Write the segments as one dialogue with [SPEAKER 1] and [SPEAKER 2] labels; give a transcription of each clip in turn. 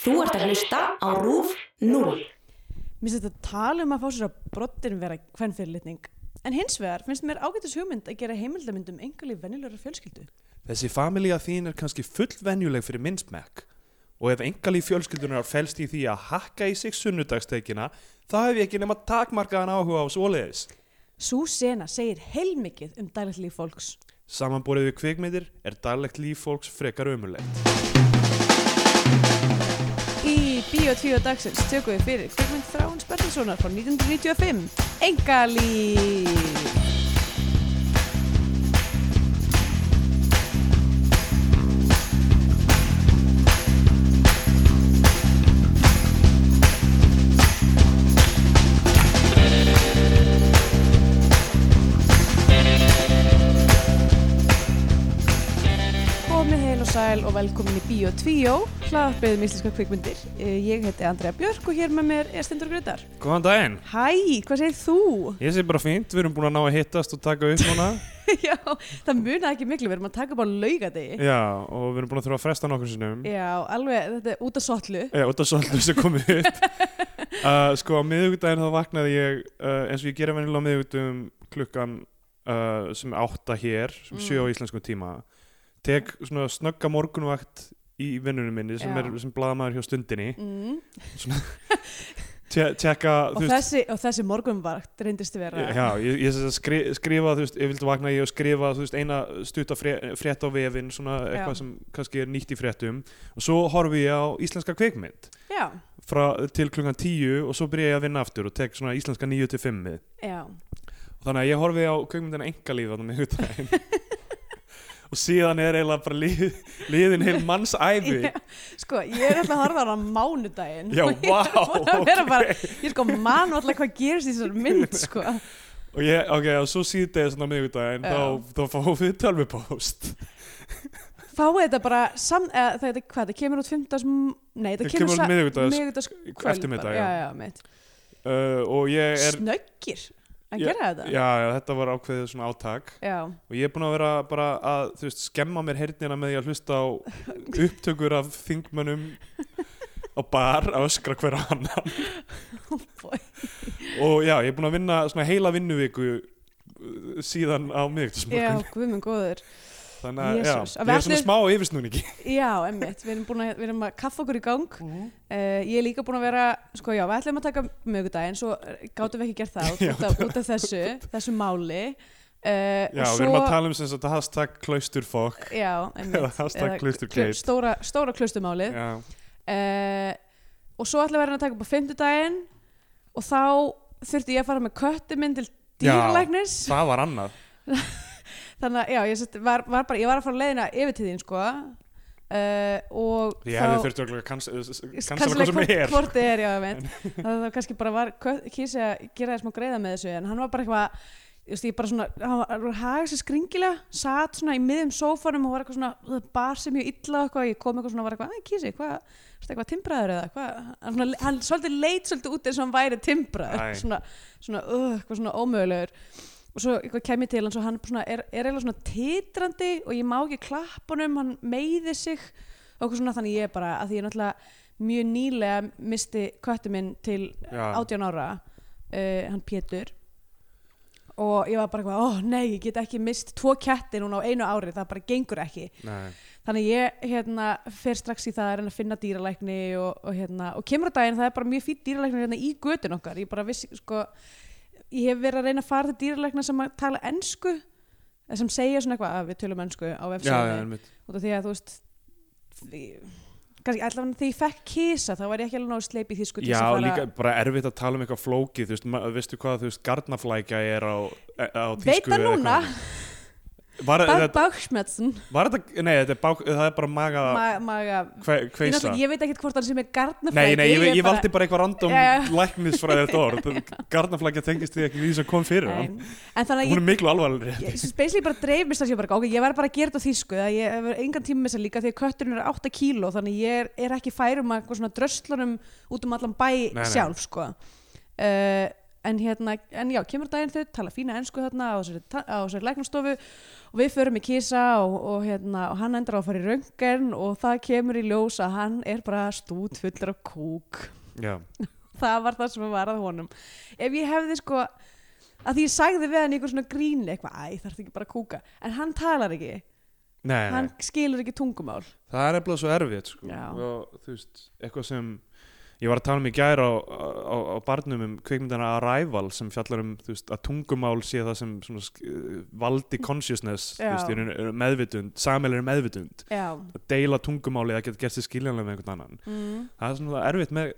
[SPEAKER 1] Þú ert að hlusta á RÚF 0.
[SPEAKER 2] Mér finnst þetta tala um að fá sér að brottin vera hvern fyrirlitning. En hins vegar finnst mér ágættis hugmynd að gera um heimildamyndum engalíf venjulegra fjölskyldu.
[SPEAKER 3] Þessi familja þín er kannski fullvenjuleg fyrir minnsmekk og ef engalí fjölskyldunar fælst í því að hakka í sig sunnudagstekina þá hef ég ekki nema takmarkaðan áhuga á svoleiðis.
[SPEAKER 2] Sú sena segir heilmikið um dælætlíf fólks.
[SPEAKER 3] Samanborið við kvikmyndir er daglegt líf fólks frekar ömurlegt.
[SPEAKER 2] Í Bíó 2 dagsins tökum við fyrir kvikmynd Þráins Bertinssonar frá 1995. Engalíf! Komið heil og sæl og velkomin í Bíó 2, hlaðarpið um íslenska kvikmyndir. Eh, Ég heiti Andrea Björk og hér með mér er Stendur Grytar.
[SPEAKER 3] Góðan daginn!
[SPEAKER 2] Hæ, hvað segir þú?
[SPEAKER 3] Ég sé bara fínt, við erum búin að ná að hittast og taka upp núna.
[SPEAKER 2] Já, það munaði ekki miklu, við erum að taka bara laugadegi.
[SPEAKER 3] Já, og við erum búin að þurfa að fresta nokkur sinnum.
[SPEAKER 2] Já, alveg, þetta er út af sollu.
[SPEAKER 3] Já, út af svolítið sem komið upp. uh, sko, á miðugdæðin þá vaknaði ég, uh, eins og ég gera venilega á miðugdum klukkan uh, sem er átta hér,
[SPEAKER 2] Mm.
[SPEAKER 3] sem mm. sjö á íslenskum tíma. Tek svona snögga morgunvakt í vinnunum minni sem
[SPEAKER 2] Já.
[SPEAKER 3] er sem blaðamaður hjá stundinni.
[SPEAKER 2] Mm.
[SPEAKER 3] Te tekka,
[SPEAKER 2] Og, þessi, og þessi morgunvakt reyndist vera.
[SPEAKER 3] Já, ég, ég sem sagt skri, skrifa, þú veist, ég vildi vakna ég og skrifa, þú veist, eina stutta fre, frétt á vefinn, svona eitthvað
[SPEAKER 2] Já.
[SPEAKER 3] sem kannski er nýtt í fréttum og svo horfi ég á íslenska kveikmynd
[SPEAKER 2] Já,
[SPEAKER 3] frá, til klukkan tíu og svo byrja ég að vinna aftur og tek svona íslenska nýju til fimmið
[SPEAKER 2] já.
[SPEAKER 3] og þannig að ég horfi á kveikmyndina engalíf þarna með hugdæðin og síðan er eiginlega bara lið, liðin heil manns æfi
[SPEAKER 2] Já, Sko, ég er alltaf að horfa á hana á mánudaginn.
[SPEAKER 3] Já,
[SPEAKER 2] Og ég er
[SPEAKER 3] vá,
[SPEAKER 2] búin að vera
[SPEAKER 3] ok.
[SPEAKER 2] bara- Ég er sko manu alltaf hvað gerist í þessari mynd, sko.
[SPEAKER 3] og ég, ok, og svo síðdegi svona miðugdæðin
[SPEAKER 2] Já.
[SPEAKER 3] þá, þá fáum við tölvupóst
[SPEAKER 2] Fáið þetta bara, sam, eða, það, hvað, það kemur út 15. Nei, það
[SPEAKER 3] Það
[SPEAKER 2] kemur,
[SPEAKER 3] kemur út miðvikudags-
[SPEAKER 2] miðvikudags
[SPEAKER 3] eftirmiddag,
[SPEAKER 2] já.
[SPEAKER 3] já.
[SPEAKER 2] Já, já, mitt.
[SPEAKER 3] uh, og ég er
[SPEAKER 2] Snöggir að
[SPEAKER 3] Já,
[SPEAKER 2] gera þetta.
[SPEAKER 3] Já, já, þetta var ákveðið svona átak
[SPEAKER 2] já.
[SPEAKER 3] og ég er búin að vera bara að þú veist, skemma mér heyrnina með því að hlusta á upptökur af þingmönnum á bar að öskra hver á annan
[SPEAKER 2] Oh boy.
[SPEAKER 3] og já, ég er búin að vinna svona heila vinnuviku uh, síðan á
[SPEAKER 2] Já,
[SPEAKER 3] miðviktusmorgun
[SPEAKER 2] guð minn góður.
[SPEAKER 3] þannig að já,
[SPEAKER 2] Jesus. Að
[SPEAKER 3] ég
[SPEAKER 2] við
[SPEAKER 3] er svona
[SPEAKER 2] ætlum-
[SPEAKER 3] smá yfirsnúningi
[SPEAKER 2] Já, emmitt, við erum búin að, við erum að kaffa okkur í gang
[SPEAKER 3] Mhm.
[SPEAKER 2] uh, Ég er líka búin að vera, sko já, við ætlum að taka mögudaginn Svo eh, gátum við ekki gert það út, út, af, út af þessu, þessu máli uh,
[SPEAKER 3] Já, við erum að tala um sem sagt hashtag klausturfokk
[SPEAKER 2] Já,
[SPEAKER 3] eða
[SPEAKER 2] emmitt
[SPEAKER 3] hashtag klausturgeit
[SPEAKER 2] Stóra, stóra klaustumálið
[SPEAKER 3] Já,
[SPEAKER 2] uh, Og svo ætlum við að reyna að taka upp á fimmtudaginn Og þá þurfti ég að fara með kötti minn til
[SPEAKER 3] Já.
[SPEAKER 2] dýrlæknis
[SPEAKER 3] það var annað
[SPEAKER 2] Þannig að, já, ég, sett, var, var bara, ég var að fara leiðina yfir til þín, sko uh, Og
[SPEAKER 3] Ég hefði þurfti örugglega að uh, kans- cancela
[SPEAKER 2] Kansilega
[SPEAKER 3] hvað sem er
[SPEAKER 2] hvort þið er, já, ég veit Það það kannski bara var, kísi að gera það smá greiða með þessu En hann var bara eitthvað, þú veist, ég bara svona Hann var- var hagað sér skringilega Satt svona í miðum sófanum og var eitthvað svona Það bar sér mjög illa og eitthvað Ég kom eitthvað svona og var eitthvað, nei kísi, hvað Þetta eitthvað timbraður eða hvað Hann, svona- hann svolítið leit svolítið út eins og hann væri
[SPEAKER 3] Æ.
[SPEAKER 2] timbraður Svona, svona, uh, eitthvað svona ómögulegur og svo eitthvað kem ég til hans og hann svona, er, er eiginlega svona titrandi og ég má ekki klappunum, hann meiði sig og eitthvað svona þannig ég er bara að því ég náttúrulega mjög nýlega misti köttu minn til
[SPEAKER 3] Já.
[SPEAKER 2] 18 ára uh, hann Pétur og ég var bara eitthvað, ó nei, ég get ekki mist tvo ketti núna á einu ári, það bara gengur ekki
[SPEAKER 3] Nei.
[SPEAKER 2] þannig ég hérna fer strax í það að reyna að finna dýralækni og, og hérna, og kemur á daginn það er bara mjög fýtt dýralækni hérna í götun okkar ég bara vissi, sko ég hef verið að reyna að fara til dýralækna sem að tala ensku, eða sem segja svona eitthvað að við tölum ensku á
[SPEAKER 3] Já, já,
[SPEAKER 2] vefsíðunni
[SPEAKER 3] einmitt.
[SPEAKER 2] út af því að þú veist því, kannski allavega þegar ég fekk kísa þá var ég ekki alveg náðu sleip í því sko til
[SPEAKER 3] Já,
[SPEAKER 2] þess að fara-
[SPEAKER 3] líka bara erfitt að tala um eitthvað flókið, þú veist, ma- veistu hvað, þú veist, garnaflækja er á, e- á tísku
[SPEAKER 2] veit það
[SPEAKER 3] eða
[SPEAKER 2] núna,
[SPEAKER 3] eitthvað. Var,
[SPEAKER 2] bara
[SPEAKER 3] þetta,
[SPEAKER 2] báksmetsun
[SPEAKER 3] var þetta, nei, þetta er bák, það er bara maga
[SPEAKER 2] ma maga
[SPEAKER 3] hve,
[SPEAKER 2] Ég,
[SPEAKER 3] kveisa.
[SPEAKER 2] náttúrulega- ég veit ekkert hvort hann sem er garnafræði
[SPEAKER 3] Nei, nei, ég, ég, valdi bara eitthvað random
[SPEAKER 2] Já, já.
[SPEAKER 3] læknisfræðið þetta orð, garnaflækja tengist því ekki því sem kom fyrir hann.
[SPEAKER 2] En þannig að ég
[SPEAKER 3] Hún er miklu alvarlegri.
[SPEAKER 2] ég svo basically bara dreif mér strax ég var bara, ok, ég verð bara að gera þetta á þýsku það ég hefur engan tíma með þess að líka því að kötturinn er 8 kíló þannig ég er, um er ekki færum að eitthvað svona dröslunum út um allan bæ
[SPEAKER 3] nei.
[SPEAKER 2] sjálf sko. uh, en, hérna, en já, kemur daginn þau, tala fína ensku þarna á þessari, ta- á þessari læknastofu og við förum í kísa og, og, hérna, og hann endur á að fara í röngen og það kemur í ljós að hann er bara stútfullur af kúk
[SPEAKER 3] Já,
[SPEAKER 2] það var það sem var að honum ef ég hefði sko að því ég sagði við hann í einhver svona grínli eitthvað, æ, þarf ekki bara að kúka en hann talar ekki,
[SPEAKER 3] nei, nei.
[SPEAKER 2] hann skilur ekki tungumál
[SPEAKER 3] það er eitthvað svo erfitt sko.
[SPEAKER 2] Já.
[SPEAKER 3] og þú veist, eitthvað sem ég var að tala um í gær á, á, á barnum um kveikmyndana Arrival sem fjallar um þú veist, að tungumál sé það sem svona, sk- eh, valdi consciousness þú
[SPEAKER 2] Já.
[SPEAKER 3] veist, í rauninni eru meðvitund, samilegri meðvitund
[SPEAKER 2] já,
[SPEAKER 3] að deila tungumáli að geta gert sér skiljanlega með einhvern annan
[SPEAKER 2] mm.
[SPEAKER 3] það er svona erfitt með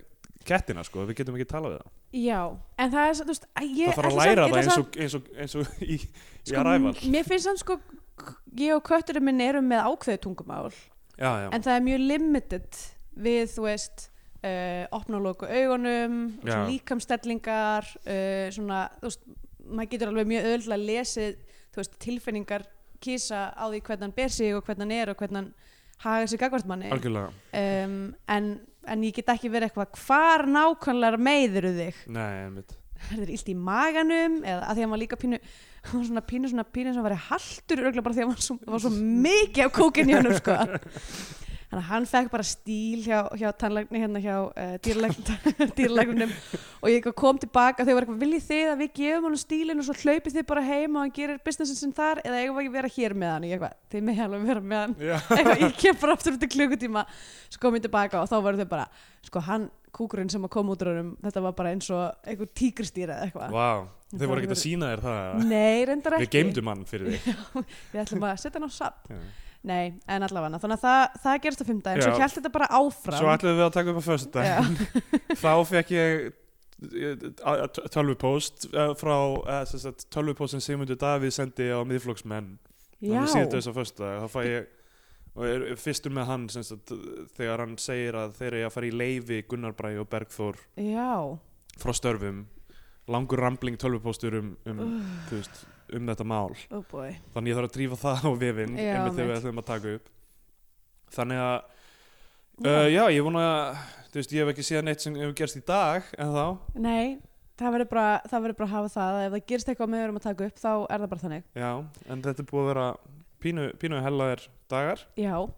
[SPEAKER 3] kettina sko, við getum ekki talað við það
[SPEAKER 2] já en það er, svo- þú veist, æ, ég
[SPEAKER 3] það þarf að
[SPEAKER 2] ætla
[SPEAKER 3] læra
[SPEAKER 2] samt-
[SPEAKER 3] það
[SPEAKER 2] ætla
[SPEAKER 3] eins
[SPEAKER 2] samt-
[SPEAKER 3] og, eins og, eins og í, í
[SPEAKER 2] sko,
[SPEAKER 3] Arrival
[SPEAKER 2] m- mér finnst hann sko k- ég og kötturinn minn erum með ákveðu tungumál
[SPEAKER 3] já, já,
[SPEAKER 2] en það er mjög limited við, þú veist uh, opna og loka augunum
[SPEAKER 3] Já.
[SPEAKER 2] svona líkamstellingar uh, svona, þú veist, maður getur alveg mjög öðvöldlega lesið, þú veist, tilfinningar kýsa á því hvernig hann ber sig og hvernig hann er og hvernig hann haga sig gagvart manni um,
[SPEAKER 3] algjörlega
[SPEAKER 2] en, en ég get ekki verið eitthvað hvar nákvæmlega meiðir þig
[SPEAKER 3] nei, einmitt
[SPEAKER 2] er þér illt í maganum eða að því að hann var líka pínu hann var svona pínu svona pínu sem var í haldur örgulega bara því að hann var svo, var svo mikið af kókin í hann sko. þannig að hann fekk bara stíl hjá, hjá tannlækni hérna hjá uh, dýrlæknum og ég kom tilbaka þau var eitthvað viljið þið að við gefum hann stílinn og svo hlaupið þið bara heima og hann gerir businessin sinn þar eða eigum við ekki að vera hér með hann ég eitthvað, þið með alveg vera með hann
[SPEAKER 3] já,
[SPEAKER 2] eitthvað, ég kem bara aftur út í klukkutíma svo kom ég tilbaka og þá voru þau bara sko hann, kúkurinn sem að koma út úr honum þetta var bara eins og einhver tígristýra eða eitthvað
[SPEAKER 3] wow.
[SPEAKER 2] Það
[SPEAKER 3] þau voru ekki
[SPEAKER 2] verður-
[SPEAKER 3] að sína þér það
[SPEAKER 2] nei, reyndar
[SPEAKER 3] Við
[SPEAKER 2] ekki
[SPEAKER 3] geymdum hann fyrir þig
[SPEAKER 2] við ætlum að setja hann á sap
[SPEAKER 3] Já.
[SPEAKER 2] nei, en allavega, þannig að það, það gerst á fimmtæðin svo
[SPEAKER 3] Já.
[SPEAKER 2] held þetta bara áfram
[SPEAKER 3] Svo ætluðum við að taka upp á fyrstu
[SPEAKER 2] Já.
[SPEAKER 3] Þá fekk ég eh, tölvupóst frá eh, sem sagt, tölvupóst sem Sigmundur Davíð sendi á miðflóksmenn
[SPEAKER 2] já,
[SPEAKER 3] síðan þess að fyrstu dag þá fæ ég og er er fyrstur með hann sem sagt, þegar hann segir að þeir eru að fara í leifi Gunnar Bræði og Bergþór
[SPEAKER 2] já,
[SPEAKER 3] frá störfum langur rambling tölvupóstur um, um, þú veist, um þetta mál
[SPEAKER 2] oh boy
[SPEAKER 3] þannig ég þarf að drífa það á vefinn
[SPEAKER 2] Já,
[SPEAKER 3] einmitt þegar við
[SPEAKER 2] einmitt.
[SPEAKER 3] ætlum að taka upp þannig að uh, já, ég vona þú veist, ég hef ekki séð neitt sem hefur gerst í dag en þá,
[SPEAKER 2] nei, það verður bara, það verður bara að hafa það að ef það gerst eitthvað með við erum að taka upp þá er það bara þannig
[SPEAKER 3] já, en þetta er búið að vera pínu, pínu hellaðir dagar
[SPEAKER 2] já,
[SPEAKER 3] og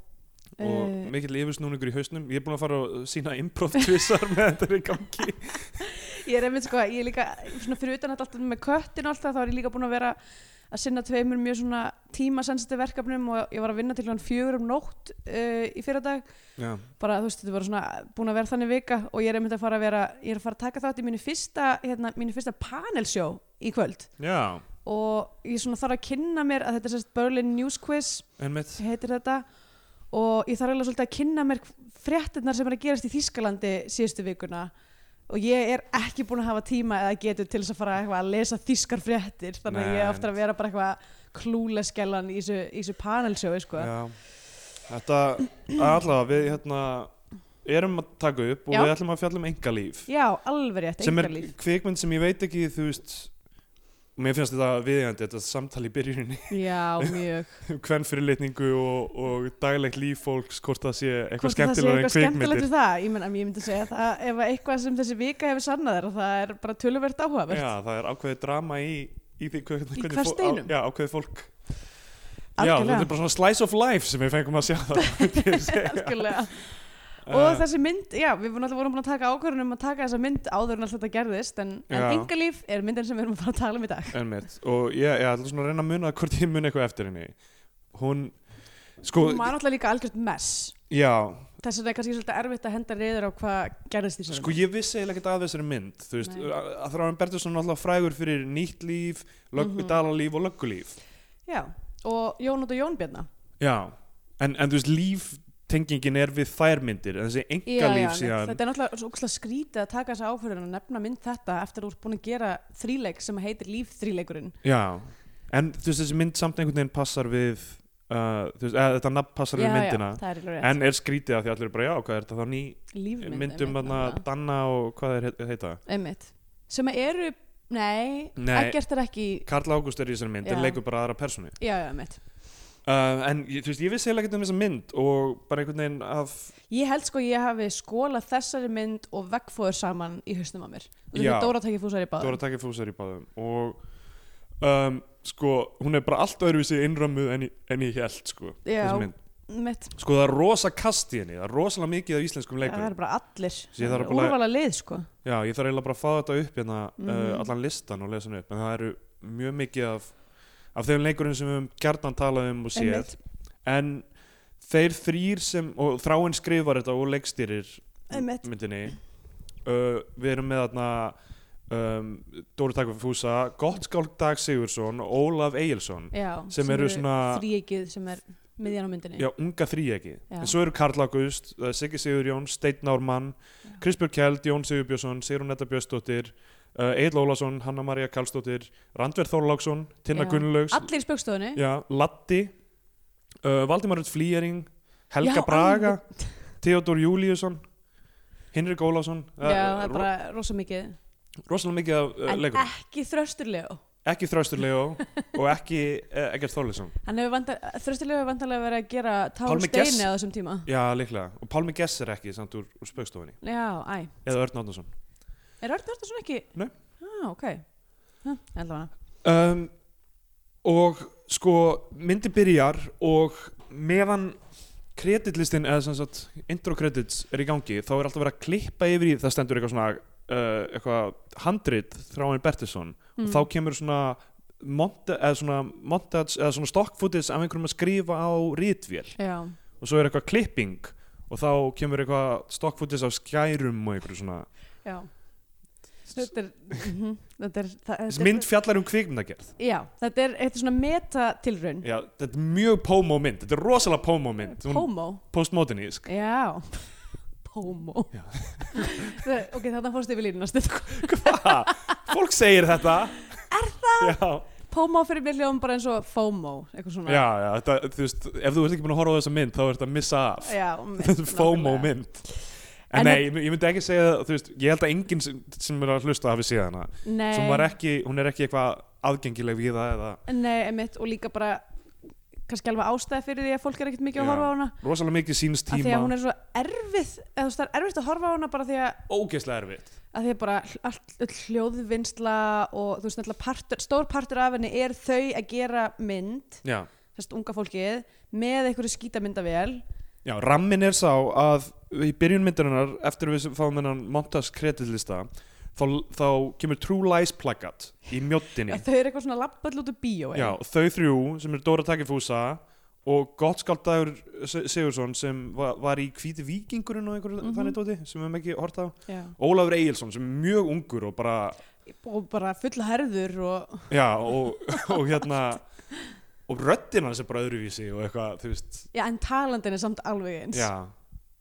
[SPEAKER 2] Eh,
[SPEAKER 3] mikill yfirsnúningur í hausnum ég er búin að fara að sína improv tvisar með þetta er í gangi
[SPEAKER 2] Ég er einmitt sko, ég er líka svona fyrir utan þetta alltaf með köttin og allt það, þá er ég líka búin að vera að sinna tveimur mjög svona tímasensitiv verkefnum og ég var að vinna til hann fjögur um nótt uh, í fyrradag
[SPEAKER 3] já,
[SPEAKER 2] bara þú veist, þetta var svona búin að vera þannig vika og ég er einmitt að fara að vera, ég er að fara að taka þátt í mínu fyrsta, hérna, mínu fyrsta panelsjó í kvöld
[SPEAKER 3] já,
[SPEAKER 2] og ég svona þarf að kynna mér að þetta er sérst Berlin News Quiz
[SPEAKER 3] en mitt
[SPEAKER 2] heitir þetta og ég þarf alveg svolítið að kynna mér fréttinnar sem er að gerast í Þýskalandi síðustu vikuna og ég er ekki búin að hafa tíma eða getur til þess að fara eitthvað að lesa þýskar fréttir þannig að
[SPEAKER 3] Nei,
[SPEAKER 2] ég er aftur að vera bara eitthvað klúleskellan í þessu, í þessu panelsjói sko.
[SPEAKER 3] já. þetta, allavega við hérna erum að taka upp og
[SPEAKER 2] Já.
[SPEAKER 3] við ætlum að fjalla um engalíf
[SPEAKER 2] Já, alveg rétt,
[SPEAKER 3] sem er
[SPEAKER 2] engalíf
[SPEAKER 3] kvikmynd sem ég veit ekki þú veist mér finnst þetta viðjandi, þetta samtal í byrjuninni
[SPEAKER 2] Já, mjög
[SPEAKER 3] um hvern fyrirlitningu og, og daglegt líf fólks hvort það sé eitthvað
[SPEAKER 2] Hvort að það sé
[SPEAKER 3] skemmtilega en
[SPEAKER 2] eitthvað skemmtilegt
[SPEAKER 3] kvikmyndir
[SPEAKER 2] við það ég, menn, ég myndi segja það ef eitthvað sem þessi vika hefur sannað er það er bara töluvert áhugavert
[SPEAKER 3] já, það er ákveðið drama í, í því hvernig,
[SPEAKER 2] Í
[SPEAKER 3] hvernig
[SPEAKER 2] hvar
[SPEAKER 3] fó-
[SPEAKER 2] steinum?
[SPEAKER 3] á, já, ákveðið fólk já,
[SPEAKER 2] Algjörlega.
[SPEAKER 3] þetta er bara svona slice of life sem við fengum að sjá það myndi ég segja.
[SPEAKER 2] Algjörlega.
[SPEAKER 3] Eh,
[SPEAKER 2] og þessi mynd, já, við vorum alltaf vorum búin að taka ákvörðunum um að taka þessa mynd áður en alltaf þetta gerðist en, en
[SPEAKER 3] Já.
[SPEAKER 2] engalíf er myndin sem við erum að fara að tala um í dag
[SPEAKER 3] einmitt. og ég, ég ætla svona að reyna að muna hvort ég muni eitthvað eftir henni hún, sko,
[SPEAKER 2] hún var alltaf líka algjört mess
[SPEAKER 3] já
[SPEAKER 2] þess vegna er kannski svolítið erfitt að henda reyður á hvað gerðist í sér
[SPEAKER 3] Sko ég vissi eiginlega ekkert að þessari mynd þú veist,
[SPEAKER 2] Nei.
[SPEAKER 3] að að Þráin Bertelsson er alltaf frægur fyrir nýtt líf, lög,
[SPEAKER 2] Mhm.
[SPEAKER 3] dalalíf og löggulíf
[SPEAKER 2] já, og Jónut og Jónbjörna
[SPEAKER 3] Já, en, en þú veist líftengingin er við þær myndir en þessi engalíf síðan
[SPEAKER 2] þetta er náttúrulega svo ókslega skrítið að taka þessa ákvörðun og nefna mynd þetta eftir að þú ert búin að gera þríleik sem heitir líf þríleikurinn
[SPEAKER 3] Já, en þú veist þessi mynd samt einhvern veginn passar við uh, þú veist, eða, þetta nafn passar
[SPEAKER 2] já,
[SPEAKER 3] við
[SPEAKER 2] já,
[SPEAKER 3] myndina
[SPEAKER 2] það er alveg
[SPEAKER 3] en er skrítið að því allir er bara já, hvað er þetta þá ný
[SPEAKER 2] rétt
[SPEAKER 3] myndum að Danna og hvað er he- heita
[SPEAKER 2] hérna. einmitt sem eru, nei,
[SPEAKER 3] Nei.
[SPEAKER 2] ekkert er ekki
[SPEAKER 3] Karl Ágúst er í þessari mynd,
[SPEAKER 2] Já.
[SPEAKER 3] en leikur bara aðra personu
[SPEAKER 2] já, já, einmitt
[SPEAKER 3] uh, en ég- þú veist, ég vissi heila ekkert um þessa mynd og bara einhvern veginn að
[SPEAKER 2] Ég held sko ég hafi skólað þessari mynd og veggfóður saman í haustum að mér. Og
[SPEAKER 3] Já.
[SPEAKER 2] þetta er Dóra takkir fúsar í
[SPEAKER 3] Dóra
[SPEAKER 2] báðum.
[SPEAKER 3] takkir fúsar í báðum og um, sko, hún er bara allt öðruvísi innrömmuð en, í- en ég held sko,
[SPEAKER 2] Já.
[SPEAKER 3] þessi mynd.
[SPEAKER 2] Mitt,
[SPEAKER 3] sko það er rosa kast í henni, það er rosalega mikið af íslenskum
[SPEAKER 2] það
[SPEAKER 3] leikur
[SPEAKER 2] er bara allir.
[SPEAKER 3] Ég þarf bara-
[SPEAKER 2] Úrvala lið sko.
[SPEAKER 3] já, ég þarf eiginlega bara að fá þetta upp hérna, uh,
[SPEAKER 2] Mhm.
[SPEAKER 3] allan listan og lesa hann upp en það eru mjög mikið af, af þeim leikurinn sem við höfum gjarnan talað um og séð
[SPEAKER 2] Einmitt.
[SPEAKER 3] en þeir þrýr sem og þráinn skrifar þetta og leikstýrir
[SPEAKER 2] Einmitt.
[SPEAKER 3] myndinni uh, við erum með þarna um, Dóri Takkum Fúsa Gottskálk Dag Sigursson og Ólaf Egilson
[SPEAKER 2] Já,
[SPEAKER 3] Sem eru svona-
[SPEAKER 2] Þríegið sem er miðjan á myndinni.
[SPEAKER 3] já, unga þríegi
[SPEAKER 2] Já.
[SPEAKER 3] en svo eru Karl August, það er Siggi Sigurjón Steinn Ármann,
[SPEAKER 2] Já.
[SPEAKER 3] Kristbjörg Kjeld Jón Sigurbjörnsson, Sigrun Etta Björnsdóttir uh, Egil Ólason, Hanna María Karlsdóttir Randverð Þorláksson, Tinna
[SPEAKER 2] Já.
[SPEAKER 3] Gunnlaugs
[SPEAKER 2] Allir í spjókstofunni.
[SPEAKER 3] já, Latti uh, Valdimarut Flýjering Helga
[SPEAKER 2] Já,
[SPEAKER 3] Braga Theodor Júliusson Hinrik Ólafsson uh,
[SPEAKER 2] Já, það er bara rosa mikið.
[SPEAKER 3] rosalega mikið af uh,
[SPEAKER 2] En
[SPEAKER 3] leikur
[SPEAKER 2] ekki Þröstur Leó.
[SPEAKER 3] ekki Þraustur Leo og ekki uh, Egert Þorlesson
[SPEAKER 2] Hann hefur vandar, Þrösturlega hefur vandarlega verið að gera Tár
[SPEAKER 3] Pálmi Gess.
[SPEAKER 2] Steini á þessum tíma.
[SPEAKER 3] já, líklega, og Pálmi Gess er ekki samt úr, úr spaukstofinni,
[SPEAKER 2] Já, æ.
[SPEAKER 3] eða Örn Átnason
[SPEAKER 2] Er Örn Þorstarsson ekki?
[SPEAKER 3] Nei.
[SPEAKER 2] ah, ok. Hm, Hæ, allavega.
[SPEAKER 3] um, og sko myndi byrjar og meðan kreditlistin eða sem sagt intro credits er í gangi þá er alltaf verið að klippa yfir í það stendur eitthvað svona uh, eitthvað handrit þráin Bertilsson
[SPEAKER 2] Hm. Mm.
[SPEAKER 3] og þá kemur svona monta, eða svona montage eða svona stock footage af einhverjum að skrifa á rítvél
[SPEAKER 2] Já,
[SPEAKER 3] og svo er eitthvað klipping og þá kemur eitthvað stock footage af skærum og einhverju svona
[SPEAKER 2] já. Þetta er, mhm, þetta er, það, þetta er
[SPEAKER 3] mynd fjallar um kvikmyndagerð
[SPEAKER 2] Já, þetta er eitthvað svona metatilraun.
[SPEAKER 3] Já, þetta er mjög pómó mynd, þetta er rosalega pómó mynd Hún-
[SPEAKER 2] Pómó.
[SPEAKER 3] postmodernísk
[SPEAKER 2] Já. Pómó.
[SPEAKER 3] Já.
[SPEAKER 2] Það- ok, þarna fórstu yfir línuna stund.
[SPEAKER 3] Hva? fólk segir þetta er það?
[SPEAKER 2] Pómó fyrir mér hljóðum bara eins og FOMO, eitthvað
[SPEAKER 3] Já,
[SPEAKER 2] svona.
[SPEAKER 3] já, já þetta, þú veist, ef þú ert ekki búin að horfa á þessa mynd þá ert að missa af
[SPEAKER 2] Já, um
[SPEAKER 3] þetta er FOMO
[SPEAKER 2] nákvæmlega.
[SPEAKER 3] mynd en,
[SPEAKER 2] En
[SPEAKER 3] nei, ég, ég myndi ekki segja það, þú veist, ég held að enginn sem, sem er að hlusta hafi séð hana
[SPEAKER 2] Nei.
[SPEAKER 3] sem var ekki, hún er ekki eitthvað aðgengileg við það eða
[SPEAKER 2] Nei, emitt, og líka bara kannski alveg ástæði fyrir því að fólk er ekkert mikið að
[SPEAKER 3] Já.
[SPEAKER 2] horfa á hana
[SPEAKER 3] rosalega mikið síns
[SPEAKER 2] að því
[SPEAKER 3] tíma
[SPEAKER 2] að hún er svo erfið eða þú veist það er erfitt að horfa á hana bara því að,
[SPEAKER 3] ógeðslega erfitt
[SPEAKER 2] að því að bara hl- allt, öll hljóðvinnsla og þú veist náttúrulega partur, stór partur af henni er þau að gera mynd
[SPEAKER 3] já.
[SPEAKER 2] þess unga fólkið með einhverju skítamyndavél
[SPEAKER 3] já, rammin er sá að í byrjun myndarinnar eftir við sem fáum þennan Montas kreditlista þá, þá kemur True Lies plakat í mjóttinni
[SPEAKER 2] að þau eru eitthvað svona labball út úr bíó
[SPEAKER 3] Já, og þau þrjú sem eru Dóra Takifúsa og Gottskáldagur Sigursson sem var, var í hvíti vikingurinn og einhverju þannig dóti sem við hefum ekki hort á
[SPEAKER 2] Já.
[SPEAKER 3] Ólafur Egilson sem er mjög ungur og bara
[SPEAKER 2] og bara fulla herður og
[SPEAKER 3] já og, og hérna og röddinn hans er bara öðruvísi og eitthvað þú veist
[SPEAKER 2] já, en talandin er samt alveg eins
[SPEAKER 3] já,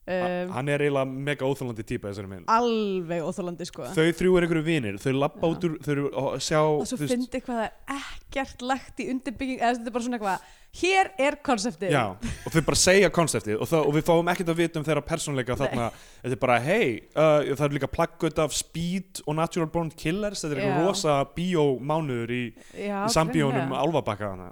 [SPEAKER 2] um,
[SPEAKER 3] hann er eiginlega mega óþólandi típa þessari minn
[SPEAKER 2] alveg óþólandi sko
[SPEAKER 3] þau þrjú er einhverju vinir, þau lappa
[SPEAKER 2] Já.
[SPEAKER 3] út úr þau eru að sjá
[SPEAKER 2] og svo
[SPEAKER 3] þú veist,
[SPEAKER 2] fyndi hvað það er ekkert lagt í undirbygging eða þetta er bara svona eitthvað hér er konseptið
[SPEAKER 3] Já, og þau bara segja konseptið og, þá- og við fáum ekkert að vita um þeirra persónleika þarna, þetta er bara hei uh, það er líka plaggut af Speed og Natural Born Killers, þetta er
[SPEAKER 2] Já.
[SPEAKER 3] eitthvað rosa bíómánuður í,
[SPEAKER 2] Já,
[SPEAKER 3] í sambíónum
[SPEAKER 2] greinilega.
[SPEAKER 3] álfabakka hana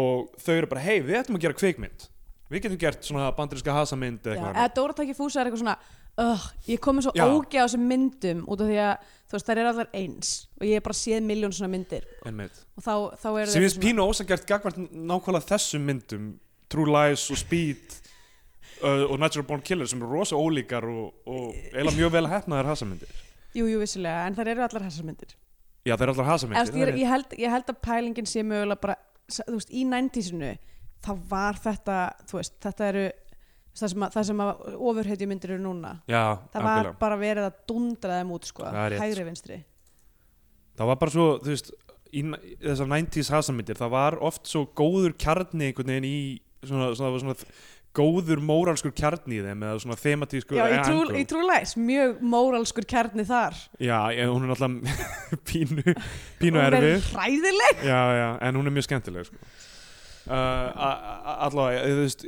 [SPEAKER 3] og þau eru bara hei, við ætlum að gera kvikmynd við getum gert svona bandriska hasamynd
[SPEAKER 2] Já,
[SPEAKER 3] eða eitthvað
[SPEAKER 2] eða
[SPEAKER 3] annað.
[SPEAKER 2] Dóra takk í fúsa er eitthvað svona "Ugh, ég kom með svo
[SPEAKER 3] Já.
[SPEAKER 2] ógeð á þessum myndum út af því að þú veist þær eru allar eins og ég hef bara séð miljón svona myndir
[SPEAKER 3] Einmitt.
[SPEAKER 2] og þá, þá er
[SPEAKER 3] sem finnst pínu ósangert gagvart nákvæmlega þessum myndum True Lies og Speed uh, og Natural Born Killers sem eru rosa ólíkar og, og eiginlega mjög vel hefnaðar hasamyndir
[SPEAKER 2] jú, jú, vissulega, en þær eru allar þessar myndir
[SPEAKER 3] Já, það er allar
[SPEAKER 2] eða,
[SPEAKER 3] hasamyndir
[SPEAKER 2] þú veist, ég, ég, held, ég held að pælingin sé mögulega bara s- þú veist, í 90-sinu þá var þetta, þú veist, þetta eru það sem að, það sem að ofurhetju myndir eru núna
[SPEAKER 3] Já,
[SPEAKER 2] það var bara verið að dundra þeim út sko,
[SPEAKER 3] Það er rétt.
[SPEAKER 2] hægri vinstri
[SPEAKER 3] það var bara svo, þú veist í n- þessar 90s hasamindir, það var oft svo góður kjarni einhvern veginn í svona, svona, svona, svona góður móralskur kjarni í þeim eða svona thematískur
[SPEAKER 2] já, í
[SPEAKER 3] eh,
[SPEAKER 2] trú,
[SPEAKER 3] angle.
[SPEAKER 2] í trú læs, mjög móralskur kjarni þar
[SPEAKER 3] Já, ég, hún er náttúrulega pínu, pínu
[SPEAKER 2] Hún verður
[SPEAKER 3] erfið
[SPEAKER 2] hræðileg
[SPEAKER 3] Já, já, en hún er mjög skemmtileg sko. uh, a- a- allavega, þú veist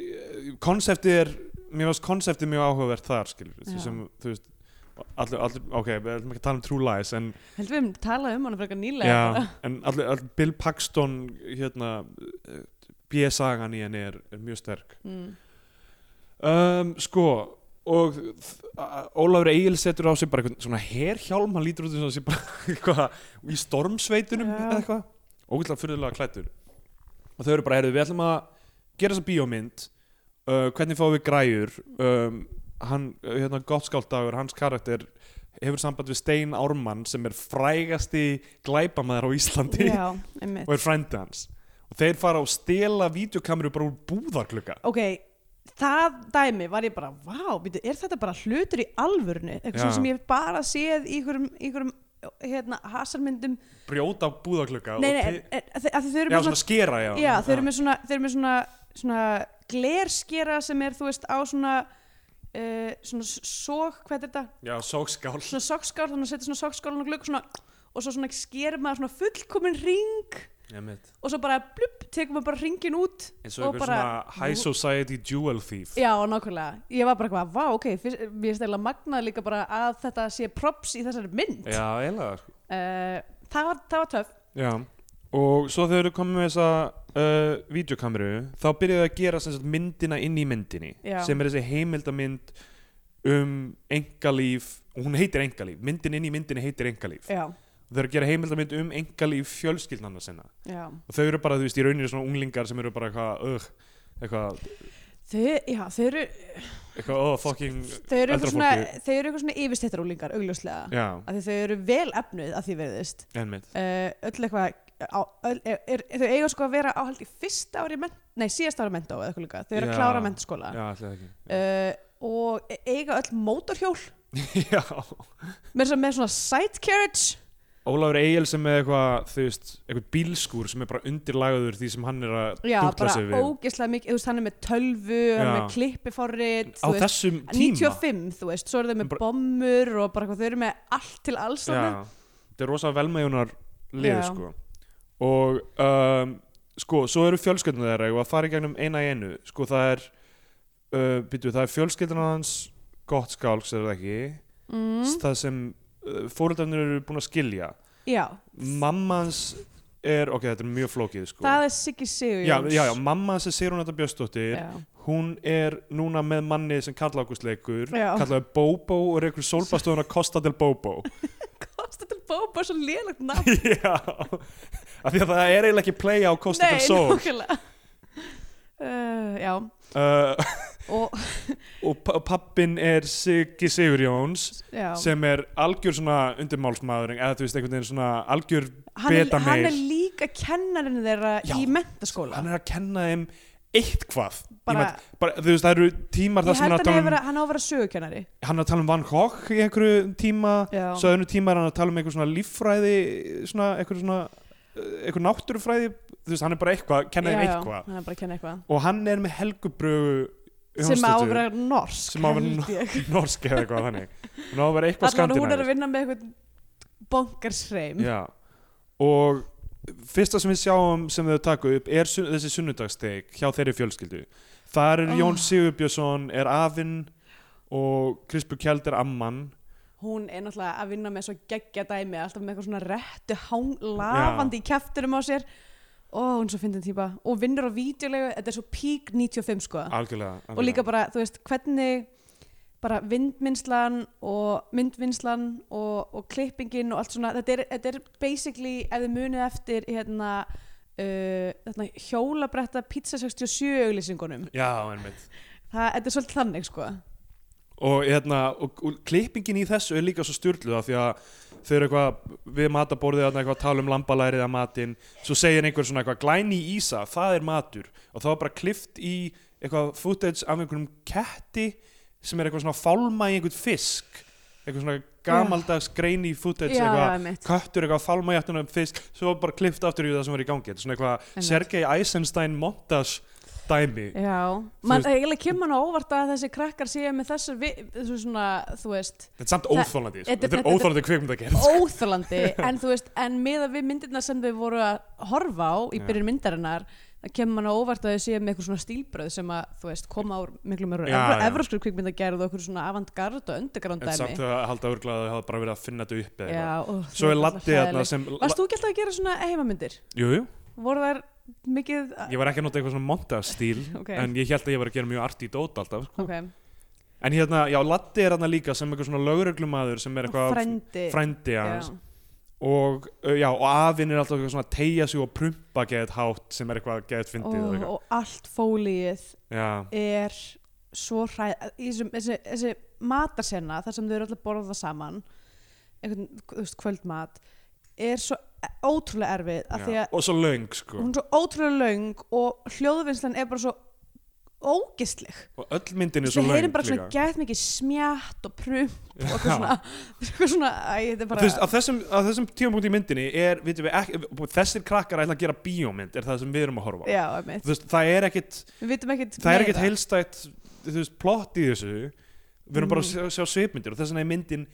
[SPEAKER 3] konseptið er, mér finnst konseptið mjög áhugavert þar, skilur
[SPEAKER 2] Já.
[SPEAKER 3] við sem, þú veist, allir, allir ok, við ætlum ekki að tala um True Lies en
[SPEAKER 2] Heldur við um talað um hana frekar nýlega
[SPEAKER 3] Já, en allir, allir Bill Paxton hérna, eh, B-sagan í henni er, er mjög sterk
[SPEAKER 2] mm.
[SPEAKER 3] um, Sko og þ- Ólafur Egil setur á sig bara einhvern svona herhjálm hann lítur út eins og hann sé bara eitthvað í stormsveitunum
[SPEAKER 2] Já.
[SPEAKER 3] eða eitthvað ógætlega fyrðulega klættur og þau eru bara, heyrðu, við ætlum að gera þessa bíómynd uh, hvernig fáum við græjur um, hann, uh, hérna gottskáldagur, hans karakter hefur samband við Stein Ármann sem er frægasti glæpamaður á Íslandi
[SPEAKER 2] Já, einmitt
[SPEAKER 3] og er frændi hans og þeir fara að stela vídeokameru bara úr búðarklukka
[SPEAKER 2] Ok, það dæmi var ég bara Vá, býtu, er þetta bara hlutur í alvörinu? Eitthvað
[SPEAKER 3] Já.
[SPEAKER 2] svona sem ég hef bara séð í einhverjum, í einhverjum hérna, hasarmyndum
[SPEAKER 3] brjóta á búðarklukka
[SPEAKER 2] Nei,
[SPEAKER 3] og
[SPEAKER 2] nei,
[SPEAKER 3] te-
[SPEAKER 2] en, en, en, þau- að þau eru
[SPEAKER 3] Já,
[SPEAKER 2] bara
[SPEAKER 3] svona skera, já.
[SPEAKER 2] Já, þeir eru með svona, þeir eru með svona, svona glerskera sem er, þú veist, á svona, uh, svona sók, hvað er þetta?
[SPEAKER 3] Já, sókskál.
[SPEAKER 2] Svona sokkskál, þannig að setja svona sokkskálun og glugg svona, og svo svona skerir maður svona fullkomin ring
[SPEAKER 3] Ég mitt.
[SPEAKER 2] og svo bara blubb, tekur maður bara ringin út
[SPEAKER 3] Eins og einhver svona high society jewel thief.
[SPEAKER 2] Já, nákvæmlega. Ég var bara eitthvað, vá, ok, fyrst, mér er stæðilega magnað líka bara að þetta sé props í þessari mynd.
[SPEAKER 3] Já, eiginlega. sko.
[SPEAKER 2] Uh, það var, það var töff.
[SPEAKER 3] Já, og svo þegar þau eru komið með þessa uh, videokameru, þá byrjuðu að gera sem sagt, myndina inn í myndinni,
[SPEAKER 2] Já.
[SPEAKER 3] sem er þessi heimildamynd um engalíf, hún heitir engalíf, myndin inn í myndinni heitir engalíf.
[SPEAKER 2] Já,
[SPEAKER 3] Þau eru að gera heimildamynd um engalíf fjölskyldnanna sinna.
[SPEAKER 2] já.
[SPEAKER 3] Og þau eru bara, þú veist, í rauninni svona unglingar sem eru bara eitthvað, uh, eitthvað,
[SPEAKER 2] Þau, já, þau eru,
[SPEAKER 3] eitthvað, oh, fucking,
[SPEAKER 2] þau eru
[SPEAKER 3] Eldra
[SPEAKER 2] eitthvað svona,
[SPEAKER 3] fólki.
[SPEAKER 2] þau eru eitthvað svona yfirstættarúlingar, augljóslega.
[SPEAKER 3] já,
[SPEAKER 2] af því þau eru vel efnuð af því verðist
[SPEAKER 3] ennmitt.
[SPEAKER 2] uh, öll eitthvað á, öll, er, er, þau eiga sko að vera á haldi fyrsta ári ment, nei síðasta ári mentó eða eitthvað líka þau eru
[SPEAKER 3] Já.
[SPEAKER 2] að klára mentaskóla
[SPEAKER 3] Já, allir ekki.
[SPEAKER 2] uh, og e- eiga öll mótorhjól Eh.
[SPEAKER 3] Já,
[SPEAKER 2] með, með svona side carriage
[SPEAKER 3] Ólafur Egil sem er eitthvað, þú veist, eitthvað bílskúr sem er bara undirlagður því sem hann er að
[SPEAKER 2] já,
[SPEAKER 3] dúkla
[SPEAKER 2] bara
[SPEAKER 3] sig við.
[SPEAKER 2] ógeðslega mikið, þú veist hann er með tölvu hann er
[SPEAKER 3] Já.
[SPEAKER 2] með klippiforrit
[SPEAKER 3] Á
[SPEAKER 2] þú veist,
[SPEAKER 3] þessum tíma.
[SPEAKER 2] 95, þú veist, svo eru þau með
[SPEAKER 3] Bara-
[SPEAKER 2] bommur og bara hvað þau eru með allt til alls þarna.
[SPEAKER 3] Já, þetta er rosa velmeðunar lið,
[SPEAKER 2] Já.
[SPEAKER 3] sko. Og, um, sko, svo eru fjölskyldunum þeirra og að fara í gegnum eina í einu. Sko, það er, uh, býtu, það er fjölskyldunum hans gott skálks, er það ekki?
[SPEAKER 2] mm,
[SPEAKER 3] Það sem uh, fóröldarnir eru búin að skilja.
[SPEAKER 2] já,
[SPEAKER 3] Mamma hans er, ok, þetta er mjög flókið, sko.
[SPEAKER 2] það er Siggi Sigurjóns
[SPEAKER 3] Já, já, já, mamma hans er Sigrun Þetta Björnsdóttir
[SPEAKER 2] já.
[SPEAKER 3] hún er núna með manni sem Karl Ágúst leikur
[SPEAKER 2] Já.
[SPEAKER 3] kallaði Bobo og reikur sólbastóðuna Costa del Bobo
[SPEAKER 2] Kosta til Bóba, svo lélegt nafn
[SPEAKER 3] já af því að það er eiginlega ekki playa á Costa del Sol
[SPEAKER 2] Nei, nákvæmlega uh, Já,
[SPEAKER 3] uh,
[SPEAKER 2] og
[SPEAKER 3] og pa- pappinn er Siggi Sigurjóns
[SPEAKER 2] já.
[SPEAKER 3] sem er algjör svona undirmálsmaður eða þú veist einhvern veginn svona algjör
[SPEAKER 2] Hann, er,
[SPEAKER 3] betameil.
[SPEAKER 2] hann er líka kennarinn þeirra
[SPEAKER 3] Já.
[SPEAKER 2] í mentaskóla
[SPEAKER 3] hann er að kenna þeim eitthvað
[SPEAKER 2] Bara-
[SPEAKER 3] bara, bara, þú veist það eru tímar
[SPEAKER 2] Ég
[SPEAKER 3] þar sem
[SPEAKER 2] held
[SPEAKER 3] hann er
[SPEAKER 2] að
[SPEAKER 3] að tala
[SPEAKER 2] hann,
[SPEAKER 3] um
[SPEAKER 2] vera, hann á að vera sögukennari
[SPEAKER 3] hann er að tala um Van Gogh í einhverju tíma
[SPEAKER 2] Já.
[SPEAKER 3] svo önnu tíma er hann að tala um einhver svona líffræði svona einhver svona einhver náttúrufræði, þú veist hann er bara eitthvað kenna þeim
[SPEAKER 2] Já, já,
[SPEAKER 3] eitthvað
[SPEAKER 2] Hann er bara að kenna eitthvað
[SPEAKER 3] og hann er með helgubrögu
[SPEAKER 2] Sem á að vera norsk
[SPEAKER 3] Sem á að vera
[SPEAKER 2] held ég.
[SPEAKER 3] norsk eða eitthvað þannig hann á að vera eitthvað
[SPEAKER 2] Allan hún er að
[SPEAKER 3] skandinavísk
[SPEAKER 2] vinna með eitthvað bongarsreim
[SPEAKER 3] Já. og fyrsta sem við sjáum sem þau taka upp er sun þessi sunnudagsteik hjá þeirri fjölskyldu þar
[SPEAKER 2] Ah.
[SPEAKER 3] er Jón Sigurbjörnsson er afinn og Krispur Kjeld er amman
[SPEAKER 2] Hún er náttúrulega að vinna með svo geggja dæmi Alltaf með eitthvað svona réttu hán Lafandi í kæfturum á sér Ó, hún er svo fyndin típa Og vinnur á vídeolegu, þetta er svo peak 95 sko
[SPEAKER 3] algjörlega, algjörlega.
[SPEAKER 2] og líka bara, þú veist, hvernig bara vindvinnslan og myndvinnslan og, og klippingin og allt svona, þetta er, þetta er basically, ef þið munið eftir hérna, uh, hérna hjólabretta pizza 67 auglýsingunum
[SPEAKER 3] já, einmitt
[SPEAKER 2] það, þetta er svolítið þannig, sko
[SPEAKER 3] og, hérna, og, og klippingin í þessu er líka svo styrluða því að þau eru eitthvað við mataborðið þarna eitthvað að tala um lambalærið að matinn, svo segir einhver svona eitthvað glæni í ísa, það er matur og þá er bara klift í eitthvað footage af einhverjum ketti sem er eitthvað svona að fálma í einhvern fisk eitthvað svona gamaldags greini footage
[SPEAKER 2] Já, já,
[SPEAKER 3] eitthvað
[SPEAKER 2] einmitt.
[SPEAKER 3] köttur eitthvað að fálma í aftunum fisk svo bara klift aftur í það sem var í gangi Þetta er svona eitthvað
[SPEAKER 2] Einmitt.
[SPEAKER 3] Sergei Eisenstein montage dæmi
[SPEAKER 2] Já,
[SPEAKER 3] Þú
[SPEAKER 2] Man,
[SPEAKER 3] veist-
[SPEAKER 2] eiginlega kemur hann á óvart að þessi krakkar séu með þessar, vi- þessu svona, þú veist
[SPEAKER 3] þetta er samt
[SPEAKER 2] Það-
[SPEAKER 3] óþólandi
[SPEAKER 2] þetta-
[SPEAKER 3] þetta er
[SPEAKER 2] þetta-
[SPEAKER 3] óþólandi kvikmynd að
[SPEAKER 2] óþalandi, en þú veist, en miða við myndirna sem við voru að horfa á í
[SPEAKER 3] Já.
[SPEAKER 2] byrjun myndarinnar, það kemur mann á óvart að þau séu með eitthvað svona stílbröð sem að, þú veist, koma úr miklu mörgur
[SPEAKER 3] Já,
[SPEAKER 2] evr
[SPEAKER 3] já.
[SPEAKER 2] evróskur kvikmyndagerð og okkur svona avantgard og underground
[SPEAKER 3] En samt
[SPEAKER 2] dæmi.
[SPEAKER 3] að halda örglað að það hafa bara verið að finna þetta upp eða eitthvað.
[SPEAKER 2] Já, ó,
[SPEAKER 3] Svo
[SPEAKER 2] það
[SPEAKER 3] er Latti
[SPEAKER 2] alltaf
[SPEAKER 3] þarna
[SPEAKER 2] hræðilegt.
[SPEAKER 3] sem
[SPEAKER 2] Varst þú ekki alltaf að gera svona heimamyndir?
[SPEAKER 3] Jú, jú,
[SPEAKER 2] Voru þær mikið
[SPEAKER 3] Ég var ekki að nota eitthvað svona montastíl
[SPEAKER 2] Ah. Ok.
[SPEAKER 3] En ég held að ég var að gera mjög arti dót alltaf sko.
[SPEAKER 2] ok,
[SPEAKER 3] En hérna, já, Latti er hérna líka sem eitthvað svona lögreglumadur sem er eitthvað
[SPEAKER 2] frendi
[SPEAKER 3] frændi
[SPEAKER 2] já,
[SPEAKER 3] hans og, uh, já, og afinn er alltaf eitthvað svona að teygja sig og prumpa geðt hátt sem er eitthvað geðt
[SPEAKER 2] og,
[SPEAKER 3] fyndið og eitthvað.
[SPEAKER 2] og allt fólíið
[SPEAKER 3] Já,
[SPEAKER 2] er svo hræð í þessum- þessi, þessi matarsenna þar sem þau eru alltaf að borða saman einhvern þú veist, kvöldmat er svo ótrúlega erfið af því
[SPEAKER 3] já.
[SPEAKER 2] að
[SPEAKER 3] og svo löng sko
[SPEAKER 2] hún er svo ótrúlega löng og hljóðvinnslan er bara svo ógistleg
[SPEAKER 3] og öll myndin er svo
[SPEAKER 2] við
[SPEAKER 3] löng
[SPEAKER 2] heyrum bara svona gætt mikið smjátt og prump og eitthvað svona, eitthvað svona æ, þetta er
[SPEAKER 3] Bara...
[SPEAKER 2] bara,
[SPEAKER 3] Veist, að þessum, að þessum tímapunkt í myndinni er, vitum við, ekki, þessir krakkar ætla að gera bíómynd er það sem við erum að horfa á.
[SPEAKER 2] já, einmitt.
[SPEAKER 3] Þú veist, það er ekkit,
[SPEAKER 2] við vitum ekkert
[SPEAKER 3] það er
[SPEAKER 2] meira.
[SPEAKER 3] ekkit heilstætt þú veist, plott í þessu við erum bara að sjá, sjá svipmyndir og þess vegna er myndin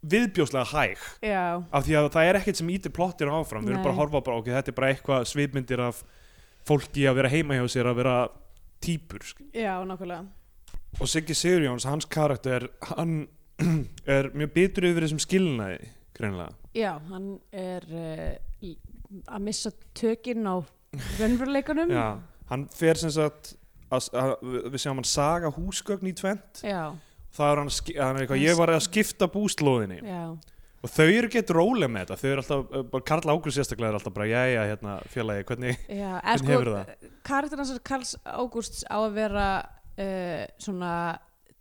[SPEAKER 3] viðbjóslega hæg
[SPEAKER 2] já,
[SPEAKER 3] af því að það er ekkit sem ítir plottir áfram við erum
[SPEAKER 2] Nei.
[SPEAKER 3] bara að horfa á bara, ok, þetta er bara eitthvað svipmyndir af fólki að vera heima hjá sér að vera típur skil.
[SPEAKER 2] já, nákvæmlega
[SPEAKER 3] og Siggi Sigurjóns, hans karakter hann er mjög bitur yfir þessum skilnaði greinlega
[SPEAKER 2] já, hann er uh, að missa tökin á raunveruleikunum
[SPEAKER 3] Já, hann fer sem sagt að, að, við sjáum hann saga húsgögn í tvent
[SPEAKER 2] já,
[SPEAKER 3] það er hann, að ski- hann er eitthvað, ég var að skipta búslóðinni
[SPEAKER 2] já.
[SPEAKER 3] og þau eru gett róleg með þetta þau eru alltaf, uh, bara Karl Águr sérstaklega er alltaf bara, jæja, hérna, félagi, hvernig
[SPEAKER 2] Já, en
[SPEAKER 3] Hvernig
[SPEAKER 2] sko,
[SPEAKER 3] hefurðu það?
[SPEAKER 2] karakterinn hans Karls Ágústs á að vera uh, svona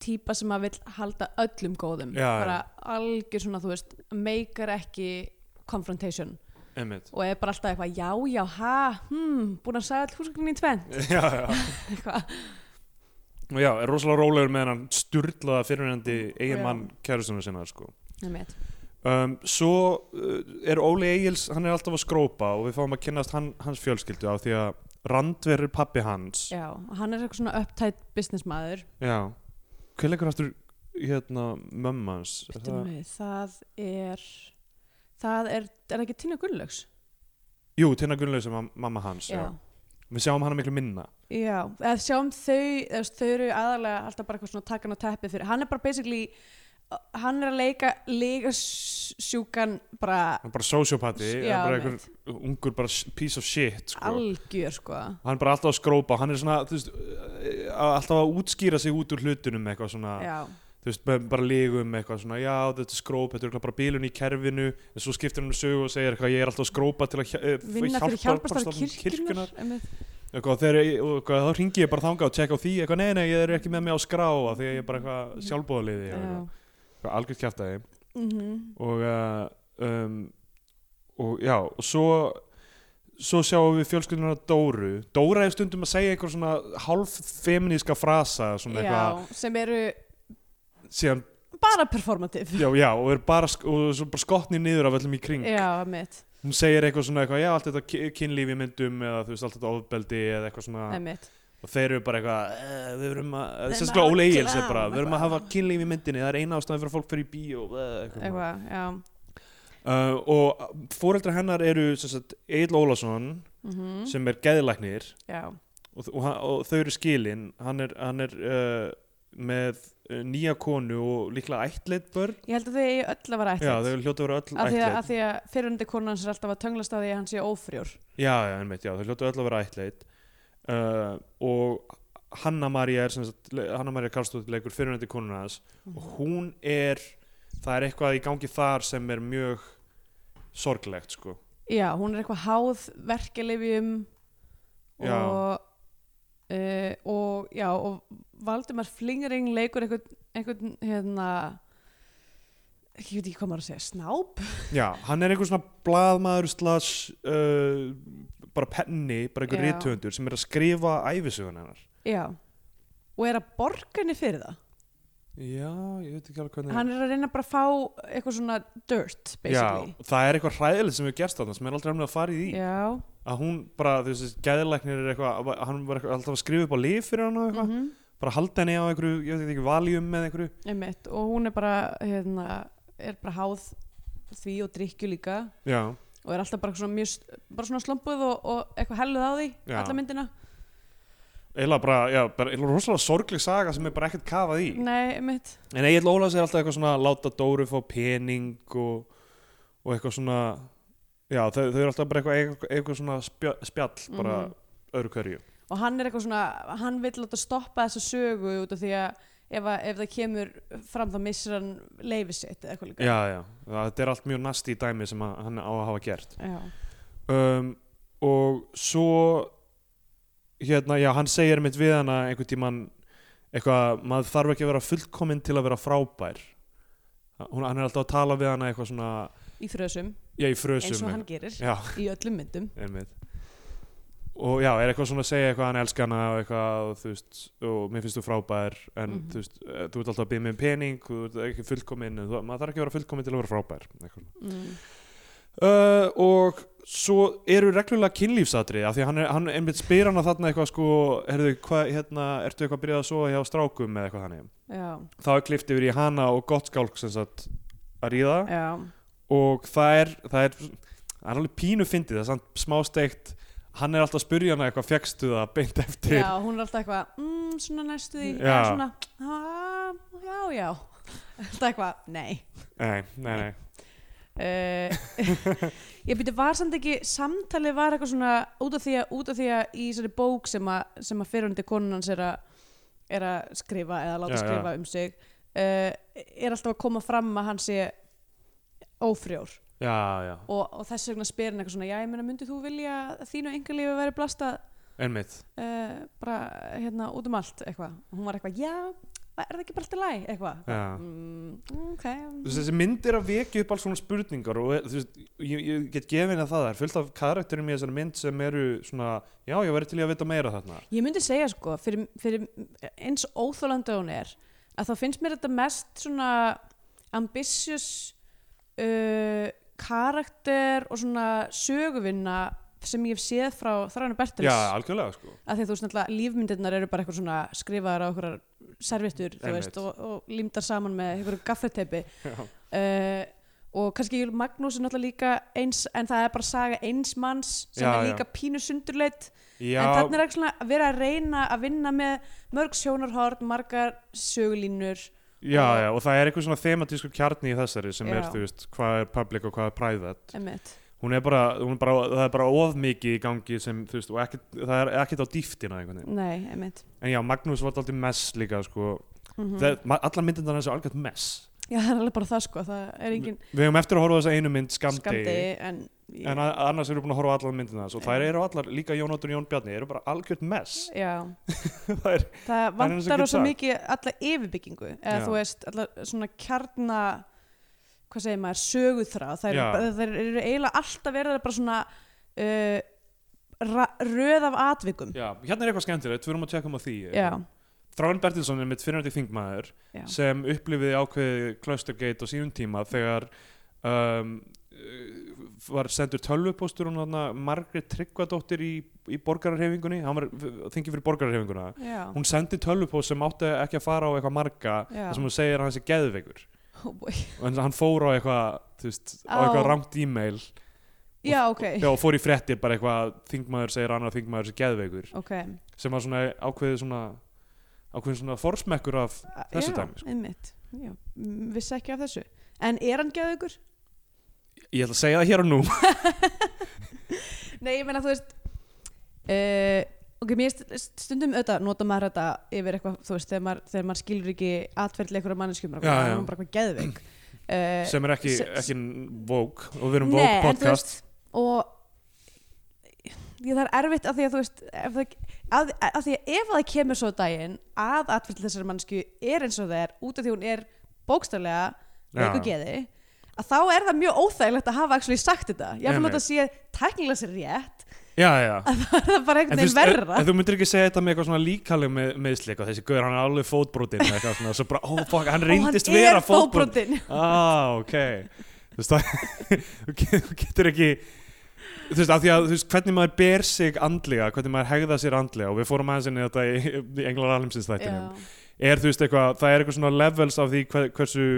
[SPEAKER 2] típa sem að vill halda öllum góðum
[SPEAKER 3] Já, já.
[SPEAKER 2] bara algjör svona, þú veist meikar ekki confrontation
[SPEAKER 3] einmitt
[SPEAKER 2] og er bara alltaf eitthvað, já, já, ha hmm, búin að sagði all húsgögnin í tvent
[SPEAKER 3] já, já,
[SPEAKER 2] eitthvað,
[SPEAKER 3] og já, er rosalega rólegur með hann styrlaða fyrirhenandi eigin
[SPEAKER 2] Já.
[SPEAKER 3] mann kærustunum sinna, sko
[SPEAKER 2] einmitt.
[SPEAKER 3] um, svo uh, er Óli Egils hann er alltaf að skrópa og við fáum að kynnast hann, hans fjölskyldu á því að Randver er pappi hans
[SPEAKER 2] já, hann er eitthvað svona upptætt businessmaður
[SPEAKER 3] Já, hver leikur aftur hérna mömmans
[SPEAKER 2] það... það er það er, er það ekki Tina Gunnlaugs
[SPEAKER 3] Jú, Tina Gunnlaug sem var mamma hans já. Við sjáum hana miklu minna
[SPEAKER 2] Já, eða sjáum þau, eða þau eru aðalega alltaf bara eitthvað svona takkan á teppið fyrir, hann er bara basically, hann er að leika, leika sjúkan bara
[SPEAKER 3] Hann er bara sociopati
[SPEAKER 2] Já,
[SPEAKER 3] já, bara
[SPEAKER 2] einmitt.
[SPEAKER 3] einhver ungur bara sh- piece of shit sko.
[SPEAKER 2] algjör sko.
[SPEAKER 3] Hann er bara alltaf að skrópa Hann er svona, þú veist eh, alltaf að útskýra sig út úr hlutunum með eitthvað svona,
[SPEAKER 2] Já,
[SPEAKER 3] þú veist, með- bara lígum eitthvað svona, já, þetta er skróp, þetta er örugglega bara bílun í kerfinu, en svo skiptir hann um sögu og segir eitthvað, ég er alltaf að skrópa til að hja- eh,
[SPEAKER 2] vinna fyrir hjálpastar
[SPEAKER 3] hjálparstofnun
[SPEAKER 2] kirkjunar. einmitt.
[SPEAKER 3] eitthvað, og þegar, ég- og eitthvað, þá ringi ég bara þangað og tjekka á því, eitthvað, nei, nei, ég er ekki með mig á skrá af því að ég er bara eitthvað sjálfbóðaliði
[SPEAKER 2] Mhm. Já,
[SPEAKER 3] eitthvað, eitthvað algjörð kjæftæði
[SPEAKER 2] Mhm.
[SPEAKER 3] og, uh, um, og já, og svo svo sjáum við fjölskyldunum að Dóru Dóra er stundum að segja einhver svona hálf feminíska frasa svona eitthvað,
[SPEAKER 2] Já, sem eru
[SPEAKER 3] síðan,
[SPEAKER 2] bara performativ.
[SPEAKER 3] já, já, og er bara sk- og svo bara skotni niður af öllum í kring
[SPEAKER 2] Já, mitt,
[SPEAKER 3] hún segir eitthvað svona eitthvað, já, allt þetta ki- kynlíf í myndum eða þú veist, allt þetta ofbeldi eða eitthvað svona
[SPEAKER 2] einmitt.
[SPEAKER 3] og þeir eru bara eitthvað "Eh, við erum að,
[SPEAKER 2] Þeim
[SPEAKER 3] sérstaklega
[SPEAKER 2] að
[SPEAKER 3] Óli Egil
[SPEAKER 2] klám,
[SPEAKER 3] sem bara, við erum að
[SPEAKER 2] eitthvað."
[SPEAKER 3] hafa kynlíf í myndinni það er eina ástæðan fyrir að fólk fyrir í bíó eh, eitthvað.
[SPEAKER 2] Eitthvað, já.
[SPEAKER 3] Uh, og fóreldra hennar eru sem sagt, Egil Ólason
[SPEAKER 2] Mm
[SPEAKER 3] sem er geðlæknir
[SPEAKER 2] Já,
[SPEAKER 3] og, og, hann- og þau eru skilin hann er, hann er uh, með uh, nýja konu og líklega ættleitt börn
[SPEAKER 2] ég held að þau eigi öll að vera
[SPEAKER 3] já, þau
[SPEAKER 2] ættið.
[SPEAKER 3] hljóta að vera öll
[SPEAKER 2] Af því að, að,
[SPEAKER 3] ættleitt
[SPEAKER 2] því að fyrirhundi konan hans er alltaf að tönglast á því að hann sé ófrjór.
[SPEAKER 3] já, já, einmitt, já, þau hljóta öll að vera ættleitt uh, og Hanna María er sem sagt, le- Hanna María Karlsdóttir leikur fyrirhundi konuna hans
[SPEAKER 2] Mhm.
[SPEAKER 3] og hún er það er eitthvað í gangi þar sem er mjög sorglegt sko
[SPEAKER 2] Já, hún er eitthvað háð verkelifjum
[SPEAKER 3] Já.
[SPEAKER 2] og, uh, og já, og Valdimar Flingering leikur einhvern, einhvern hérna ég veit ekki hvað maður að segja, snáp
[SPEAKER 3] já, hann er einhver svona blaðmaður slash uh, bara penni, bara einhver
[SPEAKER 2] Já.
[SPEAKER 3] rithöfundur sem er að skrifa æfisugun hennar
[SPEAKER 2] já, og er að borga henni fyrir það
[SPEAKER 3] já, ég veit ekki alveg hvernig
[SPEAKER 2] hann er að reyna bara að fá eitthvað svona dirt, basically
[SPEAKER 3] já, það er eitthvað hræðilegt sem við gerst þarna sem er aldrei alveg að fara í því
[SPEAKER 2] já.
[SPEAKER 3] að hún bara, þú veist, gæðilegnir er eitthvað hann var eitthvað, alltaf að skrifa upp á lif fyrir hann og eitthvað,
[SPEAKER 2] Mhm.
[SPEAKER 3] bara halda henni á einhverju ég veit ekki, valjum með einhverju
[SPEAKER 2] Einmitt, og hún er bara hérna, er bara háð því og drykju líka
[SPEAKER 3] já,
[SPEAKER 2] og er alltaf bara svona, mjög, bara svona slumpuð og, og eitthvað helluð á því
[SPEAKER 3] Já.
[SPEAKER 2] alla myndina
[SPEAKER 3] eiginlega bara, já, bara eiginlega rosalega sorgleg saga sem er bara ekkert kafað í
[SPEAKER 2] Nei, einmitt
[SPEAKER 3] En Egil Ólafs er alltaf eitthvað svona að láta Dóru fá pening og, og eitthvað svona já þau, þau eru alltaf bara eitthvað, eitthvað, eitthvað svona spjall, spjall bara
[SPEAKER 2] Mhm.
[SPEAKER 3] öðru hverju
[SPEAKER 2] og hann er eitthvað svona, hann vill láta stoppa þessa sögu út af því að ef, að, ef það kemur fram þá missir hann leifið sitt eða eitthvað líka
[SPEAKER 3] já, já, það, þetta er allt mjög nasti dæmi sem að, hann á að hafa gert
[SPEAKER 2] Já.
[SPEAKER 3] um, og svo hérna, já, hann segir mitt við hana einhvern tímann eitthvað, maður þarf ekki að vera fullkominn til að vera frábær Hún, hann er alltaf að tala við hana eitthvað svona
[SPEAKER 2] í frösum,
[SPEAKER 3] já, í frösum
[SPEAKER 2] eins og hann gerir
[SPEAKER 3] já,
[SPEAKER 2] í öllum myndum
[SPEAKER 3] einmitt og já, er eitthvað svona að segja eitthvað hann elska hana og eitthvað, þú veist og mér finnst þú frábær, en
[SPEAKER 2] Mhm.
[SPEAKER 3] þú veist eh, þú ert alltaf að byrja með pening, þú ert ekki fullkominn en þú, maður þarf ekki að vera fullkominn til að vera frábær eitthvað.
[SPEAKER 2] mm.
[SPEAKER 3] Uh, og svo eru reglulega kynlífsatri af því að hann, er, hann einmitt spyr hana þarna eitthvað sko, herðu, hva, hérna, ertu eitthvað að byrjað að sofa hjá strákum eða eitthvað þannig
[SPEAKER 2] já,
[SPEAKER 3] þá er klift yfir í hana og gott skálk sem sagt að ríða
[SPEAKER 2] já,
[SPEAKER 3] og það er, það er það er alveg pínu fyndið, það er samt smásteikt hann er alltaf að spyrja hana eitthvað fjekkstu það beint eftir
[SPEAKER 2] já, hún er alltaf eitthvað mm, svona næstu því,
[SPEAKER 3] Já.
[SPEAKER 2] já, svona "Ah, já, já alltaf eitthvað, nei
[SPEAKER 3] nei, nei, nei,
[SPEAKER 2] Uh, ég byrja var samt ekki samtalið var eitthvað svona út af því að, út af því að í þessari bók sem að, sem að fyrirhundi konun hans er að, er að skrifa eða láta
[SPEAKER 3] Já, já.
[SPEAKER 2] skrifa um sig uh, er alltaf að koma fram að hann sé ófrjór
[SPEAKER 3] já, já,
[SPEAKER 2] og, og þess vegna spyr hann eitthvað svona já ég meina myndið þú vilja að þínu engalífi væri blastað
[SPEAKER 3] einmitt
[SPEAKER 2] uh, bara hérna út um allt eitthvað og hún var eitthvað já er það ekki bara alltaf læg eitthvað
[SPEAKER 3] Já.
[SPEAKER 2] mm, ok
[SPEAKER 3] Þú veist, þessi mynd er að vekja upp alls svona spurningar og þú veist, ég, ég get gefin að það er fullt af karakterum í þessari mynd sem eru svona, já, ég verði til í að vita meira þarna
[SPEAKER 2] Ég myndi segja sko, fyrir, fyrir eins óþólandi hún er, að þá finnst mér þetta mest svona ambitious uh, karakter og svona söguvinna sem ég hef séð frá Þræna Bertels.
[SPEAKER 3] Já, algjörlega, sko
[SPEAKER 2] Af því að þú veist náttúrulega lífmyndirnar eru bara eitthvað svona skrifaðar á okkur servittur, þú
[SPEAKER 3] Einmitt.
[SPEAKER 2] veist, og, og límdar saman með einhverju gaffeteipi.
[SPEAKER 3] Já,
[SPEAKER 2] Uh, og kannski Magnús er náttúrulega líka eins, en það er bara saga eins manns sem
[SPEAKER 3] Já,
[SPEAKER 2] er
[SPEAKER 3] já.
[SPEAKER 2] líka pínu sundurleitt
[SPEAKER 3] já,
[SPEAKER 2] en þarna er ekki svona að vera að reyna að vinna með mörg sjónarhort, margar sögulínur
[SPEAKER 3] já, og það er eitthvað svona thematísku kjarni í þessari sem er,
[SPEAKER 2] Já.
[SPEAKER 3] þú veist, hvað er public og hvað er private
[SPEAKER 2] emitt.
[SPEAKER 3] Hún er bara, hún er bara, það er bara of mikið í gangi sem, þú veist, og ekkit, það er ekkert á dýftina einhvern veginn
[SPEAKER 2] Nei, emitt
[SPEAKER 3] En já, Magnús var alltaf mess líka, sko
[SPEAKER 2] mm
[SPEAKER 3] mm. það, ma- Allar myndirnar hans er algjörð mess
[SPEAKER 2] Já, það er alveg bara það sko, það er engin
[SPEAKER 3] Við hefum eftir að horfa á þessa einu mynd, Skamdegi,
[SPEAKER 2] skamdegi en,
[SPEAKER 3] En a- annars erum við búin að horfa á allan myndina þess og þær eru allar, líka Jón Óttur og Jón Bjarni, eru bara algjört mess.
[SPEAKER 2] Já,
[SPEAKER 3] það er,
[SPEAKER 2] það
[SPEAKER 3] Það er eins og
[SPEAKER 2] vantar
[SPEAKER 3] get
[SPEAKER 2] rosa
[SPEAKER 3] sagt.
[SPEAKER 2] mikið alla yfirbyggingu eða
[SPEAKER 3] Já.
[SPEAKER 2] þú veist, alla svona kjarna hvað segir maður, söguþráð það
[SPEAKER 3] Já.
[SPEAKER 2] eru, bara- þær eru eiginlega alltaf verið bara svona uh, ra- röð af atvikum
[SPEAKER 3] já, hérna er eitthvað skemmtilegt, við erum að tjekka um á því.
[SPEAKER 2] Já,
[SPEAKER 3] Þráin Bertilsson er mitt fyrirandi þingmaður
[SPEAKER 2] já,
[SPEAKER 3] sem upplifiði ákveði Clustergate á sínum tíma þegar um, uh, var sendur tölvupóstur hún þarna Margrét Tryggvadóttir í, í borgararhefingunni, hann var þingið fyrir borgararhefinguna.
[SPEAKER 2] já,
[SPEAKER 3] Hún sendi tölvupóst sem átti ekki að fara á eitthvað marga
[SPEAKER 2] já.
[SPEAKER 3] þar sem hún segir að hann sé geðveikur.
[SPEAKER 2] Oh boy.
[SPEAKER 3] En hann fór á eitthvað, þú veist, á
[SPEAKER 2] Á.
[SPEAKER 3] eitthvað rangt e-mail
[SPEAKER 2] já, ok,
[SPEAKER 3] Já, og fór í fréttir bara eitthvað að þingmaður segir annar þingmaður sem geðveikur
[SPEAKER 2] ok
[SPEAKER 3] sem var svona ákveðið svona ákveðið svona forsmekkur af þessu
[SPEAKER 2] já,
[SPEAKER 3] dæmi, sko.
[SPEAKER 2] einmitt. já, m- vissi ekki af þessu en er hann geðugur?
[SPEAKER 3] ég ætla að segja það hér og nú
[SPEAKER 2] Nei, ég meina þú veist uh, Ok, mér st- stundum auðvitað nota maður þetta yfir eitthvað þú veist, þegar maður, þegar maður skilur ekki atferðli einhverja manneskjum og
[SPEAKER 3] Já,
[SPEAKER 2] eitthvað,
[SPEAKER 3] já.
[SPEAKER 2] hún er bara eitthvað geðveik uh,
[SPEAKER 3] sem er ekki,
[SPEAKER 2] se-
[SPEAKER 3] ekki vók og við
[SPEAKER 2] Eh,
[SPEAKER 3] erum vók podcast
[SPEAKER 2] og ég, það er erfitt af því að þú veist ef það, að, að því að ef það kemur svo á daginn að atferðli þessari mannsku er eins og það er út af því hún er bókstaflega veiku
[SPEAKER 3] Já.
[SPEAKER 2] geði að þá er það mjög óþægilegt að hafa actually sagt þetta ég fann
[SPEAKER 3] Einmitt.
[SPEAKER 2] að þetta sé tæknilega sér rétt
[SPEAKER 3] já, já.
[SPEAKER 2] það er það bara einhvern
[SPEAKER 3] En, þú
[SPEAKER 2] veginn
[SPEAKER 3] veist, en,
[SPEAKER 2] verra
[SPEAKER 3] en þú myndir ekki segja þetta með eitthvað svona líkaleg með, meðsli eitthvað, þessi guður hann er alveg fótbrotinn eða eitthvað svona, svo bara, ó, fuck, hann
[SPEAKER 2] Og
[SPEAKER 3] reyndist vera fótbrotinn
[SPEAKER 2] fótbrotinn.
[SPEAKER 3] ah, ok þú veist það þú ge- þú getur ekki þú veist, af því að þú veist, hvernig maður ber sig andlega, hvernig maður hegða sér andlega og við fórum aðeins inn í þetta í, í Englar Alheimsins þættinum, er þú veist eitthvað það er eitthvað svona levels af því hver, hversu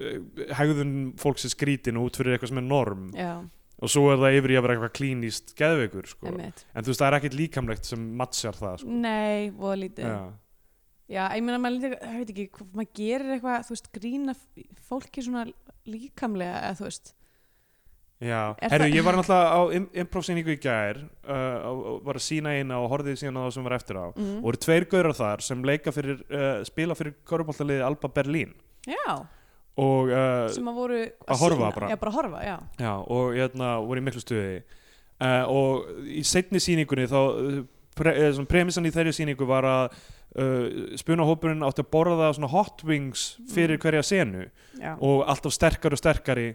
[SPEAKER 3] eh, hegðun fólks er skrítin út fyrir eitthvað sem er norm
[SPEAKER 2] já,
[SPEAKER 3] og svo er það yfir í að vera eitthvað klíníst geðveikur sko. en
[SPEAKER 2] einmitt
[SPEAKER 3] þú veist það er ekkit líkamlegt sem mattsjar það sko.
[SPEAKER 2] nei, voða lítið já.
[SPEAKER 3] Já.
[SPEAKER 2] ég meina maður lítið, ég veit ekki hvort maður gerir eitthvað, þú veist, grína fólki svona líkamlega, eða þú veist
[SPEAKER 3] Já,
[SPEAKER 2] Er
[SPEAKER 3] herru,
[SPEAKER 2] það-
[SPEAKER 3] ég var náttúrulega á im- improv-sýningu í gær uh, og og var að sína eina og horfið síðan á það sem var eftir á
[SPEAKER 2] Mm.
[SPEAKER 3] og eru tveir gaurar þar sem leika fyrir uh, spila fyrir korfbóltaliði Alba Berlín
[SPEAKER 2] Já,
[SPEAKER 3] og, uh,
[SPEAKER 2] sem að voru
[SPEAKER 3] að horfa
[SPEAKER 2] sýna.
[SPEAKER 3] bara.
[SPEAKER 2] Já, bara að horfa, já
[SPEAKER 3] já, og hérna, voru í miklu stuði uh, og í seinni sýningunni þá uh, pre, eh, svona, premissan í þeirri sýningu var að uh, spunahópurinn átti að borða svona hot wings
[SPEAKER 2] Mm.
[SPEAKER 3] fyrir hverja senu
[SPEAKER 2] Já,
[SPEAKER 3] og alltaf sterkari og sterkari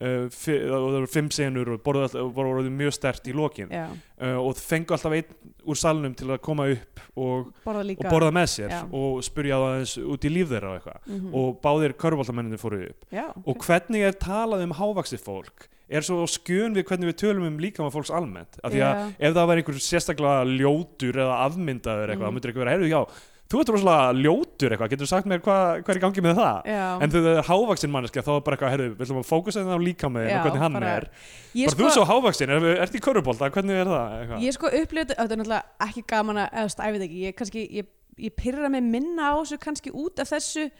[SPEAKER 3] uh, fi- og það voru fimm senur og borðu alltaf, voru orðið mjög stert í lokin
[SPEAKER 2] já.
[SPEAKER 3] uh, og fengu alltaf einn úr salnum til að koma upp og,
[SPEAKER 2] borða
[SPEAKER 3] og
[SPEAKER 2] líka
[SPEAKER 3] borða með sér
[SPEAKER 2] Já.
[SPEAKER 3] og spurja það aðeins út í líf þeirra og eitthvað
[SPEAKER 2] Mhm.
[SPEAKER 3] og báðir körfaldamenninu fóru upp
[SPEAKER 2] já,
[SPEAKER 3] og hvernig er talað um hávaxið fólk er svo á skjön við hvernig við tölum um líkama fólks almennt af því að
[SPEAKER 2] Já.
[SPEAKER 3] ef það var einhver sérstaklega ljótur eða afmyndaður
[SPEAKER 2] Mhm.
[SPEAKER 3] eitthvað, þá myndir eitthvað vera, heyrðu já, þú ert rosalega ljótur eitthvað, getur sagt mér hvað hva er í gangi með það
[SPEAKER 2] já.
[SPEAKER 3] en þegar það er hávaxin manneskja þá er bara eitthvað, herru, við ætlum að fókusa þetta á líkamæðin
[SPEAKER 2] Já,
[SPEAKER 3] og hvernig hann
[SPEAKER 2] bara-
[SPEAKER 3] er
[SPEAKER 2] Ég sko-
[SPEAKER 3] bara þú er svo hávaxin, er, ert í körubólta, hvernig er það eitthvað?
[SPEAKER 2] Ég sko upplifði, þetta er náttúrulega ekki gaman að, eða þú veist, æfið ekki, ég kannski, ég, ég pyrra mig minna á þessu, kannski út af þessu,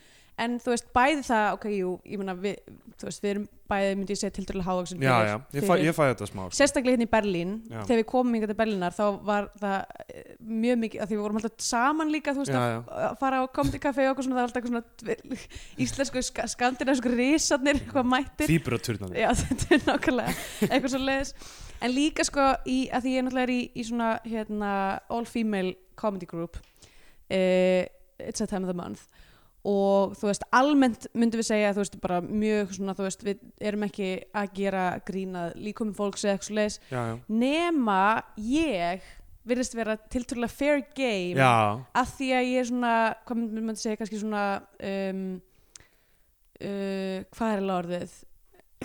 [SPEAKER 2] en þú veist, bæði það, ok, jú, ég meina, við, þú veist, við erum bæði, myndi ég segja, tildurlega hávaksin
[SPEAKER 3] já, já, ég fæ, ég fæ þetta smá sko.
[SPEAKER 2] sérstaklega hérna í Berlín,
[SPEAKER 3] Já.
[SPEAKER 2] þegar við komum hingað til Berlínar, þá var það eh, mjög mikið, að því við vorum alltaf saman líka, þú veist,
[SPEAKER 3] Já,
[SPEAKER 2] að-
[SPEAKER 3] já.
[SPEAKER 2] að fara á Comedy Café og eitthvað svona, það var alltaf eitthvað svona dve- íslensku, ska- skandinavísku risarnir, eitthvað mættir
[SPEAKER 3] þýpur að turna
[SPEAKER 2] Já, þetta er nákvæmlega eitthvað svo leiðis En líka sko, í, að því ég náttúrulega er í, í svona hérna, all female comedy group uh, It's a time of the month og þú veist, almennt myndum við segja þú veist, bara mjög svona, þú veist við erum ekki að gera grínað líkomum fólks eða eitthvað svo leiðis
[SPEAKER 3] já, já,
[SPEAKER 2] nema ég virðist vera tiltrúlega fair game
[SPEAKER 3] já,
[SPEAKER 2] að því að ég er svona hvað myndum maður segja kannski svona um, uh, hvað er alveg orðið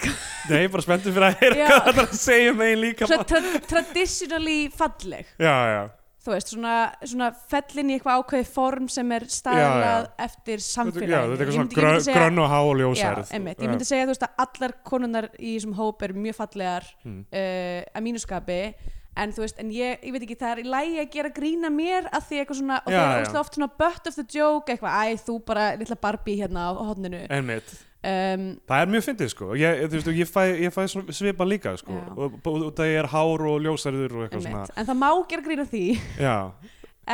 [SPEAKER 3] nei, ég er bara spenntur fyrir að heyra
[SPEAKER 2] Já.
[SPEAKER 3] hvað það er að segja um megin líka
[SPEAKER 2] Svo tra traditionally falleg
[SPEAKER 3] já, já,
[SPEAKER 2] þú veist, svona, svona fellin í eitthvað ákveðið form sem er staðlað eftir
[SPEAKER 3] þetta já,
[SPEAKER 2] samfélaginu
[SPEAKER 3] þetta er
[SPEAKER 2] Ég
[SPEAKER 3] eitthvað
[SPEAKER 2] myndi-
[SPEAKER 3] svona
[SPEAKER 2] ég myndi
[SPEAKER 3] grönn,
[SPEAKER 2] segja-
[SPEAKER 3] grönn og há og
[SPEAKER 2] Já,
[SPEAKER 3] ljósærð
[SPEAKER 2] einmitt, ég myndi segja þú veist að allar konunnar í þessum hóp eru mjög fallegar
[SPEAKER 3] Hmm.
[SPEAKER 2] uh, að mínuskapi en þú veist, en ég, ég veit ekki, það er í lægi að gera grína mér að því eitthvað svona og
[SPEAKER 3] Já,
[SPEAKER 2] það
[SPEAKER 3] já.
[SPEAKER 2] er óslega oft svona butt of the joke eitthvað, æ, þú bara litla Barbie hérna á hodninu
[SPEAKER 3] einmitt,
[SPEAKER 2] um,
[SPEAKER 3] það er mjög fyndið sko ég, þú veist, ég fæ, ég fæ svona svipa líka sko
[SPEAKER 2] Já.
[SPEAKER 3] og, og, og það er hár og ljósærður og eitthvað svona
[SPEAKER 2] einmitt, en það má gera grína því
[SPEAKER 3] já,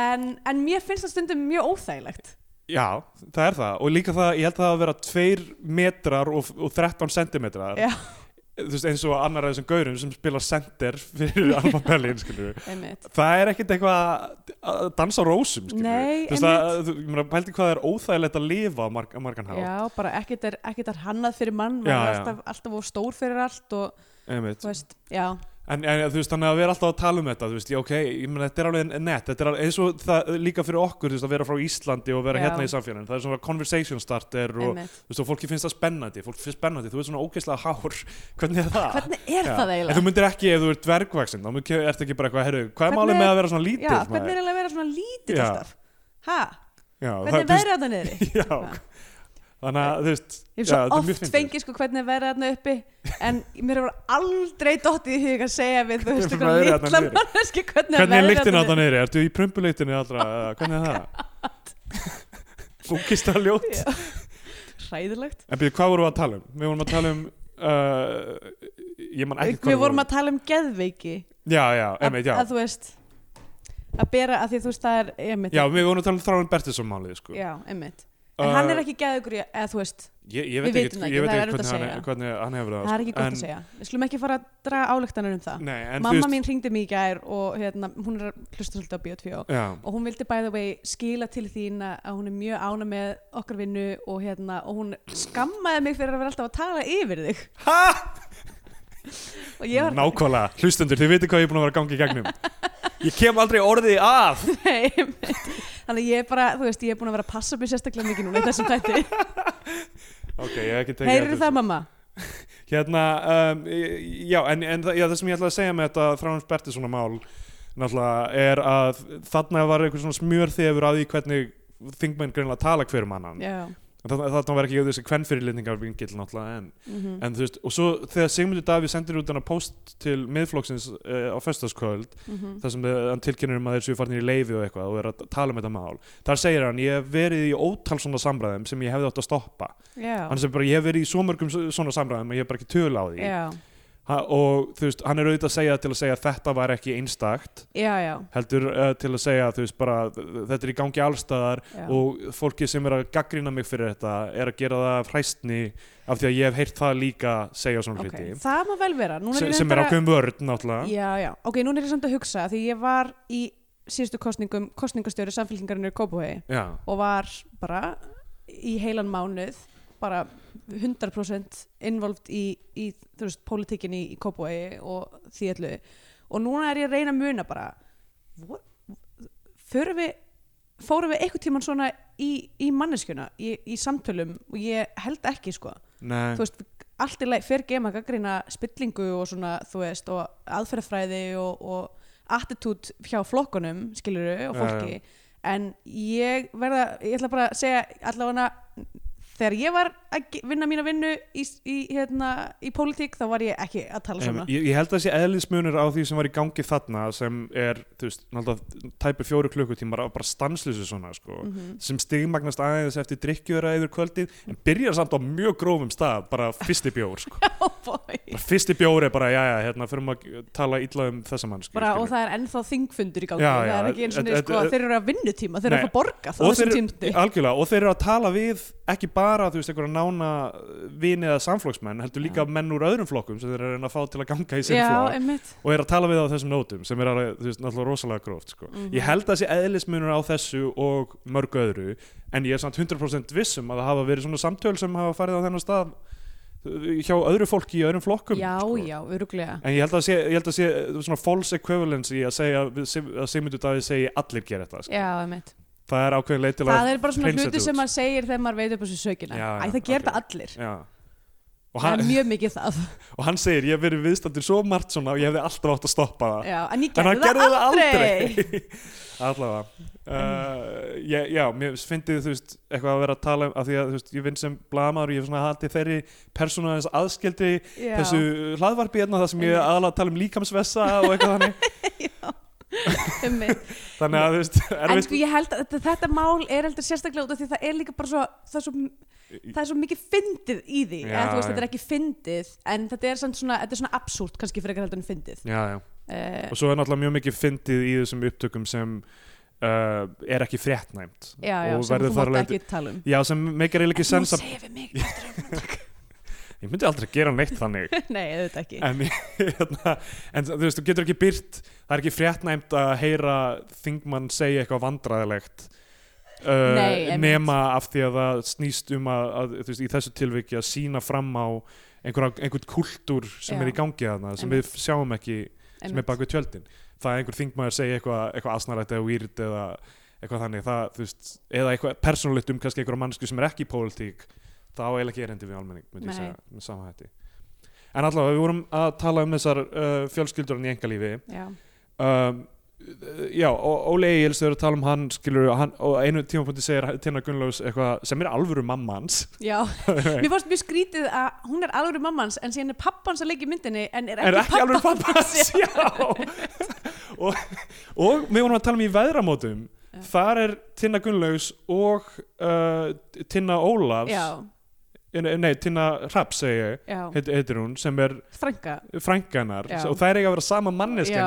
[SPEAKER 2] en, en mér finnst það stundum mjög óþægilegt
[SPEAKER 3] Já, það er það og líka það, ég held að það að vera 2 metrar og, og 13 sentimetrar
[SPEAKER 2] Já.
[SPEAKER 3] Þú veist, eins og annar af þessum gaurum sem spila center fyrir Alba Berlin skilur.
[SPEAKER 2] einmitt
[SPEAKER 3] það er ekkert eitthvað að dansa á rósum skilur.
[SPEAKER 2] Nei,
[SPEAKER 3] þú veist að, þú- ég meina, pældi hvað það er óþægilegt að lifa á marg, á margan hátt
[SPEAKER 2] Já, bara ekkert er, ekkert er hannað fyrir mann,
[SPEAKER 3] Já,
[SPEAKER 2] maður er
[SPEAKER 3] já.
[SPEAKER 2] alltaf, alltaf of stór fyrir allt og
[SPEAKER 3] einmitt.
[SPEAKER 2] þú veist, já,
[SPEAKER 3] En, en þú veist, þannig að við erum alltaf að tala um þetta, þú veist, já, ok, ég meina, þetta er alveg nett, þetta er alveg eins og það, líka fyrir okkur, þú veist, að vera frá Íslandi og vera
[SPEAKER 2] Já.
[SPEAKER 3] hérna í samfélaginu, það er svona conversation starter og,
[SPEAKER 2] einmitt.
[SPEAKER 3] þú veist, og fólki finnst það spennandi, fólki finnst spennandi, þú ert svona ógeðslega hár, hvernig er það?
[SPEAKER 2] Hvernig er
[SPEAKER 3] Ah, Já.
[SPEAKER 2] það
[SPEAKER 3] En þú
[SPEAKER 2] eiginlega?
[SPEAKER 3] myndir ekki, ef þú ert dvergvaxin, þá myndir- ertu ekki bara eitthvað, herru, hvað er
[SPEAKER 2] Hvernig
[SPEAKER 3] málið
[SPEAKER 2] er-
[SPEAKER 3] með að vera svona
[SPEAKER 2] Já,
[SPEAKER 3] lítið?
[SPEAKER 2] hvernig er eiginlega að vera svona lítið
[SPEAKER 3] Já.
[SPEAKER 2] alltaf? Hæ,
[SPEAKER 3] Já,
[SPEAKER 2] hvernig er
[SPEAKER 3] það-
[SPEAKER 2] veðrið þarna niðri?
[SPEAKER 3] þú veist- Já, þannig að, þú veist,
[SPEAKER 2] Ég hef
[SPEAKER 3] já, þetta
[SPEAKER 2] svo
[SPEAKER 3] er mjög
[SPEAKER 2] oft
[SPEAKER 3] fyndið.
[SPEAKER 2] fengið sko hvernig er veðrið þarna uppi, en mér hefur aldrei dottið í hug að segja við, þú veist, eitthvað
[SPEAKER 3] Hvernig er veðrið
[SPEAKER 2] litla
[SPEAKER 3] þarna niðri?
[SPEAKER 2] manneski, hvernig er
[SPEAKER 3] Hvernig er
[SPEAKER 2] veðrið
[SPEAKER 3] lyktin
[SPEAKER 2] þarna
[SPEAKER 3] á það
[SPEAKER 2] niðri?
[SPEAKER 3] neyri? Ertu í prumpuleitinni allra? eða Hvernig er það? Fúkist að ljótt.
[SPEAKER 2] Já. Hræðilegt.
[SPEAKER 3] En byrju, hvað vorum við að tala um? Við vorum að tala um uh, Ég man ekki
[SPEAKER 2] Við vorum að tala um geðveiki,
[SPEAKER 3] Já, já,
[SPEAKER 2] að,
[SPEAKER 3] emitt, já
[SPEAKER 2] að þú veist, að bera, að því að þú veist, það er, einmitt,
[SPEAKER 3] Já, við Uh, vorum að tala um Þráin Bertilsson málið, sko
[SPEAKER 2] já, einmitt. En hann er ekki geðugur í, eða þú veist,
[SPEAKER 3] Ég, ég
[SPEAKER 2] Við
[SPEAKER 3] veit
[SPEAKER 2] vitum
[SPEAKER 3] ekki,
[SPEAKER 2] það ekki,
[SPEAKER 3] ég veit
[SPEAKER 2] það er
[SPEAKER 3] ekki
[SPEAKER 2] erfitt að
[SPEAKER 3] hvernig, hann,
[SPEAKER 2] segja.
[SPEAKER 3] hvernig hann hefur það
[SPEAKER 2] það er ekki gott
[SPEAKER 3] sko, en,
[SPEAKER 2] að segja. Við slum ekki fara að draga álektanir um það.
[SPEAKER 3] Nei, en
[SPEAKER 2] Mamma mín ringdi mig í gær og hérna, hún er að hlusta svolítið á Biotvíó
[SPEAKER 3] Já,
[SPEAKER 2] og hún vildi by the way skila til þín að að hún er mjög ána með okkar vinnu og, hérna, og hún skammaði mig fyrir að vera alltaf að tala yfir þig. Ha? og ég var,
[SPEAKER 3] nákvæmlega, hlustendur, þið veitir hvað ég er búin að vera að gangi í gegnum Ég kem aldrei orði að
[SPEAKER 2] nei, einmitt. þannig að ég er bara, þú veist, ég er búin að vera að passa mig sérstaklega mikið núna í þessum tætti.
[SPEAKER 3] Ok, ég hef ekki tekið
[SPEAKER 2] Heyrðu
[SPEAKER 3] eftir
[SPEAKER 2] það mamma?
[SPEAKER 3] hérna um, e- já, en, en það- já, það sem ég ætla að segja með þetta Þráins Bertilssona mál náttúrulega er að þarna var einhver svona smjörþefur að því hvernig þingmenn greinlega tala hver um annan
[SPEAKER 2] Já.
[SPEAKER 3] En þarna, þarna var ekki þessi kvennfyrirlitningar vingill náttúrulega en,
[SPEAKER 2] Mm -hmm.
[SPEAKER 3] en þú veist og svo þegar Sigmundur Davíð sendir út hana post til miðflokksins uh, á föstaskvöld
[SPEAKER 2] Mhm.
[SPEAKER 3] þar sem þau- hann tilkynir um að þeir séu farnir í leifi og eitthvað og er að tala um þetta mál þar segir hann ég hef verið í ótal svona samræðum sem ég hefði átt að stoppa
[SPEAKER 2] Já.
[SPEAKER 3] hann sem bara ég hef verið í svo mörgum s- svona samræðum að ég hef bara ekki tölu á því
[SPEAKER 2] Já.
[SPEAKER 3] ha, og þú veist, hann er auðvitað að segja það til að segja að þetta var ekki einstakt
[SPEAKER 2] já, já,
[SPEAKER 3] heldur uh, til að segja þú veist bara þetta er í gangi allstaðar
[SPEAKER 2] já.
[SPEAKER 3] og fólki sem er að gaggrina mig fyrir þetta er að gera það af hræstni af því að ég hef heyrt það líka segja svona
[SPEAKER 2] Ok,
[SPEAKER 3] hluti
[SPEAKER 2] það má vel vera Núna
[SPEAKER 3] sem,
[SPEAKER 2] ég
[SPEAKER 3] sem er
[SPEAKER 2] reyndar að-
[SPEAKER 3] ákveðum vörð náttúrulega
[SPEAKER 2] Já, já, ok, núna er ég samt að hugsa af því ég var í síðustu kostningum kostningastjóri samfélkingarinnar í Kópavögi
[SPEAKER 3] já,
[SPEAKER 2] og var bara í heilan mánuð bara 100% involved í, í þú veist, pólitíkinni í Kópavögi og því allu og núna er ég að reyna að muna bara vor- förum við fórum við eitthvað tíman svona í, í manneskjuna, í, í samtölum og ég held ekki sko
[SPEAKER 3] nei,
[SPEAKER 2] þú veist, allt í leið fer gema gaggrina spillingu og svona, þú veist og aðferðafræði og, og attitút hjá flokkunum, skiluru og
[SPEAKER 3] Já,
[SPEAKER 2] fólki, en ég verða, ég ætla bara að segja allavega þegar ég var að ge- vinna mína vinnu í, í, hérna, í pólitík, þá var ég ekki að tala
[SPEAKER 3] Em,
[SPEAKER 2] svona
[SPEAKER 3] ég, ég held að þessi eðlismunur á því sem var í gangi þarna sem er, þú veist, náttúrulega tæpi fjóru klukkutímar af bara stanslýsu svona
[SPEAKER 2] Mhm.
[SPEAKER 3] sko, sem stigmagnast aðeins eftir drikkjöra yfir kvöldið, en byrjar samt á mjög grófum stað, bara fyrsti bjór sko.
[SPEAKER 2] oh boy.
[SPEAKER 3] bara fyrsti bjór er bara, já, já, hérna, fyrir maður að tala illa um þessa mann sko,
[SPEAKER 2] bara,
[SPEAKER 3] skilur.
[SPEAKER 2] og það er ennþá þingfundur í gangi
[SPEAKER 3] Já,
[SPEAKER 2] það
[SPEAKER 3] já,
[SPEAKER 2] er ekki eins og
[SPEAKER 3] þetta-
[SPEAKER 2] niður sko,
[SPEAKER 3] þetta-
[SPEAKER 2] þeir eru að vinnutíma þeir eru
[SPEAKER 3] Nei.
[SPEAKER 2] að fá borga þá
[SPEAKER 3] og
[SPEAKER 2] þessum
[SPEAKER 3] þeir,
[SPEAKER 2] tímti
[SPEAKER 3] algjörlega, og þeir eru að tala við ekki bara, þú veist, einhverja nána vini eða samflokksmenn, heldur líka menn úr öðrum flokkum sem þeir eru að reyna að fá til að ganga í sinn
[SPEAKER 2] já,
[SPEAKER 3] flokk
[SPEAKER 2] einmitt
[SPEAKER 3] og eru að tala við á þessum nótum sem er alveg, þú veist, náttúrulega rosalega gróft sko.
[SPEAKER 2] Mhm.
[SPEAKER 3] ég held að þessi eðlismunur á þessu og mörgu öðru, en ég er samt 100% vissum um að það hafa verið svona samtöl sem hafa farið á þennan stað uh, hjá öðru fólki í öðrum flokkum
[SPEAKER 2] já,
[SPEAKER 3] sko.
[SPEAKER 2] já, öruglega
[SPEAKER 3] En ég held að sé, ég held að sé uh, svona false equivalence í að segja að Sim- að Sigmundur Davíð segi allir gera þetta sko.
[SPEAKER 2] já, einmitt
[SPEAKER 3] það er ákveðin leið til að
[SPEAKER 2] það er bara svona
[SPEAKER 3] hreinsa
[SPEAKER 2] hluti
[SPEAKER 3] þetta
[SPEAKER 2] sem
[SPEAKER 3] út.
[SPEAKER 2] maður segir þegar maður veit upp á þessu sökina
[SPEAKER 3] Já, já,
[SPEAKER 2] Æ, það gerir
[SPEAKER 3] ok.
[SPEAKER 2] það allir,
[SPEAKER 3] Já. og,
[SPEAKER 2] það
[SPEAKER 3] hann,
[SPEAKER 2] er mjög mikið það
[SPEAKER 3] og hann segir ég hef verið viðstændur svo margt svona og ég hefði alltaf átt að stoppa það
[SPEAKER 2] já, en ég
[SPEAKER 3] en
[SPEAKER 2] gerði
[SPEAKER 3] hann
[SPEAKER 2] það,
[SPEAKER 3] gerði það
[SPEAKER 2] aldrei,
[SPEAKER 3] aldrei allavega uh, ég, já, mér fyndi þú veist eitthvað að vera að tala um af því að þú veist, ég vinn sem blamaður og ég hef svona haldið þeirri persónu aðeins aðskildi
[SPEAKER 2] Já.
[SPEAKER 3] þessu hlaðvarpi hérna það sem ég er aðalega að tala um líkamsvessa og eitthvað þannig
[SPEAKER 2] einmitt.
[SPEAKER 3] þannig að þú veist,
[SPEAKER 2] en
[SPEAKER 3] erfitt
[SPEAKER 2] sko ég held að þetta, þetta mál er heldur sérstaklega út af því það er líka bara svo það er svo, það er svo mikið fyndið í því
[SPEAKER 3] Já,
[SPEAKER 2] eða, þú veist,
[SPEAKER 3] já.
[SPEAKER 2] þetta er ekki fyndið en þetta er samt svona, þetta er svona absúrt kannski frekar heldur en fyndið
[SPEAKER 3] já, já.
[SPEAKER 2] uh,
[SPEAKER 3] og svo er náttúrulega mjög mikið fyndið í þessum upptökum sem uh, er ekki fréttnæmt
[SPEAKER 2] já, já,
[SPEAKER 3] og
[SPEAKER 2] sem
[SPEAKER 3] verður
[SPEAKER 2] þú
[SPEAKER 3] þar
[SPEAKER 2] mátt
[SPEAKER 3] alveg
[SPEAKER 2] ekki tala um
[SPEAKER 3] já, sem meikar eiginlega ekki
[SPEAKER 2] en
[SPEAKER 3] sens
[SPEAKER 2] þú
[SPEAKER 3] að
[SPEAKER 2] segir við mig
[SPEAKER 3] ég myndi aldrei gera neitt þannig
[SPEAKER 2] nei, auðvitað ekki
[SPEAKER 3] en, hérna, en þú veist, þú getur ekki byrt það er ekki fréttnæmt að heyra þingmann segja eitthvað vandræðilegt uh,
[SPEAKER 2] Nei, einmitt.
[SPEAKER 3] nema af því að það snýst um að, að þú veist, í þessu tilviki að sína fram á einhver, einhvern kultúr sem
[SPEAKER 2] Já.
[SPEAKER 3] er í gangi þarna sem
[SPEAKER 2] Einmitt.
[SPEAKER 3] við sjáum ekki, sem
[SPEAKER 2] Einmitt.
[SPEAKER 3] er bak við tjöldin það er einhver þingmaður segja eitthvað, eitthvað asnarætt eða weird eða eitthvað þannig það, þú veist, eða eitthvað persónulegt um kannski einhverja mannsku sem er ekki í pólitík þá er eiginlega ekki erendi við almenning myndi
[SPEAKER 2] Nei.
[SPEAKER 3] ég segja, með sama hætti en allavega við vorum að tala um þessar uh, fjölskyldur í engalífi
[SPEAKER 2] já,
[SPEAKER 3] um, já, og Óli Egils þau eru að tala um hann, skilur hann, og á einu tímapunkti segir Tina Gunnlaus eitthvað sem er alvöru mammans
[SPEAKER 2] já. mér fannst mjög skrítið að hún er alveg mammans en síðan er pappans að leika í myndinni en er
[SPEAKER 3] er
[SPEAKER 2] ekki,
[SPEAKER 3] ekki alvöru pappans já og, og við vorum að tala um í veðramótum
[SPEAKER 2] Já.
[SPEAKER 3] þar er Tina Gunnlaus og uh, Tina Ólafs
[SPEAKER 2] já,
[SPEAKER 3] eh, nei, Tina Rapp segi ég
[SPEAKER 2] já,
[SPEAKER 3] heit- heitir hún, sem er
[SPEAKER 2] frænga
[SPEAKER 3] frænganar
[SPEAKER 2] Já.
[SPEAKER 3] og það er eiga að vera sama manneskjan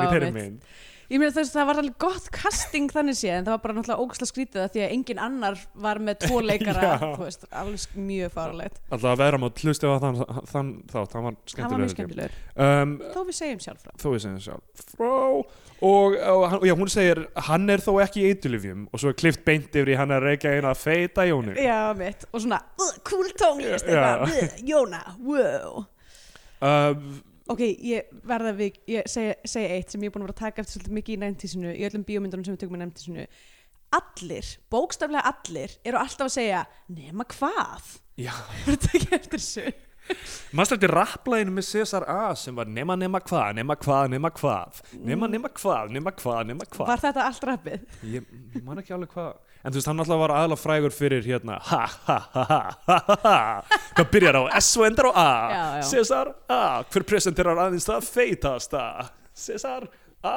[SPEAKER 2] Já,
[SPEAKER 3] í þeirri
[SPEAKER 2] mitt.
[SPEAKER 3] mynd
[SPEAKER 2] ég meina þess að það var alveg gott casting þannig séð en það var bara náttúrulega ógæslega skrítið að því að engin annar var með tvo leikara
[SPEAKER 3] Já.
[SPEAKER 2] þú veist, alveg sk- mjög farlegt
[SPEAKER 3] Alltaf að vera mátt hlustið á þann, þann þátt, hann var
[SPEAKER 2] það var
[SPEAKER 3] skemmtilegur.
[SPEAKER 2] mjög skemmtilegur,
[SPEAKER 3] Um,
[SPEAKER 2] þó við segjum sjálf frá
[SPEAKER 3] þó ég segi það sjálf. Frá, og, og hann- já, hún segir, hann er þó ekki í eitulifjum og svo er klift beint yfir í hann að reyka eina feita jónu.
[SPEAKER 2] já mitt, og svona "Ugh, cool tónlist, eitthvað, "Ugh, Jóna wow
[SPEAKER 3] Um,
[SPEAKER 2] ok, ég verða við ég segja, segja eitt sem ég er búin að vera að taka eftir svolítið mikið í næntísinu, í öllum bíómyndunum sem við tökum í næntísinu allir, bókstaflega allir eru alltaf að segja, nema hvað
[SPEAKER 3] já,
[SPEAKER 2] Hefurðu tekið eftir þessu?
[SPEAKER 3] mannstu eftir rapplæginu með César A sem var nema nema hvað, nema hvað, nema hvað, nema nema hvað, nema hvað, nema hvað.
[SPEAKER 2] var þetta allt rappið?
[SPEAKER 3] Ég ég man ekki alveg hvað En þú veist, hann alltaf var aðla frægur fyrir hérna Ha, ha, ha, ha, ha, ha, ha Hvað byrjar á S og endar á A
[SPEAKER 2] Já, já.
[SPEAKER 3] César A Hver presenterar aðeins það feitasta César A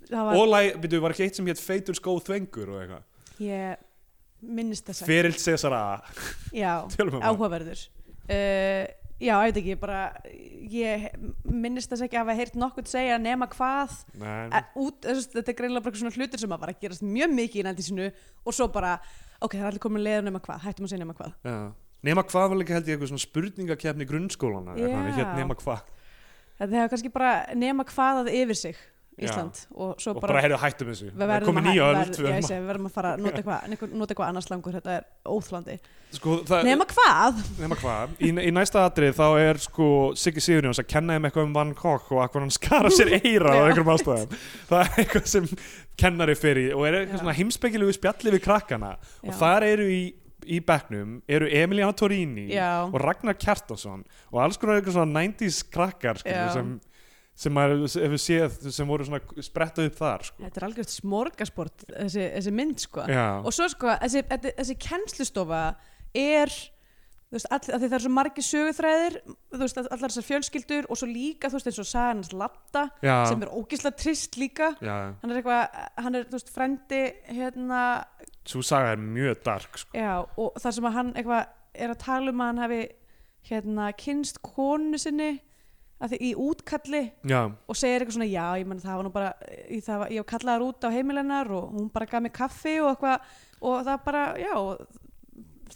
[SPEAKER 2] það
[SPEAKER 3] Og
[SPEAKER 2] var,
[SPEAKER 3] læg, veitum, var ekki eitt sem hétt feitur skóð þvengur og eitthvað
[SPEAKER 2] ég minnist þess að
[SPEAKER 3] Fyrild César A
[SPEAKER 2] já,
[SPEAKER 3] Tölum um það.
[SPEAKER 2] áhugaverður uh, já, ég veit ekki, bara ég minnist þess ekki að hafa heyrt nokkurt segja nema hvað
[SPEAKER 3] Nei,
[SPEAKER 2] að, út, þess, þetta er greinilega bara eitthvað svona hlutur sem að bara gerast mjög mikið í nældísinu og svo bara, ok, það er allir komin leður nema hvað, hættum að segja nema hvað
[SPEAKER 3] já. nema hvað var líka held ég eitthvað svona spurningakefni í grunnskólana
[SPEAKER 2] Já.
[SPEAKER 3] hér, nema hvað
[SPEAKER 2] þetta hefur kannski bara nema hvað að yfir sig
[SPEAKER 3] Já.
[SPEAKER 2] Ísland og svo
[SPEAKER 3] og
[SPEAKER 2] bara,
[SPEAKER 3] bara heyrðu hættum þessu
[SPEAKER 2] við
[SPEAKER 3] það er komin
[SPEAKER 2] að
[SPEAKER 3] nýja
[SPEAKER 2] hæ-
[SPEAKER 3] öll
[SPEAKER 2] verð- já, ég segi, við verðum að fara að nota eitthvað einhver- nota eitthvað annars langur, þetta er óþlandi
[SPEAKER 3] sko, það,
[SPEAKER 2] nema hvað,
[SPEAKER 3] nema hvað, í, í næsta atrið þá er sko Siggi Sigurjóns að kenna þeim eitthvað um Van Gogh og að hvað hann skara sér eira á
[SPEAKER 2] Já.
[SPEAKER 3] einhverjum ástæðum það er eitthvað sem kennari fyrir í og er eitthvað
[SPEAKER 2] Já.
[SPEAKER 3] svona heimspekilegu spjalli við krakkana
[SPEAKER 2] Já.
[SPEAKER 3] og þar eru í, í bekknum eru Emiliano Torini
[SPEAKER 2] Já.
[SPEAKER 3] og Ragnar Kjartason og alls konar eitthvað svona 90s krakkar sko,
[SPEAKER 2] Já.
[SPEAKER 3] sem, sem maður hefur séð sem voru svona spretta upp þar sko.
[SPEAKER 2] þetta er algjörst smorgasport þessi, þessi mynd sko
[SPEAKER 3] Já.
[SPEAKER 2] og svo sko, þessi, þessi, þessi kennslustofa er þú veist, all, að því það er svo margi söguþræðir þú veist, allar þessar fjölskyldur og svo líka, þú veist, eins og sagan hans Latta
[SPEAKER 3] Já.
[SPEAKER 2] sem er ógisla trist líka
[SPEAKER 3] Já,
[SPEAKER 2] hann er eitthvað, hann er, þú veist, frendi hérna,
[SPEAKER 3] svo saga er mjög dark sko.
[SPEAKER 2] já, og þar sem að hann eitthvað er að tala um að hann hafi hérna, kynst konu sinni að því í útkalli
[SPEAKER 3] Já,
[SPEAKER 2] og segir eitthvað svona, já, ég menn það var nú bara ég, það var, ég kallaði þar út á heimilennar og hún bara gaf mér kaffi og eitthvað og það bara, já og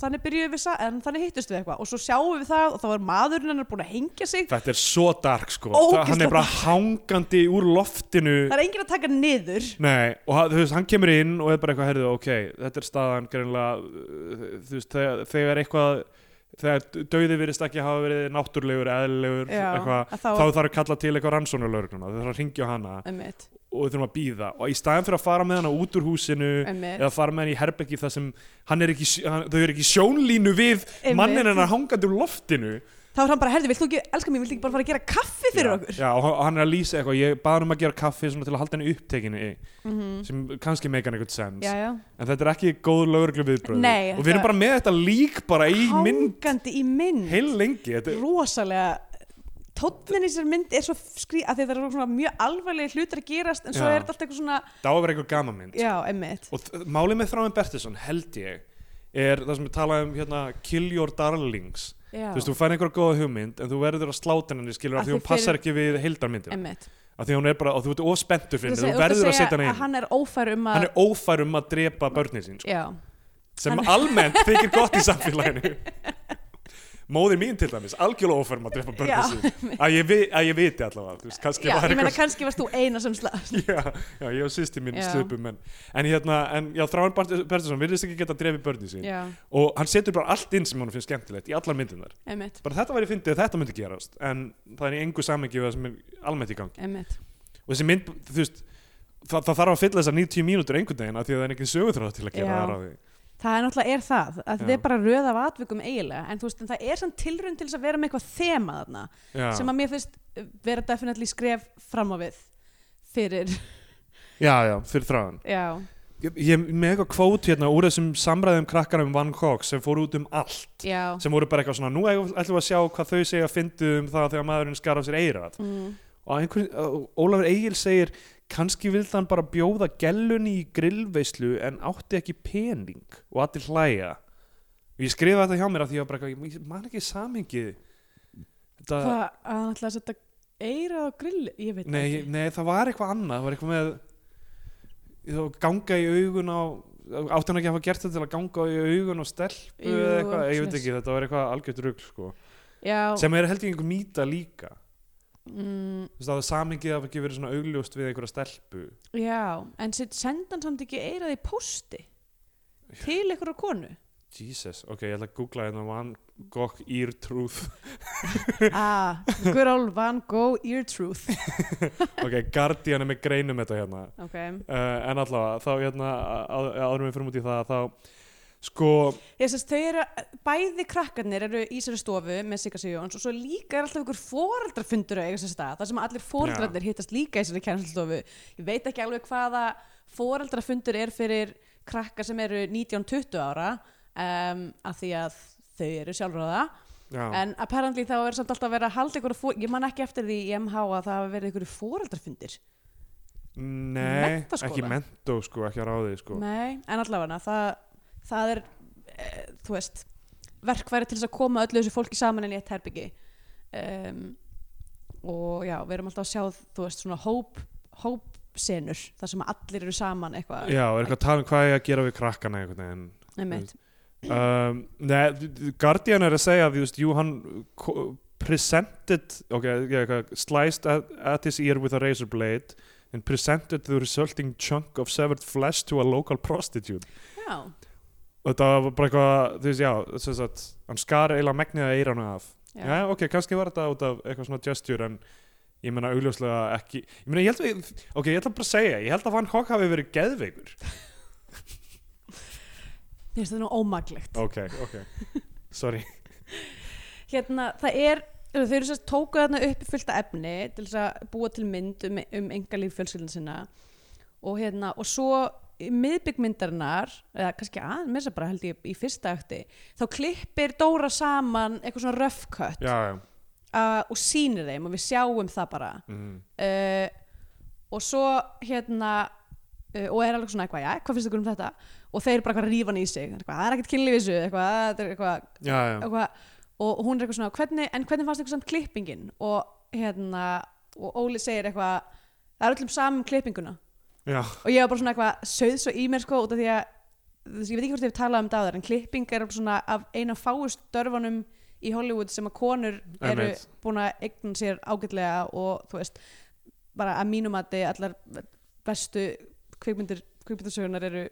[SPEAKER 2] þannig byrjuðum við, sa- en þannig hittust við eitthvað og svo sjáum við það og þá var maðurinn hennar búin að hengja sig,
[SPEAKER 3] Þetta er svo dark sko
[SPEAKER 2] Ógeðslega
[SPEAKER 3] Hann er bara hangandi úr loftinu
[SPEAKER 2] það er enginn að taka hann niður
[SPEAKER 3] Nei, og hann- þú veist, hann kemur inn og er bara eitthvað, herðu, ok, þetta er staðan greinlega, uh, þú veist, þegar, þegar eitthvað, þegar döði virðist ekki hafa verið náttúrlegur, eðlilegur,
[SPEAKER 2] Já,
[SPEAKER 3] eitthvað,
[SPEAKER 2] að
[SPEAKER 3] þá,
[SPEAKER 2] þá-
[SPEAKER 3] þarf að kalla til eitthvað rannsónulögnuna, þau þarf að ringja hana
[SPEAKER 2] einmitt,
[SPEAKER 3] og þau þurfum að býða og í staðan fyrir að fara með hana út úr húsinu
[SPEAKER 2] einmitt,
[SPEAKER 3] eða fara með hann í herbeggi þar sem hann er ekki, í sj- hann, þau eru ekki í sjónlínu við
[SPEAKER 2] Einmitt.
[SPEAKER 3] mannin hennar hangandi úr loftinu
[SPEAKER 2] þá er hann bara, herði, vilt þú ekki, elska mér, vilt ekki bara fara að gera kaffi fyrir
[SPEAKER 3] já,
[SPEAKER 2] okkur
[SPEAKER 3] já, og hann- og hann er að lýsa eitthvað, ég bað hann um að gera kaffi svona til að halda henni upptekinu
[SPEAKER 2] mm
[SPEAKER 3] sem kannski meika hann eitthvað sens
[SPEAKER 2] já, já,
[SPEAKER 3] en þetta er ekki góð lögreglu viðbröð
[SPEAKER 2] Nei,
[SPEAKER 3] og við erum
[SPEAKER 2] þetta-
[SPEAKER 3] bara með þetta lík bara í mynd
[SPEAKER 2] hangandi í mynd
[SPEAKER 3] heil lengi þetta, er-
[SPEAKER 2] rosalega tónnin í sér mynd er svo skrý að því það eru svona mjög alvarlega hlutir að gerast en svo
[SPEAKER 3] Já.
[SPEAKER 2] er þetta alltaf eitthvað svona,
[SPEAKER 3] það á að vera eitthvað gama mynd
[SPEAKER 2] já, emmitt
[SPEAKER 3] og þ- málið með Þráin Bertilsson held ég er það sem við talaði um hérna kill your darlings þú veist, þú fær einhverja góða hugmynd en þú verður að sláta henni skilur af
[SPEAKER 2] Af
[SPEAKER 3] því
[SPEAKER 2] því
[SPEAKER 3] hún passar
[SPEAKER 2] fyrir-
[SPEAKER 3] ekki við heildarmyndir
[SPEAKER 2] Emmitt.
[SPEAKER 3] af því hún er bara, og þú ert ofspenntur fyrir henni,
[SPEAKER 2] Þú
[SPEAKER 3] þú verður að
[SPEAKER 2] segja
[SPEAKER 3] setja henni
[SPEAKER 2] að
[SPEAKER 3] inn
[SPEAKER 2] hann er ófær um að
[SPEAKER 3] hann er ófær um að drepa börnin sín sko.
[SPEAKER 2] já,
[SPEAKER 3] sem
[SPEAKER 2] Hann-
[SPEAKER 3] almennt þykir gott í samfélaginu móðir mín til dæmis algjörlega ófær um að drepa
[SPEAKER 2] Já,
[SPEAKER 3] börnin sín að ég, vi- að ég viti allavega þú veist, kannski
[SPEAKER 2] já
[SPEAKER 3] var
[SPEAKER 2] ég meina
[SPEAKER 3] eitthvað
[SPEAKER 2] kannski varst þú eina sem slast
[SPEAKER 3] já, já, ég og sýsti mín
[SPEAKER 2] Já.
[SPEAKER 3] slupum en, en hérna, en já, Þráin Bertilsson virðist ekki geta að drefi börnin sín
[SPEAKER 2] já,
[SPEAKER 3] og hann setur bara allt inn sem hann finnst skemmtilegt í allar myndinar,
[SPEAKER 2] emmitt,
[SPEAKER 3] bara þetta væri fyndið að þetta myndi gerast, en það er í engu samengi við það sem er almennt í gangi,
[SPEAKER 2] emmitt
[SPEAKER 3] og þessi mynd þú veist, það, það þarf að fylla þessar 90 mínútur einhvern veginn af því að það er engin sögutráð til að gera
[SPEAKER 2] Já.
[SPEAKER 3] það ráði
[SPEAKER 2] það er náttúrulega er það, að
[SPEAKER 3] Já.
[SPEAKER 2] þið er bara röð af atvikum eiginlega, en þú veist, en það er sann tilrönd til þess að vera með eitthvað þema þarna
[SPEAKER 3] já.
[SPEAKER 2] sem að mér finnst uh, vera definitely skref fram á við fyrir,
[SPEAKER 3] já, já, fyrir þráðan
[SPEAKER 2] já,
[SPEAKER 3] ég, ég er með eitthvað kvót hérna úr þessum samræðum krakkar um Van Gogh sem fóru út um allt
[SPEAKER 2] já
[SPEAKER 3] sem voru bara eitthvað svona, nú eigum- ætlum við að sjá hvað þau segja að fyndið um það þegar maðurinn skar af sér eirað
[SPEAKER 2] mm.
[SPEAKER 3] og einhvern, og Ólafur Egil segir kannski vildi hann bara bjóða gellunni í grillveislu en átti ekki pening og allir hlæja og ég skrifa þetta hjá mér af því að ég var bara, eitthvað, ég man ekki samhengið þetta,
[SPEAKER 2] Hvað, að hann ætlaði að setja eira á grill, ég veit það
[SPEAKER 3] nei,
[SPEAKER 2] ekki.
[SPEAKER 3] nei, það var eitthvað annað það var eitthvað með þá ganga í augun á átti hann ekki að hafa gert þetta til að ganga í augun á stelpu
[SPEAKER 2] Jú,
[SPEAKER 3] eða eitthvað, ég veit
[SPEAKER 2] svoleiðis.
[SPEAKER 3] ekki, þetta var eitthvað algjört rugl sko.
[SPEAKER 2] Já,
[SPEAKER 3] sem er held ég einhver mýta líka
[SPEAKER 2] mm,
[SPEAKER 3] þú veist að samhengið hafa ekki verið svona augljóst við einhverja stelpu
[SPEAKER 2] já, en sitt senda hann samt ekki eirað í pósti til einhverju konu
[SPEAKER 3] Jesus, ok, ég ætla að googla hérna Van Gogh Ear Truth
[SPEAKER 2] Ah, good old Van Gogh ear truth
[SPEAKER 3] Ok, Guardian er með greinum þetta hérna
[SPEAKER 2] Ok,
[SPEAKER 3] uh, En allavega, þá hérna á- áður en við fyrir út í það þá, sko,
[SPEAKER 2] ég sést þau eru bæði krakkarnir eru í sér stofu með Sigga Sigjóns og svo líka er alltaf einhver foreldrafundur að eiga sér stað, þar sem allir foreldrarnir hittast líka í sér kjænslstofu ég veit ekki alveg hvaða foreldrafundur er fyrir krakkar sem eru 19-20 ára um, að því að þau eru sjálfráða
[SPEAKER 3] já,
[SPEAKER 2] en apparently þá er samt alltaf að vera að halda einhverju fór, ég man ekki eftir því í MH að það hafa verið einhverju foreldrafundir
[SPEAKER 3] nei,
[SPEAKER 2] menntaskóla?
[SPEAKER 3] ekki mentó sko, ekki að ráði sko
[SPEAKER 2] Nei, en allavega það, eh, það er, e, þú veist verkværi til þess að koma öllu þessu fólki saman en í eitt herbyggi um, og já, við erum alltaf að sjá þú veist svona hóp, hóp þar sem allir eru saman eitthvað
[SPEAKER 3] Já, er eitthvað að tala um hvað ég að gera við krakkana einhvern veginn
[SPEAKER 2] einmitt,
[SPEAKER 3] um, Nei, Guardian er að segja að, þú veist, jú, hann ko- presented, ok, yeah, eitthvað, sliced at, at his ear with a razor blade and presented the resulting chunk of severed flesh to a local prostitute
[SPEAKER 2] já,
[SPEAKER 3] og þetta var bara eitthvað, þú veist, já sem sagt, hann skar eiginlega megnið að eiranu af
[SPEAKER 2] já,
[SPEAKER 3] já. ok, kannski var þetta út af eitthvað svona gesture en ég meina augljóslega ekki ég meina, ég held að, ok, ég ætla bara að segja ég held að Van Gogh hafi verið geðveikur
[SPEAKER 2] Mér finnst þetta nú ómaglegt
[SPEAKER 3] ok, ok, sorry
[SPEAKER 2] hérna, það er þau eru sérst tókuð þarna upp fullta efni til þess að búa til mynd um, um engalíf fjölskyldin sinna og hérna, og svo miðbyggmyndarinnar, eða kannski að mér sér bara held ég í fyrsta akti þá klippir Dóra saman eitthvað svona rough cut
[SPEAKER 3] já, já,
[SPEAKER 2] uh, og sýnir þeim og við sjáum það bara
[SPEAKER 3] mm.
[SPEAKER 2] uh, og svo hérna uh, og er alveg svona eitthvað, já, hvað finnst þið um þetta og þeir bara eitthvað rífan í sig eitthvað, það er ekkert kynlífisu, eitthvað, þetta er eitthvað
[SPEAKER 3] já, já.
[SPEAKER 2] eitthvað, og hún er eitthvað svona hvernig, en hvernig fannst eitthvað samt klippingin og hérna, og Óli segir eitthvað það er öllum saman um klippinguna
[SPEAKER 3] Já,
[SPEAKER 2] og ég var bara svona eitthvað sögð svo í mér sko út af því að þú veist, ég veit ekki hvort þið talað um þetta áður en klipping er svona af eina fáust dörfunum í Hollywood sem að konur eru
[SPEAKER 3] Einmitt.
[SPEAKER 2] búin að eignan sér ágætlega og þú veist bara að mínum að þið allar bestu kvikmyndir, kvikmyndarsögunar eru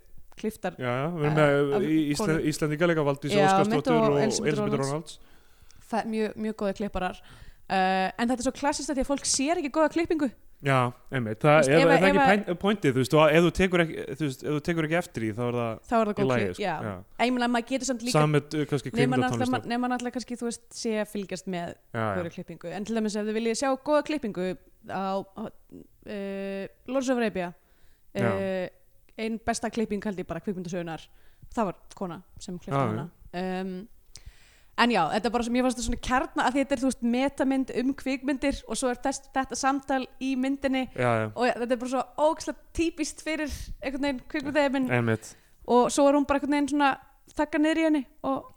[SPEAKER 2] kliftar
[SPEAKER 3] já, já, við erum
[SPEAKER 2] Eh, af
[SPEAKER 3] með Ísle,
[SPEAKER 2] konum.
[SPEAKER 3] Íslendinga leika Valdís
[SPEAKER 2] Já,
[SPEAKER 3] Óskarsdóttir
[SPEAKER 2] mitt og
[SPEAKER 3] og
[SPEAKER 2] Elísabet
[SPEAKER 3] Elisabeth
[SPEAKER 2] Ronalds.
[SPEAKER 3] Ronalds
[SPEAKER 2] það er mjög, mjög góða klipparar uh, en þetta er svo klassist að því að fólk sér ekki góða klippingu
[SPEAKER 3] Já, einmitt,
[SPEAKER 2] Þú
[SPEAKER 3] það
[SPEAKER 2] veist,
[SPEAKER 3] er,
[SPEAKER 2] ef
[SPEAKER 3] er
[SPEAKER 2] að-
[SPEAKER 3] það ekki
[SPEAKER 2] ef að-
[SPEAKER 3] point- pointið, þú veist, og ef þú tekur ekki, þú veist, ef þú tekur ekki eftir í þá er það
[SPEAKER 2] þá er það
[SPEAKER 3] í
[SPEAKER 2] góð
[SPEAKER 3] lagi,
[SPEAKER 2] klipp
[SPEAKER 3] sko,
[SPEAKER 2] já.
[SPEAKER 3] já.
[SPEAKER 2] en ég meina að maður getur samt líka
[SPEAKER 3] Samið, uh, kannski
[SPEAKER 2] nema
[SPEAKER 3] kvindatónlist
[SPEAKER 2] náttúrulega nema náttúrulega kannski þú veist sé að fylgjast með
[SPEAKER 3] Já, já,
[SPEAKER 2] góða klippingu en til dæmis ef þið viljið sjá góða klippingu á, á uh, Lords of Arabia uh, ein besta klipping held ég bara kvikmyndasögunar það var kona sem klippta
[SPEAKER 3] Já, já.
[SPEAKER 2] hana um, en já, þetta er bara sem ég fannst svona kjarna að þetta er þú veist metamynd um kvikmyndir og svo er þess, þetta samtal í myndinni
[SPEAKER 3] já, já,
[SPEAKER 2] og þetta er bara svo ógæslega típist fyrir einhvern veginn kvikmyndaðið
[SPEAKER 3] einmitt
[SPEAKER 2] og svo er hún bara einhvern veginn svona þakka niður í henni og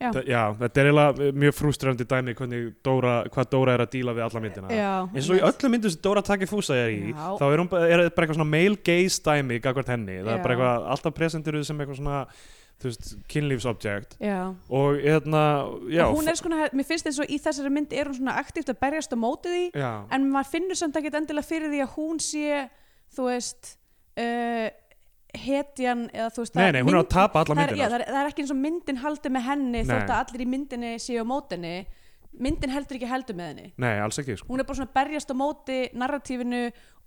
[SPEAKER 2] Já.
[SPEAKER 3] Þa- Já, þetta er eiginlega mjög frústrandi dæmi hvernig Dóra, hvað Dóra er að díla við alla myndina
[SPEAKER 2] já,
[SPEAKER 3] eins og í öllum myndum sem Dóra takir fúsa er í
[SPEAKER 2] Já.
[SPEAKER 3] þá er, hún, bara- er þetta bara eitthvað svona male gaze dæmi gagvart henni, það
[SPEAKER 2] Já.
[SPEAKER 3] er bara eitthvað alltaf presentir sem eitthvað svona, þú veist, kynlífsobjekt
[SPEAKER 2] já.
[SPEAKER 3] og hérna, já
[SPEAKER 2] og hún er svona, mér finnst eins og í þessari mynd er hún svona aktíft að berjast á móti því
[SPEAKER 3] já,
[SPEAKER 2] en maður finnur samt ekkert endilega fyrir því að hún sé þú veist uh, hetjan eða þú veist
[SPEAKER 3] Nei,
[SPEAKER 2] það
[SPEAKER 3] nei, hún er að tapa alla
[SPEAKER 2] það er, já,
[SPEAKER 3] myndina sko.
[SPEAKER 2] það, er, það er ekki eins og myndin haldi með henni
[SPEAKER 3] Nei.
[SPEAKER 2] þótt að allir í myndinni séu á mótinni myndin heldur ekki heldur með henni
[SPEAKER 3] Nei, alls ekki, sko
[SPEAKER 2] hún er bara svona að berjast á móti narratífinu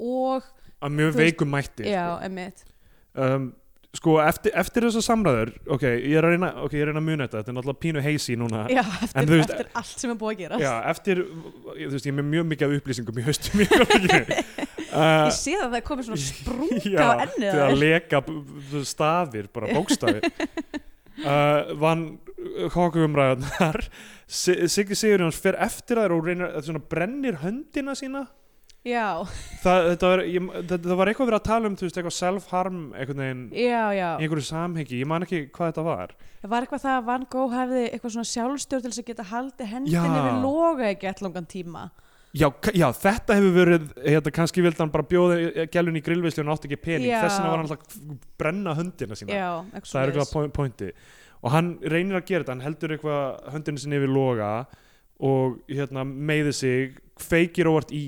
[SPEAKER 2] og
[SPEAKER 3] Að mjög
[SPEAKER 2] Þú veist-
[SPEAKER 3] veikum mætti
[SPEAKER 2] já,
[SPEAKER 3] sko.
[SPEAKER 2] emmitt
[SPEAKER 3] um, sko, eftir, eftir þessar samræður Ok, ég er að reyna, okay, ég er að, reyna að muna þetta Þetta er náttúrulega pínu heisi núna
[SPEAKER 2] já, eftir,
[SPEAKER 3] En þú veist-
[SPEAKER 2] eftir allt sem er búið að gera
[SPEAKER 3] Já, eftir, ég- þú veist, ég er með mjög mikið af upplýsingum í haustum í gangi. uh,
[SPEAKER 2] ég sé það að það er komið svona sprunga
[SPEAKER 3] Já,
[SPEAKER 2] á ennið
[SPEAKER 3] til
[SPEAKER 2] á
[SPEAKER 3] að
[SPEAKER 2] þér.
[SPEAKER 3] leka b- b- stafir, bara bókstafir uh, vann hókumræðunar Siggi Sigurjóns fer eftir þær og reynir, svona, brennir höndina sína
[SPEAKER 2] já,
[SPEAKER 3] það, þetta var, ég, það, það var eitthvað verið að tala um þú veist, eitthvað self-harm einhvern veginn
[SPEAKER 2] já, já
[SPEAKER 3] í einhverju samhengi, ég man ekki hvað þetta var
[SPEAKER 2] Það var eitthvað það að Van Gogh hefði eitthvað svona sjálfstjórn til þess að geta haldið hendinni
[SPEAKER 3] Já.
[SPEAKER 2] við loga ekki allt langan tíma.
[SPEAKER 3] já, k- já þetta hefur verið þetta kannski vildi hann bara bjóða gælun í grillvislu og átti ekki pening,
[SPEAKER 2] Já.
[SPEAKER 3] þess vegna var hann alltaf að brenna höndina sína
[SPEAKER 2] Já, eitthvað
[SPEAKER 3] það er
[SPEAKER 2] svoleiðis.
[SPEAKER 3] eitthvað point, pointi og hann reynir að gera þetta, hann heldur eitthvað höndinu sinni yfir loga og hérna meiði sig feikir óvart í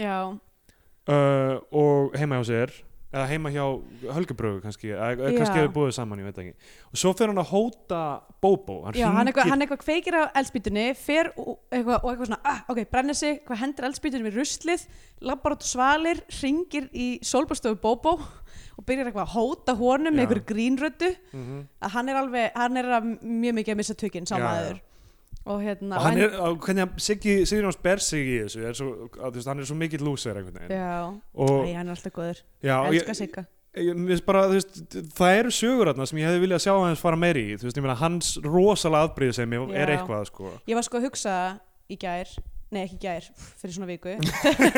[SPEAKER 2] Já,
[SPEAKER 3] uh, og heima hjá sér eða heima hjá Hölgebrögu kannski eða eða
[SPEAKER 2] Já.
[SPEAKER 3] kannski hefur búið saman, ég veit ekki og svo fer hann að hóta Bobo hann
[SPEAKER 2] já hann,
[SPEAKER 3] hringir-
[SPEAKER 2] eitthvað, hann eitthvað kveikir á eldspýtunni, fer og eitthvað, og eitthvað svona, ah, ok, brennir sig, hvað hendur eldspýtunni við ruslið, labbar út á svalir, ringir í sólbastofu Bobo og byrjar eitthvað að hóta honum með
[SPEAKER 3] Já.
[SPEAKER 2] einhverju grínröddu
[SPEAKER 3] Mhm.
[SPEAKER 2] að hann er alveg, hann er að mjög mikið að missa tökinn
[SPEAKER 3] Já, já.
[SPEAKER 2] saman og hérna
[SPEAKER 3] og hann er, og hvernig að Siggi Sigurjóns ber sig í þessu er svo, að, þú veist, hann er svo mikill lúsir einhvern veginn
[SPEAKER 2] já,
[SPEAKER 3] og,
[SPEAKER 2] Æ, hann er alltaf góður,
[SPEAKER 3] já, og ég,
[SPEAKER 2] elska Sigga
[SPEAKER 3] ég, mér finnst bara, þú veist, það eru sögur þarna sem ég hefði viljað sjá hans fara meiri í þú veist, ég meina hans rosalega afbrýð sem ég er
[SPEAKER 2] Já.
[SPEAKER 3] eitthvað sko.
[SPEAKER 2] Ég var sko að hugsa í gær Nei, ekki í gær, fyrir svona viku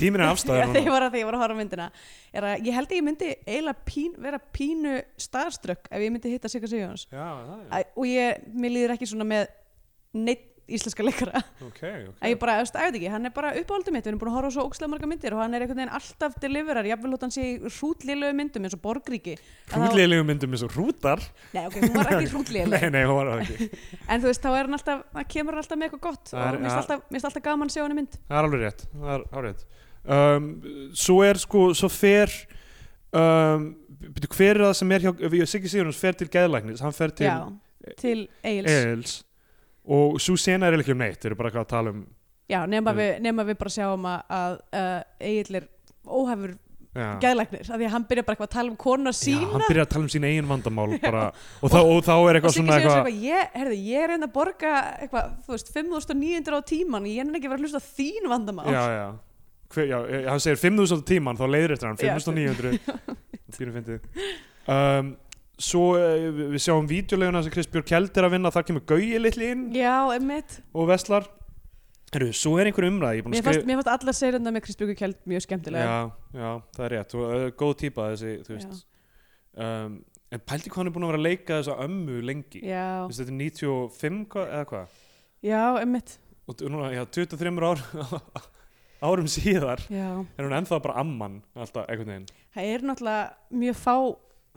[SPEAKER 3] tíminn er afstæður
[SPEAKER 2] Þegar ég
[SPEAKER 3] núna
[SPEAKER 2] var að því ég var að horfa á myndina er að Ég held að ég myndi eiginlega pín, vera pínu starstruck ef ég myndi hitta Sigga Sigjóns
[SPEAKER 3] já, það er
[SPEAKER 2] Æ, Og ég, mér líður ekki svona með neitt íslenska leikara
[SPEAKER 3] ok, ok
[SPEAKER 2] að ég bara, veist, ég veit ekki, hann er bara uppáhaldið mitt við erum búin að horfa á svo ókslega marga myndir og hann er einhvern veginn alltaf deliverar, jafnvel hótt hann sé í hrútlilegu myndum eins og Borgríki Að þá-
[SPEAKER 3] Hrútlegilegu myndum eins og hrútar
[SPEAKER 2] Nei, ok, hún var ekki hrútlileg
[SPEAKER 3] Nei, nei, hún var það ekki
[SPEAKER 2] en þú veist, þá er hann alltaf, það kemur hann alltaf með eitthvað gott
[SPEAKER 3] Það er-
[SPEAKER 2] og mér finnst alltaf, mér finnst alltaf gaman að sjá hann í mynd
[SPEAKER 3] Það er alveg rétt, það er alveg rétt. Um, Svo er sko, svo fer um, byrju, Hver er það sem er hjá ef- Siggi Sigurjóns fer til geðlæknis Hann fer til
[SPEAKER 2] Já, til Egil's
[SPEAKER 3] Eils Og svo sena er eiginlega ekki um neitt Þeir eru bara eitthvað að tala um
[SPEAKER 2] Já, nema,
[SPEAKER 3] Mm.
[SPEAKER 2] við, nema við bara sjáum að, að uh, Egil er óhefur
[SPEAKER 3] já.
[SPEAKER 2] geðlæknir, af því að hann byrja bara eitthvað að tala um konuna
[SPEAKER 3] Já,
[SPEAKER 2] sína
[SPEAKER 3] hann byrjar að tala um sín eigin vandamál bara, og, þá, og þá er
[SPEAKER 2] og
[SPEAKER 3] eitthvað
[SPEAKER 2] Siggi
[SPEAKER 3] svona
[SPEAKER 2] segir
[SPEAKER 3] eitthvað
[SPEAKER 2] eitthvað, ég, herðu, ég er einnig að borga eitthvað, þú veist, 5900 á tíman ég er ekki að vera að hlusta á þín vandamál
[SPEAKER 3] já, já. Hver, já, eh, hann segir 5.000 á tíman þá leiðir eftir hann,
[SPEAKER 2] Já.
[SPEAKER 3] 5.900 býrum fyndið um, svo eh, við við sjáum vídeoleguna sem Chris Björk Kjeld er að vinna, þar kemur Gauji litli inn
[SPEAKER 2] já einmitt
[SPEAKER 3] og veslar Heru, svo er einhver umræði ég er búinn að
[SPEAKER 2] mér fannst, mér fannst alla seyrunda með Kristbjörgu Kjeld mjög skemmtilega
[SPEAKER 3] já, já, það er rétt, og, uh, góð típa þessi þú veist um, en pældi hvað hann er búinn að vera að leika þessa ömmu lengi
[SPEAKER 2] já,
[SPEAKER 3] Þú veist, þetta er 95 hva, eða hvað
[SPEAKER 2] já einmitt
[SPEAKER 3] og t- núna, já, 23 ár, árum síðar
[SPEAKER 2] já.
[SPEAKER 3] er hún ennþá bara amman alltaf einhvern veginn
[SPEAKER 2] það er náttúrulega mjög fá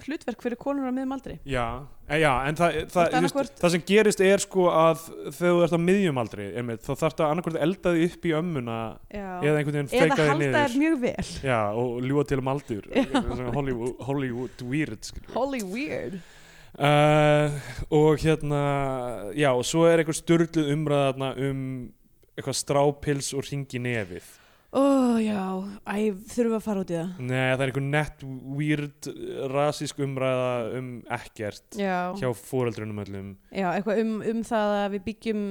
[SPEAKER 2] hlutverk fyrir konur á miðum aldri
[SPEAKER 3] Já, e, já en það, það,
[SPEAKER 2] ert
[SPEAKER 3] þú veist,
[SPEAKER 2] annaðhvort-
[SPEAKER 3] það sem gerist er sko að þegar þú ert á miðjumaldri einmitt, þá þarf það annarkvort eldaði upp í ömmuna
[SPEAKER 2] já.
[SPEAKER 3] eða einhvern veginn
[SPEAKER 2] eða
[SPEAKER 3] feikaði
[SPEAKER 2] halda
[SPEAKER 3] niður
[SPEAKER 2] þær mjög vel
[SPEAKER 3] Já, og ljúa til um aldur Svona Hollywood, Hollywood weird skilur.
[SPEAKER 2] holy weird
[SPEAKER 3] uh, Og hérna Já, og svo er einhver styrluð umræðarna um eitthvað strápils og ringi nefið
[SPEAKER 2] ó já, æ, þurfum við að fara út í það
[SPEAKER 3] Nei, það er einhver nett weird rasísk umræða um ekkert
[SPEAKER 2] já,
[SPEAKER 3] hjá foreldrunum öllum
[SPEAKER 2] já eitthvað um, um það að við byggjum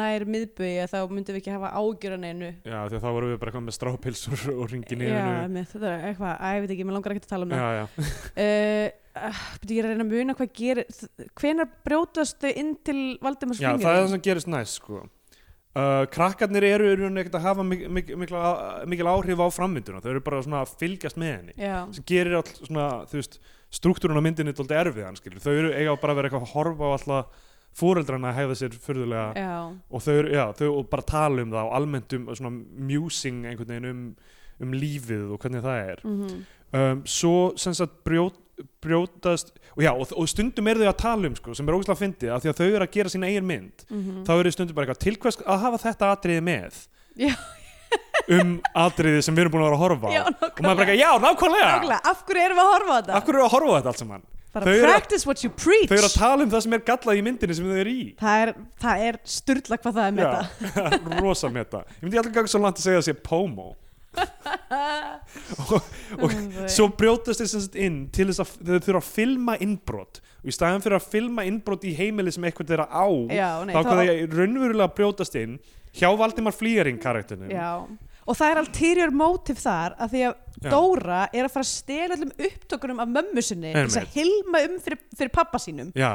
[SPEAKER 2] nær miðbögi þá myndum við ekki hafa ágjörðan einu
[SPEAKER 3] Já, því að þá vorum við bara eitthvað með strápilsur og ringi
[SPEAKER 2] Já,
[SPEAKER 3] nefinu
[SPEAKER 2] einmitt, þetta er eitthvað, að ég veit ekki, mér langar ekki að tala um það
[SPEAKER 3] Já, já,
[SPEAKER 2] uh, uh, Ég er að reyna að muna hvað gerir Hvenar brjótast þau inn til Valdimars
[SPEAKER 3] já það er það sem gerist næst sko. uh, Krakkarnir eru eru ekkert að hafa mik mik mikil, mikil áhrif á frammynduna, þau eru bara svona að fylgjast með henni
[SPEAKER 2] Já,
[SPEAKER 3] sem gerir all svona, þú veist struktúrun á myndinni dóldi erfiðan skilur þau eru eiga bara að vera eitthvað að horfa á alltaf fóreldrana að hegða sér furðulega
[SPEAKER 2] já,
[SPEAKER 3] og þau, eru, já, þau og bara tala um það og almennt um svona musing einhvern veginn um, um lífið og hvernig það er
[SPEAKER 2] mm
[SPEAKER 3] um, svo sem sagt brjót, brjótast og, já, og, og stundum eru þau að tala um sko, sem er ógæslega fyndið af því að þau eru að gera sína eigin mynd
[SPEAKER 2] Mhm.
[SPEAKER 3] þá eru þau stundum bara eitthvað til hvers að hafa þetta atriði með
[SPEAKER 2] Já.
[SPEAKER 3] um atriði sem við erum búin að vera að horfa á
[SPEAKER 2] já
[SPEAKER 3] og maður bara eitthvað, já, nákvæmlega
[SPEAKER 2] nákvæmlega Af hverju erum við að horfa á
[SPEAKER 3] af
[SPEAKER 2] þetta?
[SPEAKER 3] hverju eru að horfa á þetta allt saman
[SPEAKER 2] Bara
[SPEAKER 3] þau eru að-
[SPEAKER 2] practice what you preach
[SPEAKER 3] þau eru að tala um það sem er gallað í myndinni sem þau eru í
[SPEAKER 2] Það er, það er styrla hvað það er með það
[SPEAKER 3] Já, rosa meta ég myndi alltaf ganga svo langt að segja að sé pomo og, og
[SPEAKER 2] Mm,
[SPEAKER 3] svo brjótast þeir sem sagt inn til þess að þau þurfa að filma innbrot og í staðan fyrir að filma innbrot í heimili sem eitthvað þeirra á
[SPEAKER 2] Já, nei,
[SPEAKER 3] þá hvað þeir raunverulega að brjótast inn hjá Valdimar Flýjaring karakterinu
[SPEAKER 2] Já, og það er ulterior motive þar að því að
[SPEAKER 3] Já.
[SPEAKER 2] Dóra er að fara að stela allum upptökunum af mömmu sinni til þess að
[SPEAKER 3] Einmitt.
[SPEAKER 2] hilma um fyrir, fyrir pappa sínum
[SPEAKER 3] Já,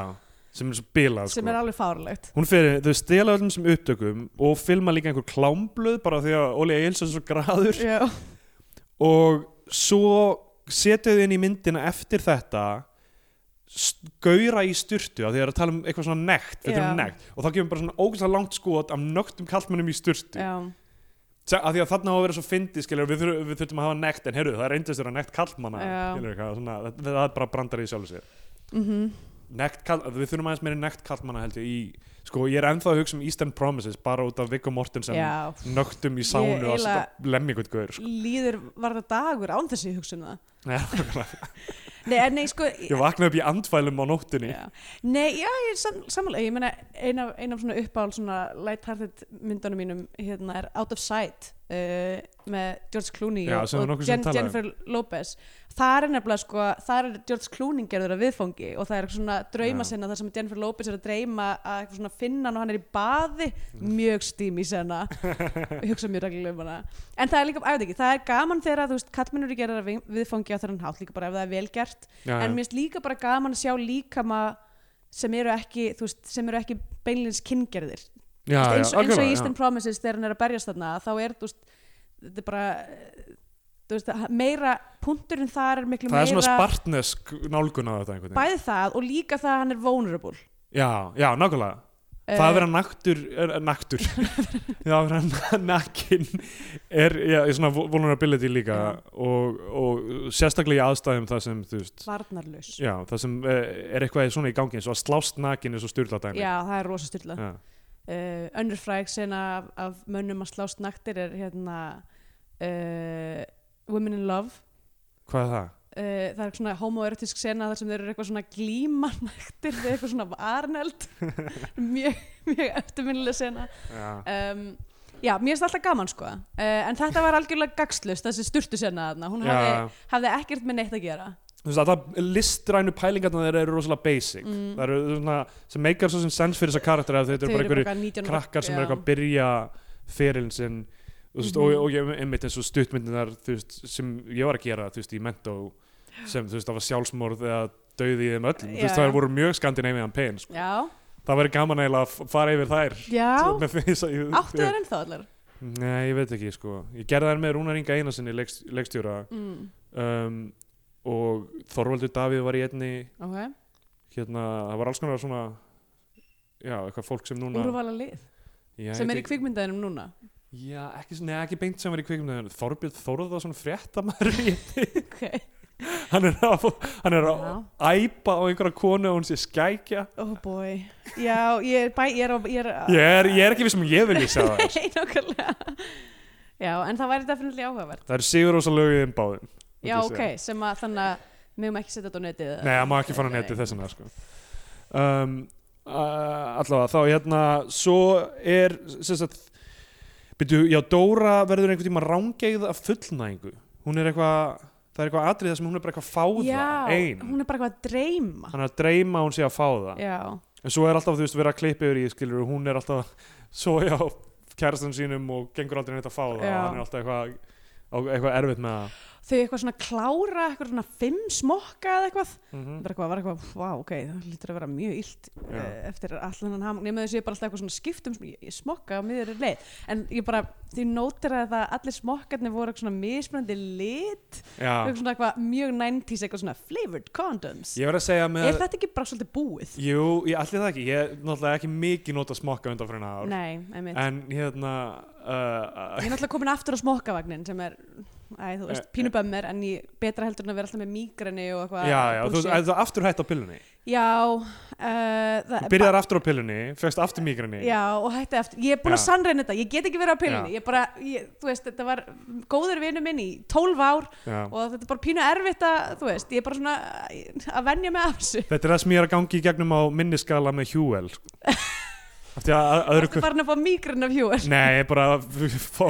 [SPEAKER 3] sem er svo bilað
[SPEAKER 2] sem
[SPEAKER 3] sko.
[SPEAKER 2] er alveg fárlegt
[SPEAKER 3] hún fyrir, þau stela öllum sem upptökum og filma líka einhver klámblöð bara því að Óli Eilsson er svo graður
[SPEAKER 2] Já,
[SPEAKER 3] og svo setja þau inn í myndina eftir þetta gaura í styrtu að því að það er að tala um eitthvað svona nekt, þetta
[SPEAKER 2] Já.
[SPEAKER 3] er nekt og þá kemur bara svona ógæslega langt skot af nögtum kallmönnum í styrtu
[SPEAKER 2] já,
[SPEAKER 3] Se- að því að þarna á að vera svo fyndi skilur, við, þur, við þurfum að hafa nekt en heyrðu það er reyndist vera nekt kallmanna
[SPEAKER 2] Já.
[SPEAKER 3] skilur, eitthvað, svona, það, það er bara brandar í sjálfu sér
[SPEAKER 2] mhm
[SPEAKER 3] nekt, kall, við þurfum aðeins meiri nekt kallmanna held ég í, sko ég er ennþá að hugsa um Eastern Promises bara út af Viggo Mortensen
[SPEAKER 2] já.
[SPEAKER 3] nögtum í sánu
[SPEAKER 2] Ég
[SPEAKER 3] og að
[SPEAKER 2] eiginlega-
[SPEAKER 3] setja lemmi ykkur gaur sko.
[SPEAKER 2] Líður var það dagur án þessi hugsun um það
[SPEAKER 3] Nei, nákvæmlega.
[SPEAKER 2] Nei, en nei, sko
[SPEAKER 3] sko. ég vaknaði upp í andfælum á nóttinni
[SPEAKER 2] já. Nei, já, ég er sam, samanlega Ég meina, ein af, ein af svona uppáhald svona lighthearted myndunum mínum hérna er Out of Sight uh, með George Clooney
[SPEAKER 3] Já, sem við
[SPEAKER 2] og,
[SPEAKER 3] nokkrum
[SPEAKER 2] og
[SPEAKER 3] sinnum
[SPEAKER 2] Jen,
[SPEAKER 3] talaði um.
[SPEAKER 2] Jennifer Lopez Það er nefnilega, sko, það er George Clooney gerður að viðfangi og það er eitthvað svona drauma
[SPEAKER 3] Já.
[SPEAKER 2] sinna þar sem Jennifer Lopez er að dreyma að eitthvað svona finna hann og hann er í baði mjög stími sena og hugsa mjög reglulega um hana en það er líka, ég veit ekki, það er gaman þegar að, þú veist, kallmennur gerir að viðfangi á þennan hátt líka bara ef það er vel gert
[SPEAKER 3] Já, já.
[SPEAKER 2] en mér finnst líka bara gaman að sjá líkama sem eru ekki, þú veist, sem eru ekki beinlins kyngerðir Þú
[SPEAKER 3] já,
[SPEAKER 2] veist, eins, eins og
[SPEAKER 3] algjörlega,
[SPEAKER 2] í Eastern Promises þegar hann er að berjast þarna þá er, þú veist, þetta er bara þú veist, meira punkturinn þar er miklu
[SPEAKER 3] það er svona
[SPEAKER 2] meira
[SPEAKER 3] spartnesk nálgun á þetta einhvern veginn
[SPEAKER 2] bæði það og líka það að hann er vulnerable Eh,
[SPEAKER 3] já, já, nákvæmlega Það að vera naktur, er, er naktur Það að vera nakkin er, já, er svona vulnerability líka og, og sérstaklega í aðstæðum það sem, þú veist
[SPEAKER 2] varnarlaus
[SPEAKER 3] Já, það sem eh, er eitthvað svona í gangi eins og að slást nakin er svo styrla dæmi
[SPEAKER 2] Já, það er rosa styrla
[SPEAKER 3] Já.
[SPEAKER 2] uh, önnur fræg sena af, af mönnum að slást naktir er hérna uh, Women in Love
[SPEAKER 3] Hvað er það?
[SPEAKER 2] Uh, það er svona homoerotisk sena þar sem þeir eru eitthvað svona glímanættir þeir eru eitthvað svona varneld mjög, mjög eftirminnileg sena
[SPEAKER 3] Já.
[SPEAKER 2] um, já, mér finnst alltaf gaman sko uh, en þetta var algjörlega gagslust þessi sturtu sena þarna, hún hafði,
[SPEAKER 3] Já.
[SPEAKER 2] hafði ekkert með neitt að gera
[SPEAKER 3] Þú veist að það listrænu pælingarna þeirra eru rosalega basic
[SPEAKER 2] Mm.
[SPEAKER 3] Það eru svona, sem meikar svo sem sens fyrir þessa karakter að þetta eru bara einhverju
[SPEAKER 2] eitthvað 19 ára-
[SPEAKER 3] krakkar
[SPEAKER 2] já. Mhm.
[SPEAKER 3] sem er eitthvað að byrja ferilin sinn þú veist, og, og ég einmitt eins og stuttmyndinar þú veist, sem ég var að gera þú veist, í mentó sem þú veist, það var sjálfsmorð eða dauði í þeim öllum þú
[SPEAKER 2] Já,
[SPEAKER 3] veist, það
[SPEAKER 2] já.
[SPEAKER 3] voru mjög skandinavian pain sko.
[SPEAKER 2] já,
[SPEAKER 3] það væri gaman eiginlega að f- fara yfir þær
[SPEAKER 2] já,
[SPEAKER 3] með því að ég-
[SPEAKER 2] áttu þeir ennþá allar
[SPEAKER 3] Nei, ég veit ekki sko ég gerði þær með Rúnar Inga Einarssoni leikst, leikstjóra
[SPEAKER 2] mm,
[SPEAKER 3] um, og Þorvaldur Davíð var í einni
[SPEAKER 2] ok,
[SPEAKER 3] hérna, það var alls konar svona já, eitthvað fólk sem núna
[SPEAKER 2] úrvala lið
[SPEAKER 3] Já, ég
[SPEAKER 2] sem
[SPEAKER 3] veit
[SPEAKER 2] er í
[SPEAKER 3] ekki-
[SPEAKER 2] kvikmyndaðinum núna
[SPEAKER 3] Já, ekki, svona- nei, ekki beint sem var í kvikmyndinu Þorbjörn Þórðarsson fréttamaður í henni.
[SPEAKER 2] ok,
[SPEAKER 3] hann er að, hann er að
[SPEAKER 2] Já.
[SPEAKER 3] æpa á einhverja konu og hún sé skækja
[SPEAKER 2] oh boy já, ég er bæ, ég er, á- ég er,
[SPEAKER 3] ég er, ég er ekki við sem ég vil lýsa það
[SPEAKER 2] Nei, nákvæmlega Já, en það væri definitely áhugavert
[SPEAKER 3] það eru sigur ósa lögið um báðum myndi
[SPEAKER 2] Já,
[SPEAKER 3] ég
[SPEAKER 2] ok,
[SPEAKER 3] segja.
[SPEAKER 2] sem að þannig að við mögum ekki setja þetta á netið
[SPEAKER 3] nei, það má ekki fara á netið þess vegna sko. um, uh, allavega, þá hérna svo er sem sagt, byrju, já, Dóra verður einhvern tíma rángeið af fullnæðingu hún er eitthvað, það er eitthvað atrið þar sem hún er bara eitthvað að fá
[SPEAKER 2] Já,
[SPEAKER 3] það ein,
[SPEAKER 2] hún er bara eitthvað að dreyma
[SPEAKER 3] hann er að dreyma að hún sé að fá það
[SPEAKER 2] Já,
[SPEAKER 3] en svo er alltaf þú veist verið að klippa yfir í skilur hún er alltaf svo já kærastan sínum og gengur aldrei neitt að fá það
[SPEAKER 2] Já.
[SPEAKER 3] og hann er alltaf eitthvað á- eitthvað erfitt með það
[SPEAKER 2] þau eitthvað svona klára eitthvað svona fimm smokka eða eitthvað
[SPEAKER 3] Mhm.
[SPEAKER 2] Það var eitthvað, var eitthvað, vá, ok, það lítur að vera mjög illt
[SPEAKER 3] Já.
[SPEAKER 2] uh, eftir allan hann hamang nema þessu ég bara alltaf eitthvað svona skiptum smokka á miður leið, en ég bara því nótir að það að allir smokkarnir voru eitthvað svona mismunandi lit
[SPEAKER 3] já,
[SPEAKER 2] eitthvað svona eitthvað mjög 90s eitthvað svona flavored condoms
[SPEAKER 3] ég verið að segja
[SPEAKER 2] Er
[SPEAKER 3] með
[SPEAKER 2] þetta ekki bara svolítið búið?
[SPEAKER 3] jú, ég allir það ekki, ég er náttúrulega ekki mikið nota smokka undan fyrir ár
[SPEAKER 2] Nei, einmitt.
[SPEAKER 3] en hérna
[SPEAKER 2] Ég
[SPEAKER 3] uh,
[SPEAKER 2] er náttúrulega komin aftur á smokkavagnin sem er, æ, þú veist,
[SPEAKER 3] Eh,
[SPEAKER 2] pínu bömmir en ég betra heldur en að vera alltaf með mígreni og eitthvað.
[SPEAKER 3] já, já, þú veist,
[SPEAKER 2] bullshit.
[SPEAKER 3] að það aftur hætt á pillunni
[SPEAKER 2] Já, uh, það...
[SPEAKER 3] þú byrjar aftur á pillunni, fegst aftur migrini
[SPEAKER 2] Já, og hætti aftur. Ég er búin að
[SPEAKER 3] Já.
[SPEAKER 2] sannreina þetta. Ég get ekki verið á pillinni.
[SPEAKER 3] Já.
[SPEAKER 2] Ég bara, ég, þú veist, þetta var góður vinur minn í 12 ár
[SPEAKER 3] Já.
[SPEAKER 2] og þetta er bara pínu erfitt að, þú veist, ég er bara svona eh, að venja mig af þessu.
[SPEAKER 3] þetta er það sem ég er að gangi í gegnum á minniskala með Hjúel af því að að öðru
[SPEAKER 2] Þetta var hann að fá mígreni af hjúar.
[SPEAKER 3] Nei, bara f- fá,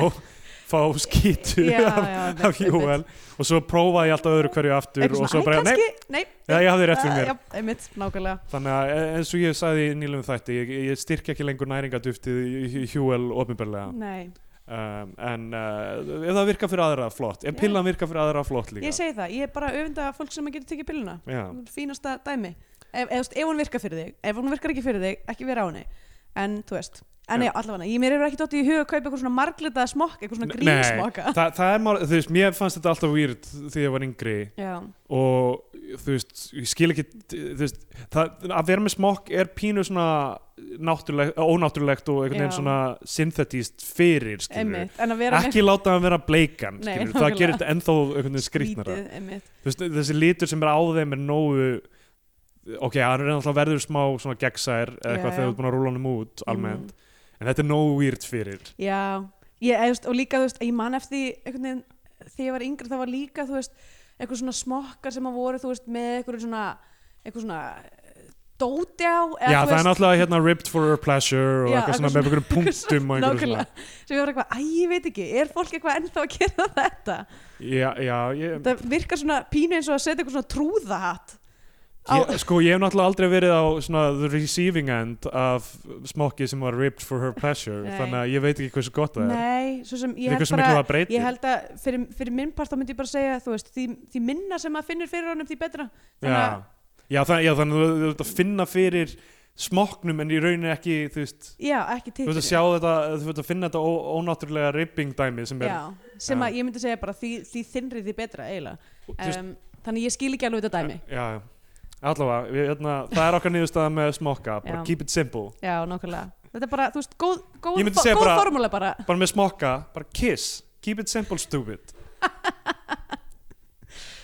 [SPEAKER 3] fá skítu
[SPEAKER 2] Já,
[SPEAKER 3] af,
[SPEAKER 2] já, einmitt,
[SPEAKER 3] af Júel og svo prófaði ég alltaf öðru hverju aftur
[SPEAKER 2] Eitthvað
[SPEAKER 3] og svo
[SPEAKER 2] svona, æ,
[SPEAKER 3] bara,
[SPEAKER 2] kannski, nei,
[SPEAKER 3] já, ég hafði rétt fyrir
[SPEAKER 2] eh,
[SPEAKER 3] mér
[SPEAKER 2] já, einmitt, nákvæmlega.
[SPEAKER 3] þannig að e- eins og ég sagði í nýlum þætti ég, ég styrk ekki lengur næringaduftið í Hjúel ofinbarlega
[SPEAKER 2] Nei.
[SPEAKER 3] um, en uh, ef það virkar fyrir aðra flott, ef
[SPEAKER 2] Já.
[SPEAKER 3] pillan virkar fyrir aðra flott líka
[SPEAKER 2] Ég segi það, ég er bara öfunda af fólk sem að getur tekið pilluna
[SPEAKER 3] Já,
[SPEAKER 2] Það er Fínasta dæmi ef, ef, þú veist, ef hún virkar fyrir þig, ef hún virkar ekki fyrir þig ekki vera á henni, en þú veist En
[SPEAKER 3] Já.
[SPEAKER 2] já, allavega, ég mér hefur ekki dottið í huga að kaupa eitthvað svona marglita smokk, eitthvað svona
[SPEAKER 3] Nei,
[SPEAKER 2] grínsmokka
[SPEAKER 3] það, það er mál, þú veist, mér fannst þetta alltaf weird þegar ég var yngri
[SPEAKER 2] Já,
[SPEAKER 3] og þú veist, ég skil ekki þú veist, það, að vera með smokk er pínu svona náttúrulegt, ónáttúrulegt og einhvern veginn
[SPEAKER 2] Já.
[SPEAKER 3] svona synthetíst fyrir, skilur
[SPEAKER 2] einmitt En að vera
[SPEAKER 3] ekki láta hann vera bleikan,
[SPEAKER 2] Nei,
[SPEAKER 3] skilur
[SPEAKER 2] nákvæmlega.
[SPEAKER 3] það gerir þetta ennþá einhvern veginn skrýtnara
[SPEAKER 2] skrítið, einmitt
[SPEAKER 3] Þú veist, þessi litur sem er á þeim er nógu ok, hann er náttúrulega verður smá svona gegnsær
[SPEAKER 2] Já,
[SPEAKER 3] eða eitthvað
[SPEAKER 2] já. Mhm.
[SPEAKER 3] þegar þú ert búin að rúla hann út almennt, en þetta er nógu weird fyrir
[SPEAKER 2] Mm, Já, ég, eða, þú veist, og líka þú veist, ég man eftir því, einhvern veginn, þegar ég var yngri það var líka, þú veist, eitthvað svona smokkar sem að voru, þú veist, með eitthvað svona eitthvað svona eh, dóti á eða, þú
[SPEAKER 3] já, það er
[SPEAKER 2] veist,
[SPEAKER 3] náttúrulega hérna ripped for her pleasure og
[SPEAKER 2] Já,
[SPEAKER 3] eitthvað
[SPEAKER 2] eitthvað
[SPEAKER 3] svona með einhverjum punktum og einhverju svona
[SPEAKER 2] Nákvæmlega, sem ég var eitthvað, æ, ég veit ekki, er fólk eitthvað ennþá að gera þetta?
[SPEAKER 3] já, já, ég,
[SPEAKER 2] Það virkar svona pínu eins og að setja eitthvað svona trúðahatt.
[SPEAKER 3] Ég, sko, ég hef náttúrulega aldrei verið á svona the receiving end af smokki sem var ripped for her pleasure
[SPEAKER 2] Nei.
[SPEAKER 3] þannig að ég veit ekki hversu gott það er
[SPEAKER 2] Nei, svo sem
[SPEAKER 3] Þetta
[SPEAKER 2] ég
[SPEAKER 3] er
[SPEAKER 2] held
[SPEAKER 3] hversu miklu
[SPEAKER 2] bara,
[SPEAKER 3] það breytir
[SPEAKER 2] ég held að fyrir, fyrir minn part þá myndi ég bara segja, þú veist, því, því minna sem maður finnur fyrir honum, því betra.
[SPEAKER 3] já. Já, það, já, þannig að þú- þú ert að finna fyrir smokknum en í rauninni ekki þú veist,
[SPEAKER 2] Já, ekki
[SPEAKER 3] þú
[SPEAKER 2] tittur.
[SPEAKER 3] ert að sjá þetta þú ert að finna þetta ó- ónáttúrulega ripping dæmi sem er,
[SPEAKER 2] Já, sem
[SPEAKER 3] Já.
[SPEAKER 2] að ég myndi segja bara því, því þinnri því betra eiginlega.
[SPEAKER 3] þú veist, eh,
[SPEAKER 2] Um, þannig ég skil ekki alveg þetta dæmi.
[SPEAKER 3] já, já. allavega, við, hérna, það er okkar niðurstaða með smokka, bara
[SPEAKER 2] Já.
[SPEAKER 3] keep it simple
[SPEAKER 2] já, nákvæmlega þetta er bara, þú veist, góð, góð,
[SPEAKER 3] Ég myndi
[SPEAKER 2] fo-
[SPEAKER 3] segja
[SPEAKER 2] góð
[SPEAKER 3] bara-
[SPEAKER 2] formúla bara
[SPEAKER 3] bara með smokka, bara kiss keep it simple stupid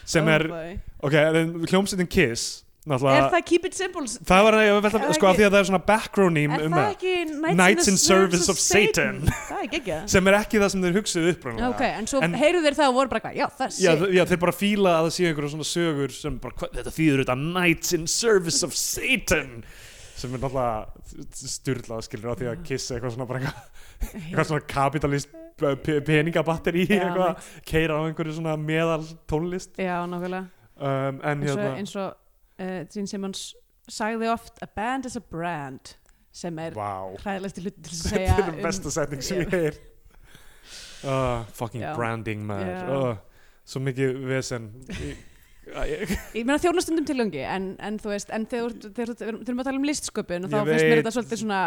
[SPEAKER 3] sem er,
[SPEAKER 2] Oh boy.
[SPEAKER 3] ok, en hljómsveitin kiss
[SPEAKER 2] er
[SPEAKER 3] náttúrulega,
[SPEAKER 2] það keep it simple s-
[SPEAKER 3] það var að ég velta,
[SPEAKER 2] Er það
[SPEAKER 3] sko, af
[SPEAKER 2] ekki-
[SPEAKER 3] því að það er svona backronym
[SPEAKER 2] er
[SPEAKER 3] um
[SPEAKER 2] það
[SPEAKER 3] það,
[SPEAKER 2] ekki Knights,
[SPEAKER 3] Knights
[SPEAKER 2] in the
[SPEAKER 3] in Service of Satan.
[SPEAKER 2] það er ekki ekki
[SPEAKER 3] sem er ekki það sem þeir hugsuðu upprunalega
[SPEAKER 2] ok, en svo
[SPEAKER 3] En-
[SPEAKER 2] heyrðu þeir það og voru bara eitthvað, já, það
[SPEAKER 3] Já,
[SPEAKER 2] er
[SPEAKER 3] þ- já, þeir bara fíla að það séu einhverja svona sögur sem bara, hva, þetta þýður þetta Knights in Service of Satan sem er náttúrulega styrlað skilur á því að Kiss er eitthvað svona bara eitthvað, eitthvað svona kapitalist p- p- peningabatteri
[SPEAKER 2] Já,
[SPEAKER 3] eitthvað keira á einhverju svona meðal tónlist
[SPEAKER 2] já, nákvæmlega
[SPEAKER 3] um, en
[SPEAKER 2] eins og,
[SPEAKER 3] hérna,
[SPEAKER 2] eins og uh, Gene Simmons sagði oft a band is a brand sem er
[SPEAKER 3] vá
[SPEAKER 2] hræðilegst hluti til að segja um-
[SPEAKER 3] þetta er besta setning sem ég heyr uh, fucking
[SPEAKER 2] Já.
[SPEAKER 3] branding
[SPEAKER 2] Já.
[SPEAKER 3] maður uh, svo mikið vesen Ég- ég-
[SPEAKER 2] ég meina þjónastundum tilgangi en, en þú veist, en þegar þú- þegar þú- við erum að tala um listsköpun og þá
[SPEAKER 3] Ég
[SPEAKER 2] finnst mér
[SPEAKER 3] veit.
[SPEAKER 2] þetta svolítið svona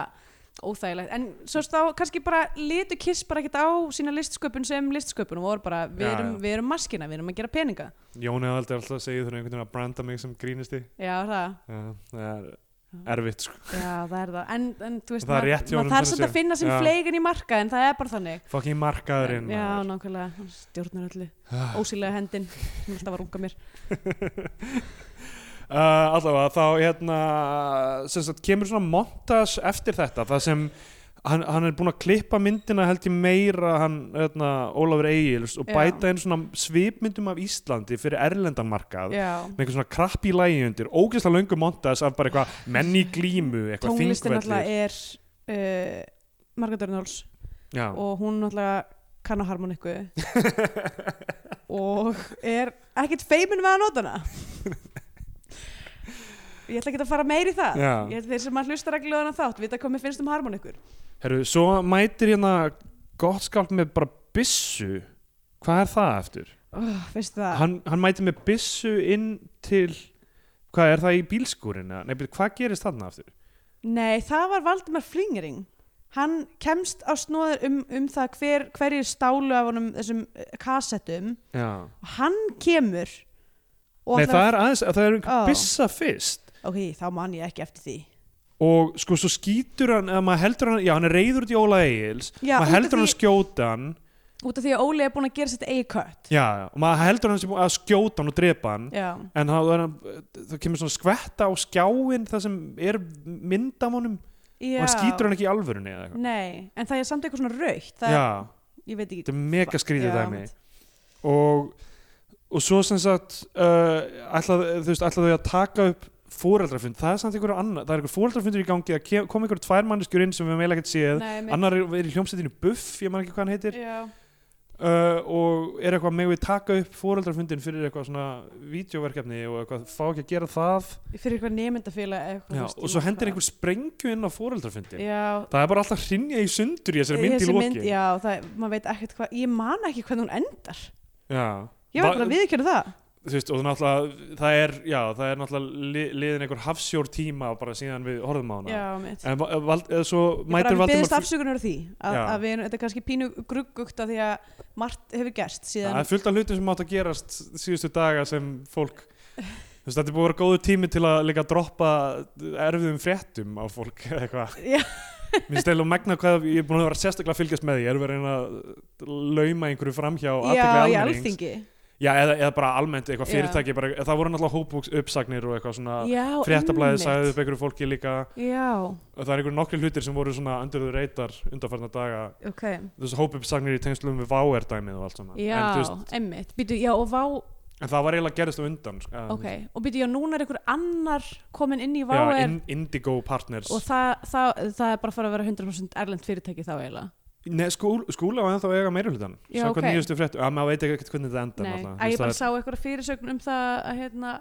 [SPEAKER 2] óþægilegt, en svo þá kannski bara litu kiss bara ekkert á sína listsköpun sem listsköpun og voru bara, við
[SPEAKER 3] Já,
[SPEAKER 2] erum,
[SPEAKER 3] já.
[SPEAKER 2] við erum maskina, við erum að gera peninga
[SPEAKER 3] Jón eða aldrei alltaf að segja þurfa einhvern veginn að branda mig sem grínisti
[SPEAKER 2] já, það,
[SPEAKER 3] Já, það er erfitt sko.
[SPEAKER 2] já, það er það en, en þú veist,
[SPEAKER 3] Það er rétt hjá honum
[SPEAKER 2] maður þarf
[SPEAKER 3] fyrir
[SPEAKER 2] samt
[SPEAKER 3] sér.
[SPEAKER 2] að finna sem
[SPEAKER 3] Já.
[SPEAKER 2] fleigan í marka en það er bara þannig
[SPEAKER 3] Fucking markaðurinn
[SPEAKER 2] já,
[SPEAKER 3] maður.
[SPEAKER 2] nákvæmlega, hann stjórnar öllu
[SPEAKER 3] Ah.
[SPEAKER 2] ósýlega hendin, sem alltaf var runga mér
[SPEAKER 3] uh, Allavega þá hérna sem sagt, kemur svona montas eftir þetta það sem hann, hann er búinn að klippa myndina held ég meira hann hérna, Ólafur Egil's og
[SPEAKER 2] Já.
[SPEAKER 3] bæta einn svona svipmyndum af Íslandi fyrir erlendan markað
[SPEAKER 2] já,
[SPEAKER 3] með einhver svona krappi lægi undir ógeðslega löngu montas af bara eitthvað menni glímu eitthvað
[SPEAKER 2] tónlistin alltaf
[SPEAKER 3] þingvellir
[SPEAKER 2] er uh, Marga Dörnóls
[SPEAKER 3] Já.
[SPEAKER 2] og hún náttúrulega kann á harmoniku og er ekkert feimin með að nota hana ég ætla ekki að fara meir í það
[SPEAKER 3] Já.
[SPEAKER 2] ég, þeir sem að hlusta reglulega þátt vita hvað mér finnst um harmonikur
[SPEAKER 3] Herru, svo mætir hérna gott skált með bara byssu hvað er það eftir?
[SPEAKER 2] oh, finnst það
[SPEAKER 3] Hann, hann mætir með byssu inn til hvað er það í bílskúrinu? Nei, byrju, hvað gerist þarna eftir?
[SPEAKER 2] Nei, það var Valdimar Flingering hann kemst á snóður um, um það hver, hverjir stálu af honum þessum eh, kassettum
[SPEAKER 3] Já.
[SPEAKER 2] og hann kemur og
[SPEAKER 3] Nei,
[SPEAKER 2] ætlar
[SPEAKER 3] það
[SPEAKER 2] að-
[SPEAKER 3] er aðeins, það er einhver
[SPEAKER 2] Ó.
[SPEAKER 3] byssa fyrst
[SPEAKER 2] ok, þá man ég ekki eftir því
[SPEAKER 3] og sko, svo skýtur hann eða maður heldur hann, já, hann er reyður út í Óla Egils
[SPEAKER 2] Já, út
[SPEAKER 3] maður
[SPEAKER 2] af
[SPEAKER 3] heldur hann
[SPEAKER 2] því-
[SPEAKER 3] að skjóta hann
[SPEAKER 2] út af því að Óli er búin að gera sitt eigi kött
[SPEAKER 3] já, já, og maður heldur hann sé búinn að skjóta hann og drepa hann
[SPEAKER 2] já,
[SPEAKER 3] en það, er hann- það kemur svona skvetta á skjáin það sem er mynd af honum
[SPEAKER 2] já.
[SPEAKER 3] og hann skýtur hann ekki í alvörunni eða eitthvað
[SPEAKER 2] nei, en það er samt eitthvað svona raukt það,
[SPEAKER 3] Já,
[SPEAKER 2] ég veit
[SPEAKER 3] þetta
[SPEAKER 2] ekki
[SPEAKER 3] er mega skrýðið
[SPEAKER 2] Já,
[SPEAKER 3] dæmi
[SPEAKER 2] einmitt.
[SPEAKER 3] og, og svo sem sagt uh, ætlað, þú veist, ætlaðu að taka upp fóreldrafund, það er samt einhverju annað það er einhver fóreldrafundur í gangi, það ke- kom einhverju tvær manneskjur inn sem við meila ekkert séð
[SPEAKER 2] Nei, einmitt.
[SPEAKER 3] annar er, er í hljómsveitinu Buff, ég man ekki hvað hann heitir
[SPEAKER 2] já,
[SPEAKER 3] uh, og er eitthvað með við taka upp fóreldrafundin fyrir eitthvað svona vídeoverkefni og eitthvað, fá ekki að gera það
[SPEAKER 2] fyrir eitthvað nemyndafélag
[SPEAKER 3] Já, og svo hendir einhver sprengju inn á fóreldrafundin
[SPEAKER 2] já,
[SPEAKER 3] það er bara alltaf hrinja í sundur í þessari mynd í
[SPEAKER 2] þessi mynd,
[SPEAKER 3] lokin
[SPEAKER 2] já, það, maður veit ekkert hvað ég man ekki hvernig hún endar
[SPEAKER 3] Já.
[SPEAKER 2] ég var
[SPEAKER 3] Va-
[SPEAKER 2] bara að viðkjöna það
[SPEAKER 3] þú veist, og náttúrulega það er, já, það er náttúrulega li, liðin einhver hafsjór tíma bara síðan við horfum á hana
[SPEAKER 2] já, mitt
[SPEAKER 3] en va- eh, vald, eða svo
[SPEAKER 2] Ég bara
[SPEAKER 3] mætir
[SPEAKER 2] beðist
[SPEAKER 3] Valdimar
[SPEAKER 2] afsökunar á því að,
[SPEAKER 3] Já.
[SPEAKER 2] að við, erum- þetta er kannski pínu gruggugt af því að margt hefur gerst síðan
[SPEAKER 3] það er fullt af hlutum sem átt að gerast síðustu daga sem fólk þú veist, þetta er búið að vera góðu tími til að líka droppa erfiðum fréttum á fólk eða eitthvað
[SPEAKER 2] Já.
[SPEAKER 3] mér finnst eða magna hvað ég er búin að vera sérstaklega að fylgjast með því ég er verið að reyna að lauma einhverju framhjá
[SPEAKER 2] já,
[SPEAKER 3] athygli
[SPEAKER 2] í
[SPEAKER 3] almennings.
[SPEAKER 2] alþingi
[SPEAKER 3] já, eða, eða bara almennt eitthvað
[SPEAKER 2] Já.
[SPEAKER 3] fyrirtæki bara, það voru náttúrulega hópbúks uppsagnir og eitthvað svona
[SPEAKER 2] já,
[SPEAKER 3] fréttablaðið
[SPEAKER 2] einmitt.
[SPEAKER 3] sagði upp einhverju fólki líka
[SPEAKER 2] já,
[SPEAKER 3] og það er einhverjum nokkri hlutir sem voru svona under the radar undarfarna daga
[SPEAKER 2] ok
[SPEAKER 3] þessu hópuppsagnir í tengslum við váer dæmið og allt saman
[SPEAKER 2] já,
[SPEAKER 3] en, þú veist,
[SPEAKER 2] einmitt, býtu, já og vá
[SPEAKER 3] en það var eiginlega gerist á undan sko, eða,
[SPEAKER 2] ok, og býtu, já, núna er einhver annar komin inn í
[SPEAKER 3] já,
[SPEAKER 2] váer
[SPEAKER 3] in, Indigo Partners
[SPEAKER 2] og það, það, það er bara að fara að vera 100% erlend fyrirtæki þá eiginlega
[SPEAKER 3] Nei, skúl, skúla var ennþá að eiga meira hlutan
[SPEAKER 2] Já,
[SPEAKER 3] samkvæmt
[SPEAKER 2] ok.
[SPEAKER 3] nýjustu fréttum, að maður veit ekkert hvernig þetta endar
[SPEAKER 2] Nei,
[SPEAKER 3] náttúrulega.
[SPEAKER 2] að
[SPEAKER 3] Þú
[SPEAKER 2] ég bara
[SPEAKER 3] veist,
[SPEAKER 2] sá eitthvað fyrirsögn um það að hérna,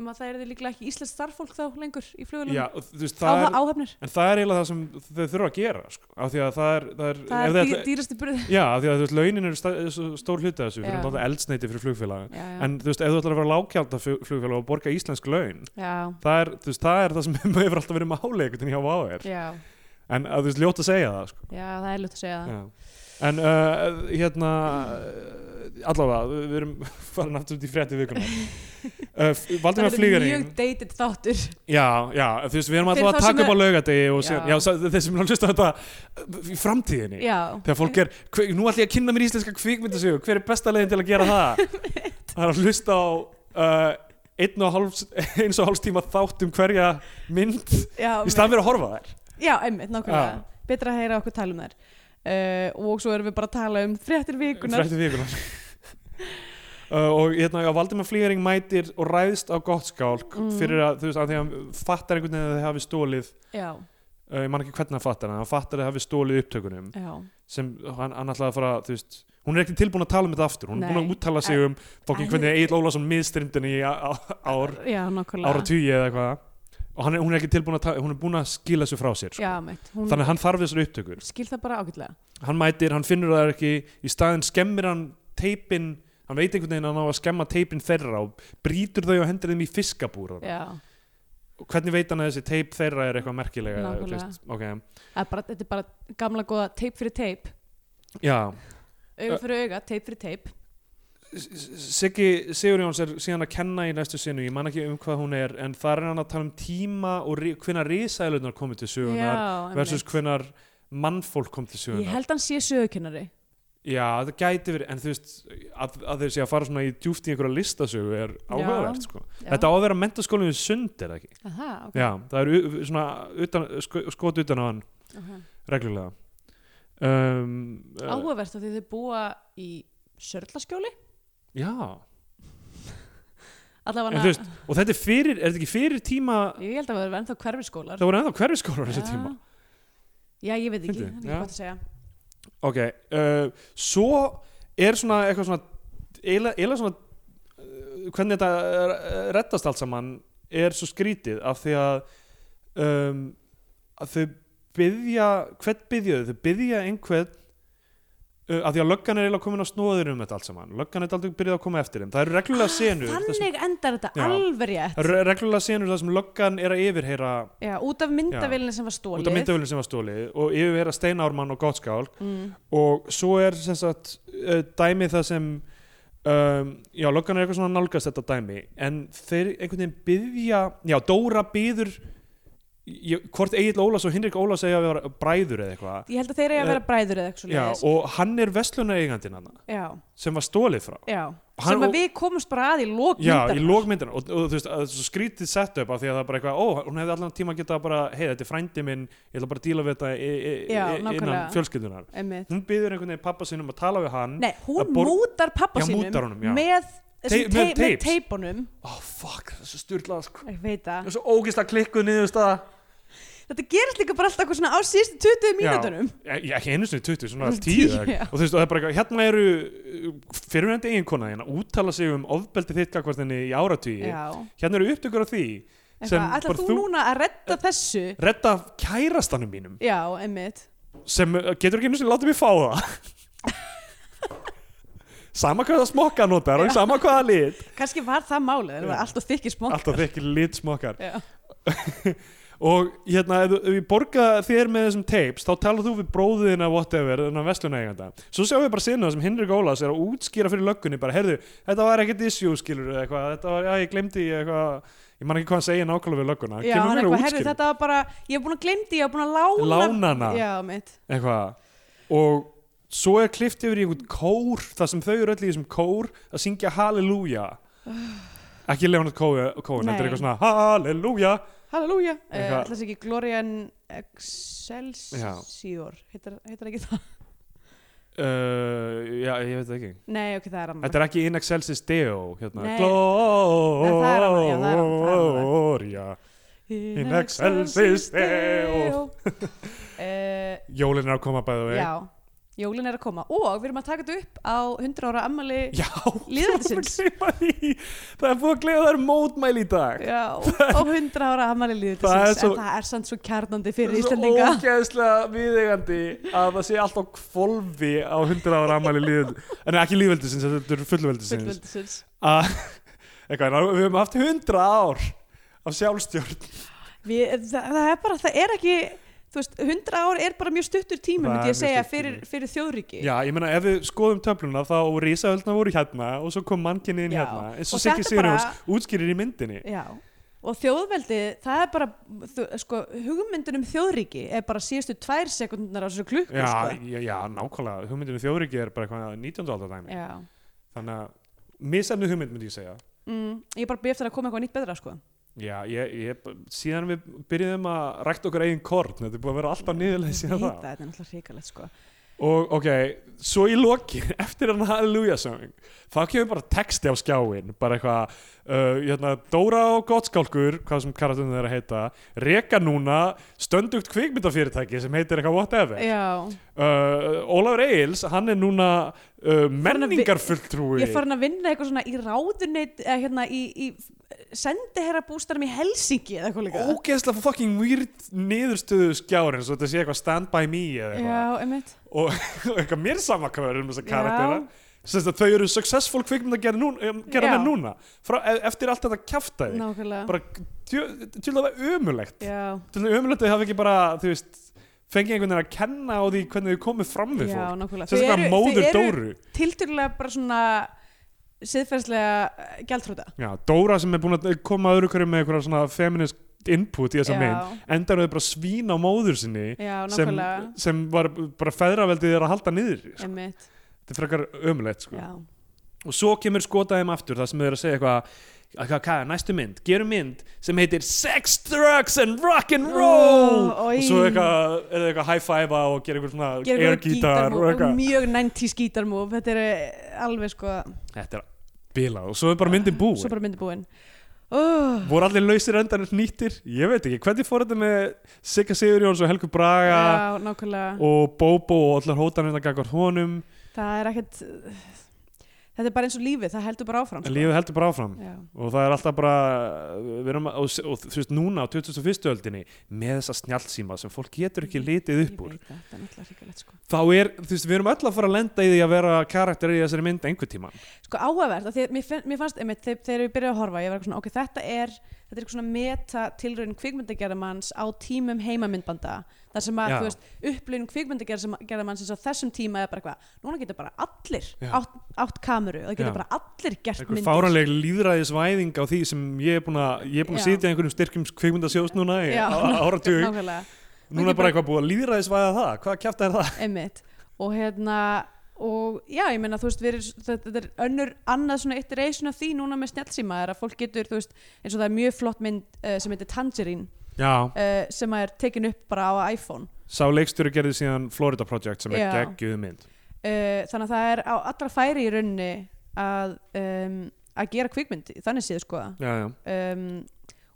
[SPEAKER 2] um að það er líklega ekki íslensk starffólk þá lengur í
[SPEAKER 3] það
[SPEAKER 2] flugulum
[SPEAKER 3] er, já, og þú veist, það er,
[SPEAKER 2] áhafnir,
[SPEAKER 3] en það er eiginlega það sem þau þurfa að gera sko, af því að það er, það er, ef
[SPEAKER 2] það
[SPEAKER 3] þið
[SPEAKER 2] er dý,
[SPEAKER 3] ætla-
[SPEAKER 2] dýrasti burð
[SPEAKER 3] já, af því að þú veist, launin eru sta- svo stór hluti af þessu, fyrir
[SPEAKER 2] Já.
[SPEAKER 3] náttúrulega eldsneiti fyrir flugfélaga
[SPEAKER 2] já, já.
[SPEAKER 3] en þú veist, ef þú ætlar að vera lágkjálta flugfélaga og borga íslensk laun
[SPEAKER 2] já,
[SPEAKER 3] það er, þú veist, það er það sem hefur alltaf verið máli einhvern veginn hjá Váer
[SPEAKER 2] já,
[SPEAKER 3] en að þú veist, ljótt að segja það sko.
[SPEAKER 2] já, það er ljótt að segja það
[SPEAKER 3] Já. en uh, hérna uh, allavega, við- við erum farin aftur út í frétti vikuna uh, Valdimar
[SPEAKER 2] verður
[SPEAKER 3] Flígarinn
[SPEAKER 2] mjög dated þáttur
[SPEAKER 3] já, já, þú veist, við
[SPEAKER 2] Fyrir
[SPEAKER 3] erum alltaf
[SPEAKER 2] þá
[SPEAKER 3] að taka
[SPEAKER 2] sem
[SPEAKER 3] upp á laugadegi og
[SPEAKER 2] Já.
[SPEAKER 3] síðan, já, sá- þeir sem er að hlusta á þetta uh, í framtíðinni
[SPEAKER 2] já,
[SPEAKER 3] þegar fólk er, hver, nú ætlum ég að kynna mér íslenska kvikmyndasögu, hver er besta leiðin til að gera það það er að hlusta á uh, einn og hálfs, eins og hálfs tíma þátt um hverja mynd
[SPEAKER 2] já,
[SPEAKER 3] í staðan fyrir að horfa á þær
[SPEAKER 2] já, einmitt, nákvæmlega
[SPEAKER 3] Já.
[SPEAKER 2] betra að heyra okkur tala um þær uh, og svo erum við bara að tala um fréttir vikunar
[SPEAKER 3] frættu vikunar uh, og hérna, já, Valdimar Flýring mætir og ræðst á gott skálk
[SPEAKER 2] Mm.
[SPEAKER 3] fyrir að, þú veist, að því að hann fattar einhvern veginn að þið hafi stólið
[SPEAKER 2] já,
[SPEAKER 3] uh, ég man ekki hvernig hann fattar, en hann fattar að þið hafi stólið upptökunum
[SPEAKER 2] já,
[SPEAKER 3] sem hann, hann ætlaði að fara, þú veist hún er ekki tilbúin að tala um þetta aftur, hún er
[SPEAKER 2] Nei.
[SPEAKER 3] búin að úttala sig um fokkin
[SPEAKER 2] en-
[SPEAKER 3] hvernig Egil Ólafsson miðstrindin í á- á- ár,
[SPEAKER 2] já, nákvæmlega
[SPEAKER 3] ára tugi eða eitthvað og hann er, hún er ekki tilbúin að tala, hún er búin að skila þessu frá sér, sko.
[SPEAKER 2] já, einmitt, hún
[SPEAKER 3] þannig að hann þarf þessar upptökur
[SPEAKER 2] skil það bara ágætlega
[SPEAKER 3] hann mætir, hann finnur það ekki í staðin skemmir hann teipin hann veit einhvern veginn að hann á að skemma teipin þeirra og brýtur þau og hendur þeim í fiskabúr
[SPEAKER 2] já,
[SPEAKER 3] og hvernig veit hann að þessi teip þeirra er eitthvað merkilega eða, þú
[SPEAKER 2] Nákvæmlega.
[SPEAKER 3] veist, okay.
[SPEAKER 2] Það er bara, þetta er bara gamla góða teip fyrir teip
[SPEAKER 3] já,
[SPEAKER 2] auga fyrir auga, teip fyrir teip
[SPEAKER 3] S- S- Siggi Sigurjóns er síðan að kenna í næstu sinu ég man ekki um hvað hún er en þar er hann að tala um tíma og ri- hvenær risælunar komið til sögunar
[SPEAKER 2] já,
[SPEAKER 3] versus
[SPEAKER 2] einmitt.
[SPEAKER 3] hvenær mannfólk kom til
[SPEAKER 2] ég
[SPEAKER 3] sögunar
[SPEAKER 2] held hann sé sögukennari
[SPEAKER 3] já, það gæti verið, en þú veist að, að þeir sé að fara svona í djúft í einhverja listasögu er
[SPEAKER 2] Já.
[SPEAKER 3] áhugavert sko.
[SPEAKER 2] Já.
[SPEAKER 3] Þetta á að vera mentaskólinn við sund er það ekki?
[SPEAKER 2] Aha, ok.
[SPEAKER 3] Já, það er u- svona utan, sko, skot utan á hann
[SPEAKER 2] Aha.
[SPEAKER 3] reglulega um, uh,
[SPEAKER 2] áhugavert af því þau búa í sörlaskjóli
[SPEAKER 3] Já, en
[SPEAKER 2] allavega
[SPEAKER 3] þú veist, og þetta er fyrir, er þetta ekki fyrir tíma,
[SPEAKER 2] ég held að það verður ennþá hverfiskólar
[SPEAKER 3] það voru ennþá hverfiskólar þessu tíma
[SPEAKER 2] já, ég veit ekki,
[SPEAKER 3] Fyndi,
[SPEAKER 2] það er
[SPEAKER 3] já.
[SPEAKER 2] ekki gott að segja
[SPEAKER 3] Ok, uh, svo er svona eitthvað svona eiginlega eiginlega svona uh, hvernig þetta uh, reddast allt saman er svo skrítið af því að, um, að þau byðja, hvern byðjuðu? Þau byðja einhvern uh, af því að löggan er eiginlega komin á snóður um þetta allt saman. Löggan er aldrei byrjað að koma eftir þeim. Það eru reglulega senur. þar sem-
[SPEAKER 2] þannig endar þetta
[SPEAKER 3] Já.
[SPEAKER 2] alveg rétt
[SPEAKER 3] Það eru reglulega senur þar sem löggan er að yfirheyra
[SPEAKER 2] já, út af myndavillinni sem var stólið
[SPEAKER 3] út af myndavölinn sem var stólið og yfirheyra Steinármann og Gottskálk
[SPEAKER 2] mm.
[SPEAKER 3] og svo er sem sagt uh, dæmi það sem um, já, löggan er eitthvað svona að nálgast þetta dæmi en þeir einhvern veginn byðja já, Dóra byður ég, hvort Egil Ólafs og Hinrik Ólafs eiga að vera bræður eða eitthvað
[SPEAKER 2] ég held að þeir eru að vera bræður eða eitthvað
[SPEAKER 3] Eh, já,
[SPEAKER 2] svoleiðis.
[SPEAKER 3] og hann er verslunareigandinn hann
[SPEAKER 2] já,
[SPEAKER 3] sem var stólið frá
[SPEAKER 2] já
[SPEAKER 3] Hann
[SPEAKER 2] sem
[SPEAKER 3] og-
[SPEAKER 2] að við komumst bara að í lók
[SPEAKER 3] Já, í
[SPEAKER 2] myndarinnar.
[SPEAKER 3] lókmyndan og, og þú veist, að það er svo skrítið setup af því að það er bara eitthvað, ó, hún hefði allan tíma að geta bara hei, þetta er frændi minn, ég ætla bara að díla við þetta e, e,
[SPEAKER 2] Já,
[SPEAKER 3] e, innan
[SPEAKER 2] nákvæmlega.
[SPEAKER 3] fjölskyldunar
[SPEAKER 2] Einmitt.
[SPEAKER 3] Hún byður einhvern veginn pappa sínum að tala við hann
[SPEAKER 2] Nei, hún
[SPEAKER 3] Að bor-
[SPEAKER 2] mútar pappa
[SPEAKER 3] Já,
[SPEAKER 2] sínum
[SPEAKER 3] mútar honum, já.
[SPEAKER 2] með
[SPEAKER 3] Tei-
[SPEAKER 2] þessum
[SPEAKER 3] með
[SPEAKER 2] tei- með
[SPEAKER 3] tapes.
[SPEAKER 2] teipunum
[SPEAKER 3] Ó, Oh, fuck, það er svo styrlað sko.
[SPEAKER 2] ég veit
[SPEAKER 3] Það
[SPEAKER 2] það,
[SPEAKER 3] er svo ógist að klikku niður staða
[SPEAKER 2] þetta gerist líka bara alltaf eitthvað svona á síðustu 20 mínútunum
[SPEAKER 3] Ég ekki einu sinni 20, svona
[SPEAKER 2] Svona
[SPEAKER 3] 10
[SPEAKER 2] 10,
[SPEAKER 3] eða-
[SPEAKER 2] já.
[SPEAKER 3] Og þú veist, og það er bara eitthvað, hérna eru fyrirhundi eiginkona þín að úttala sig um ofbeldi þitt gagvart henni í áratugi
[SPEAKER 2] já,
[SPEAKER 3] Hérna eru upptökur á því sem
[SPEAKER 2] eitthvað, ætlar
[SPEAKER 3] bara
[SPEAKER 2] þú, núna að redda þessu
[SPEAKER 3] Redda kærastanum mínum
[SPEAKER 2] já, einmitt
[SPEAKER 3] sem uh, getur ekki einu sinni látið mig fá það Sama hvað það smokka notar og sama hvað það lit
[SPEAKER 2] kannski var það málið, það var alltaf þykki smokk
[SPEAKER 3] Alltaf þekki lit smokkar
[SPEAKER 2] já,
[SPEAKER 3] Og hérna, ef, þú- ef ég borga þér með þessum tapes, þá talar þú við bróðina whatever, þennan vestlunægjanda. Svo sjáum við bara sinna sem Henrik Ólafs er að útskýra fyrir löggunni, bara, heyrðu, þetta var ekkert issue, skilur eða eitthvað, þetta var, já, ég glemdi eitthvað, ég man ekki hvað hann segja nákvæmlega við lögguna.
[SPEAKER 2] já hann eitthvað, herri þetta var bara ég hef búin að glemdi, ég hef búin að lána
[SPEAKER 3] Lána hana.
[SPEAKER 2] já, einmitt,
[SPEAKER 3] Eitthvað. Og svo er klift yfir í einhvern kór, það sem þau eru öll í þessum kór, að syngja Hallelujah. ekki Leonard Cohen, Cohen, þetta er
[SPEAKER 2] Nei.
[SPEAKER 3] eitthvað svona Hallelujah.
[SPEAKER 2] halleluja uh,
[SPEAKER 3] Eitthvað-
[SPEAKER 2] ætlas ekki Glorian Excelsior heitar, heitar ekki það
[SPEAKER 3] Uh, já, ég veit það ekki.
[SPEAKER 2] nei, ok, það er amma
[SPEAKER 3] Þetta er ekki In Excelsis Deo hérna.
[SPEAKER 2] Nei. Nei, það er annað, já, það er annað, það er annað.
[SPEAKER 3] Gloria In excelsis Deo.
[SPEAKER 2] Eh,
[SPEAKER 3] Jólin er að koma bæðu vei
[SPEAKER 2] já, jólin er að koma og við erum að taka þetta upp á 100 ára ammali
[SPEAKER 3] já
[SPEAKER 2] Lýðveldisins.
[SPEAKER 3] það er búið að gleyma því. Það er búið að gleyma þær mótmæli í dag
[SPEAKER 2] já, á 100 ára ammali líðið
[SPEAKER 3] Það er
[SPEAKER 2] en
[SPEAKER 3] svo-
[SPEAKER 2] það er samt svo kjarnandi fyrir
[SPEAKER 3] Það er
[SPEAKER 2] Íslandinga
[SPEAKER 3] svo ógeðslega viðeigandi að það sé alltaf kvolfi á 100 ára ammæli líð en ekki líðveldisins, þetta er fullveldisins
[SPEAKER 2] fullveldisins
[SPEAKER 3] að eitthvað, við höfum haft 100 ár af sjálfstjórn
[SPEAKER 2] Við, það, það er bara, það er ekki þú veist, 100 ár er bara mjög stuttur tími
[SPEAKER 3] Það
[SPEAKER 2] myndi ég
[SPEAKER 3] er mjög
[SPEAKER 2] segja
[SPEAKER 3] stuttur
[SPEAKER 2] fyrir,
[SPEAKER 3] tími.
[SPEAKER 2] fyrir þjóðríki
[SPEAKER 3] Já, ég meina ef við skoðum töfluna þá risaöldna voru hérna og svo kom mannkinniðin
[SPEAKER 2] Já.
[SPEAKER 3] hérna eins
[SPEAKER 2] Og
[SPEAKER 3] og Siggi
[SPEAKER 2] þetta
[SPEAKER 3] Sigurjóns
[SPEAKER 2] bara-
[SPEAKER 3] útskýrir í myndinni
[SPEAKER 2] Já. og þjóðveldi það er bara, þú, sko, hugmyndin um þjóðríki er bara síðustu tvær sekundnar á þessu klukku
[SPEAKER 3] Já,
[SPEAKER 2] sko.
[SPEAKER 3] já, já, nákvæmlega, hugmyndinu þjóðriki er bara eitthvað 19. aldar dæmi
[SPEAKER 2] Já.
[SPEAKER 3] Þannig að misefnu hugmynd myndi ég segja
[SPEAKER 2] Mm, ég bara býð eftir að koma eitthvað nýtt betra sko.
[SPEAKER 3] Já, ég, ég, síðan við byrjuðum að rækta okkar eigin korn Þetta er búið að vera alltaf niðurlega
[SPEAKER 2] Ég
[SPEAKER 3] síðan
[SPEAKER 2] veit
[SPEAKER 3] það
[SPEAKER 2] það, þetta er náttúrulega hrikalegt sko.
[SPEAKER 3] Og ok, svo í lokin, eftir hann Hallelujah song Þá kemur bara texti á skjáin Bara eitthvað, uh, hérna, Dóra og Gottskálkur Hvað sem karatinn þeirra heita Reka núna stöndugt kvikmyndafyrirtæki Sem heitir eitthvað whatever
[SPEAKER 2] Já,
[SPEAKER 3] uh, Ólafur Eils, hann er núna uh, menningarfulltrúi
[SPEAKER 2] ég er farin að vinna eitthvað svona í ráðuneyt eða hérna í, í sendiherra í Helsingi eða eitthvað líka
[SPEAKER 3] ógeðslega fucking weird niðurstöðu skjárin svo þetta sé eitthvað stand by me eða eitthvað
[SPEAKER 2] Já, einmitt
[SPEAKER 3] og og eitthvað mér sama hvað er um þessa
[SPEAKER 2] Já.
[SPEAKER 3] karaktera Sest að þau eru successful kvikmynd að gera, núna, um, gera
[SPEAKER 2] Já.
[SPEAKER 3] með núna Frá, e- eftir allt þetta kjaftaði
[SPEAKER 2] Nákvæmlega
[SPEAKER 3] bara til að það er ömulegt
[SPEAKER 2] Já,
[SPEAKER 3] til að ömulegt að þau hafa ekki bara þú veist, fengið einhvern veginn að kenna á því hvernig þau komið fram við
[SPEAKER 2] já,
[SPEAKER 3] fólk
[SPEAKER 2] nákvæmlega
[SPEAKER 3] Sest eitthvað móður Dóru
[SPEAKER 2] Tildurulega bara svona eh, siðferðslega gjaldrúta
[SPEAKER 3] Já, Dóra sem er búin að koma öðru hverju með einhverja svona feminist input í þessa mynd endar þau bara að svína á móður sinni
[SPEAKER 2] já,
[SPEAKER 3] sem, Sko.
[SPEAKER 2] nákvæmlega
[SPEAKER 3] sem var bara feðraveldið er að halda niður sko.
[SPEAKER 2] Einmitt,
[SPEAKER 3] þetta er frekar ömulegt sko.
[SPEAKER 2] já
[SPEAKER 3] og svo kemur skotaðum aftur það sem þau eru að segja eitthvað eitthvað, hvað, næstu mynd, gerum mynd sem heitir Sex, Drugs and Rock'n'Roll
[SPEAKER 2] Ó, oj.
[SPEAKER 3] og svo eitthvað, er það eitthvað high-five og gera eitthvað svona
[SPEAKER 2] Gerir
[SPEAKER 3] air
[SPEAKER 2] eitthvað
[SPEAKER 3] guitar og
[SPEAKER 2] gítarmúf,
[SPEAKER 3] eitthvað
[SPEAKER 2] Mjög 90s gítarmúf Þetta er eh, alveg sko
[SPEAKER 3] þetta er bilað og svo er bara myndin búin
[SPEAKER 2] Svo bara myndi búin oh,
[SPEAKER 3] voru allir lausir endanir nýttir ég veit ekki, hvernig fór þetta með Sigga Sigurjóns og Helgu Braga
[SPEAKER 2] Já, nákvæmlega
[SPEAKER 3] og Bobo og allar hótanir að gagvar honum
[SPEAKER 2] Það er ekkert Þetta er bara eins og lífið, það heldur bara áfram sko.
[SPEAKER 3] en lífið heldur bara áfram
[SPEAKER 2] Já,
[SPEAKER 3] og það er alltaf bara við erum, að- og, og þú veist núna á 2001. öldinni með þessa snjálfsíma sem fólk getur ekki
[SPEAKER 2] Mm,
[SPEAKER 3] litið
[SPEAKER 2] ég
[SPEAKER 3] upp úr
[SPEAKER 2] veit það, þetta er náttúrulega hrikalegt sko
[SPEAKER 3] þá er, þú veist, við erum öll að fara að lenda í því að vera karakter í þessari mynd einhver tíma
[SPEAKER 2] Sko áhugavert, af því að mér, finn, mér fannst einmitt, þegar, þegar ég byrjaði að horfa, ég var eitthvað svona ok, þetta er, þetta er eitthvað svona meta tilraun kvikmyndagerðamanns á tímum heimamyndbanda þar sem að,
[SPEAKER 3] Já.
[SPEAKER 2] þú veist, upplun kvikmyndagerðamanns eins og þessum tíma er bara eitthvað, núna getur bara allir
[SPEAKER 3] Já.
[SPEAKER 2] átt, átt kameru, það getur
[SPEAKER 3] Já.
[SPEAKER 2] bara allir gert
[SPEAKER 3] einhver
[SPEAKER 2] myndir
[SPEAKER 3] fáranleg líðræðisvæðing á því sem ég er búin að ég er búin að
[SPEAKER 2] Já.
[SPEAKER 3] sitja í einhverjum styrkjum kvikmyndasjós núna í
[SPEAKER 2] Já,
[SPEAKER 3] á- áratug
[SPEAKER 2] nákvæmlega,
[SPEAKER 3] núna er
[SPEAKER 2] bara-
[SPEAKER 3] bara eitthvað búið að líðræðisvæða það hvað kjæft er það?
[SPEAKER 2] einmitt og hérna og já, ég meina, þú veist, við erum, þetta þetta er önnur annað svona iteration af því núna með snjálfsíma er að fólk getur, þú veist, eins og það er mjög flott mynd uh, sem heitir Tangerine
[SPEAKER 3] Já,
[SPEAKER 2] uh, sem að er tekin upp bara á iPhone
[SPEAKER 3] sá leikstjóri gerði síðan Florida Project sem er
[SPEAKER 2] Já.
[SPEAKER 3] geggjuð mynd
[SPEAKER 2] uh, þannig að það er á allra færi í rauninni að, um, að gera kvikmynd þannig séð sko
[SPEAKER 3] Já, já
[SPEAKER 2] um,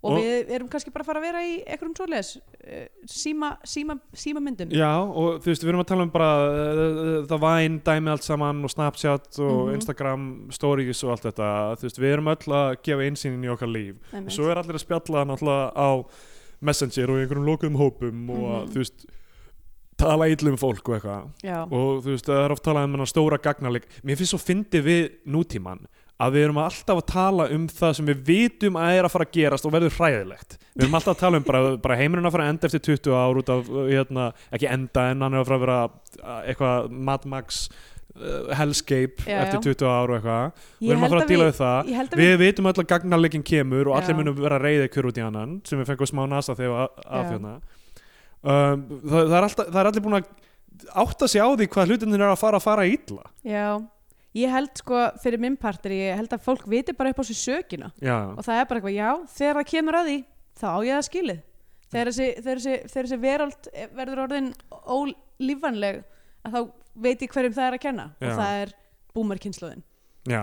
[SPEAKER 2] og,
[SPEAKER 3] Og-
[SPEAKER 2] við erum kannski bara að fara að vera í einhverjum svoleiðis uh, síma, síma, síma myndum
[SPEAKER 3] Já, og þú veist, við erum að tala um bara uh, það væn, dæmi allt saman og Snapchat og
[SPEAKER 2] Mhm.
[SPEAKER 3] Instagram stories og allt þetta, þú veist, við erum öll að gefa einsýnin í okkar líf og svo er allir að spjalla náttúrulega á Messenger og í einhverjum lokuðum hópum og að,
[SPEAKER 2] Mhm.
[SPEAKER 3] þú veist tala illum fólk og eitthvað
[SPEAKER 2] já,
[SPEAKER 3] og þú veist, það er oft talað um hennar stóra gagnalik mér finnst svo fyndi við nútíman að við erum alltaf að tala um það sem við vitum að er að fara að gerast og verður hræðilegt við erum alltaf að tala um bara, bara heimurinn að fara að enda eftir 20 ár út af, uh, hérna, ekki enda en hann er að fara að vera uh, eitthvað Mad Max uh, Hellscape
[SPEAKER 2] Já, já.
[SPEAKER 3] eftir 20 ár og eitthvað við
[SPEAKER 2] ég
[SPEAKER 3] erum
[SPEAKER 2] held
[SPEAKER 3] að
[SPEAKER 2] að
[SPEAKER 3] fara að díla
[SPEAKER 2] við
[SPEAKER 3] við það
[SPEAKER 2] ég held að
[SPEAKER 3] Við vitum öll að gagnarleikin kemur og allir
[SPEAKER 2] Já.
[SPEAKER 3] munum vera reyðið hver út í annan sem við fengum smá nasa þegar að- að
[SPEAKER 2] Já.
[SPEAKER 3] þjóna um, það, það, er alltaf, það er allir búin að átta sig á því hvað hlutinir er að fara að fara ítla
[SPEAKER 2] Já, ég held sko fyrir minn partur, ég held að fólk viti bara upp á sér sökina
[SPEAKER 3] Já,
[SPEAKER 2] og það er bara eitthvað, já, þegar það kemur að því þá á ég það skilið þegar þessi, þegar þessi, þegar þessi verald verður orðin ólífanleg að þá veit ég hverjum það er að kenna
[SPEAKER 3] Já.
[SPEAKER 2] og það er búmarkynnslóðin
[SPEAKER 3] já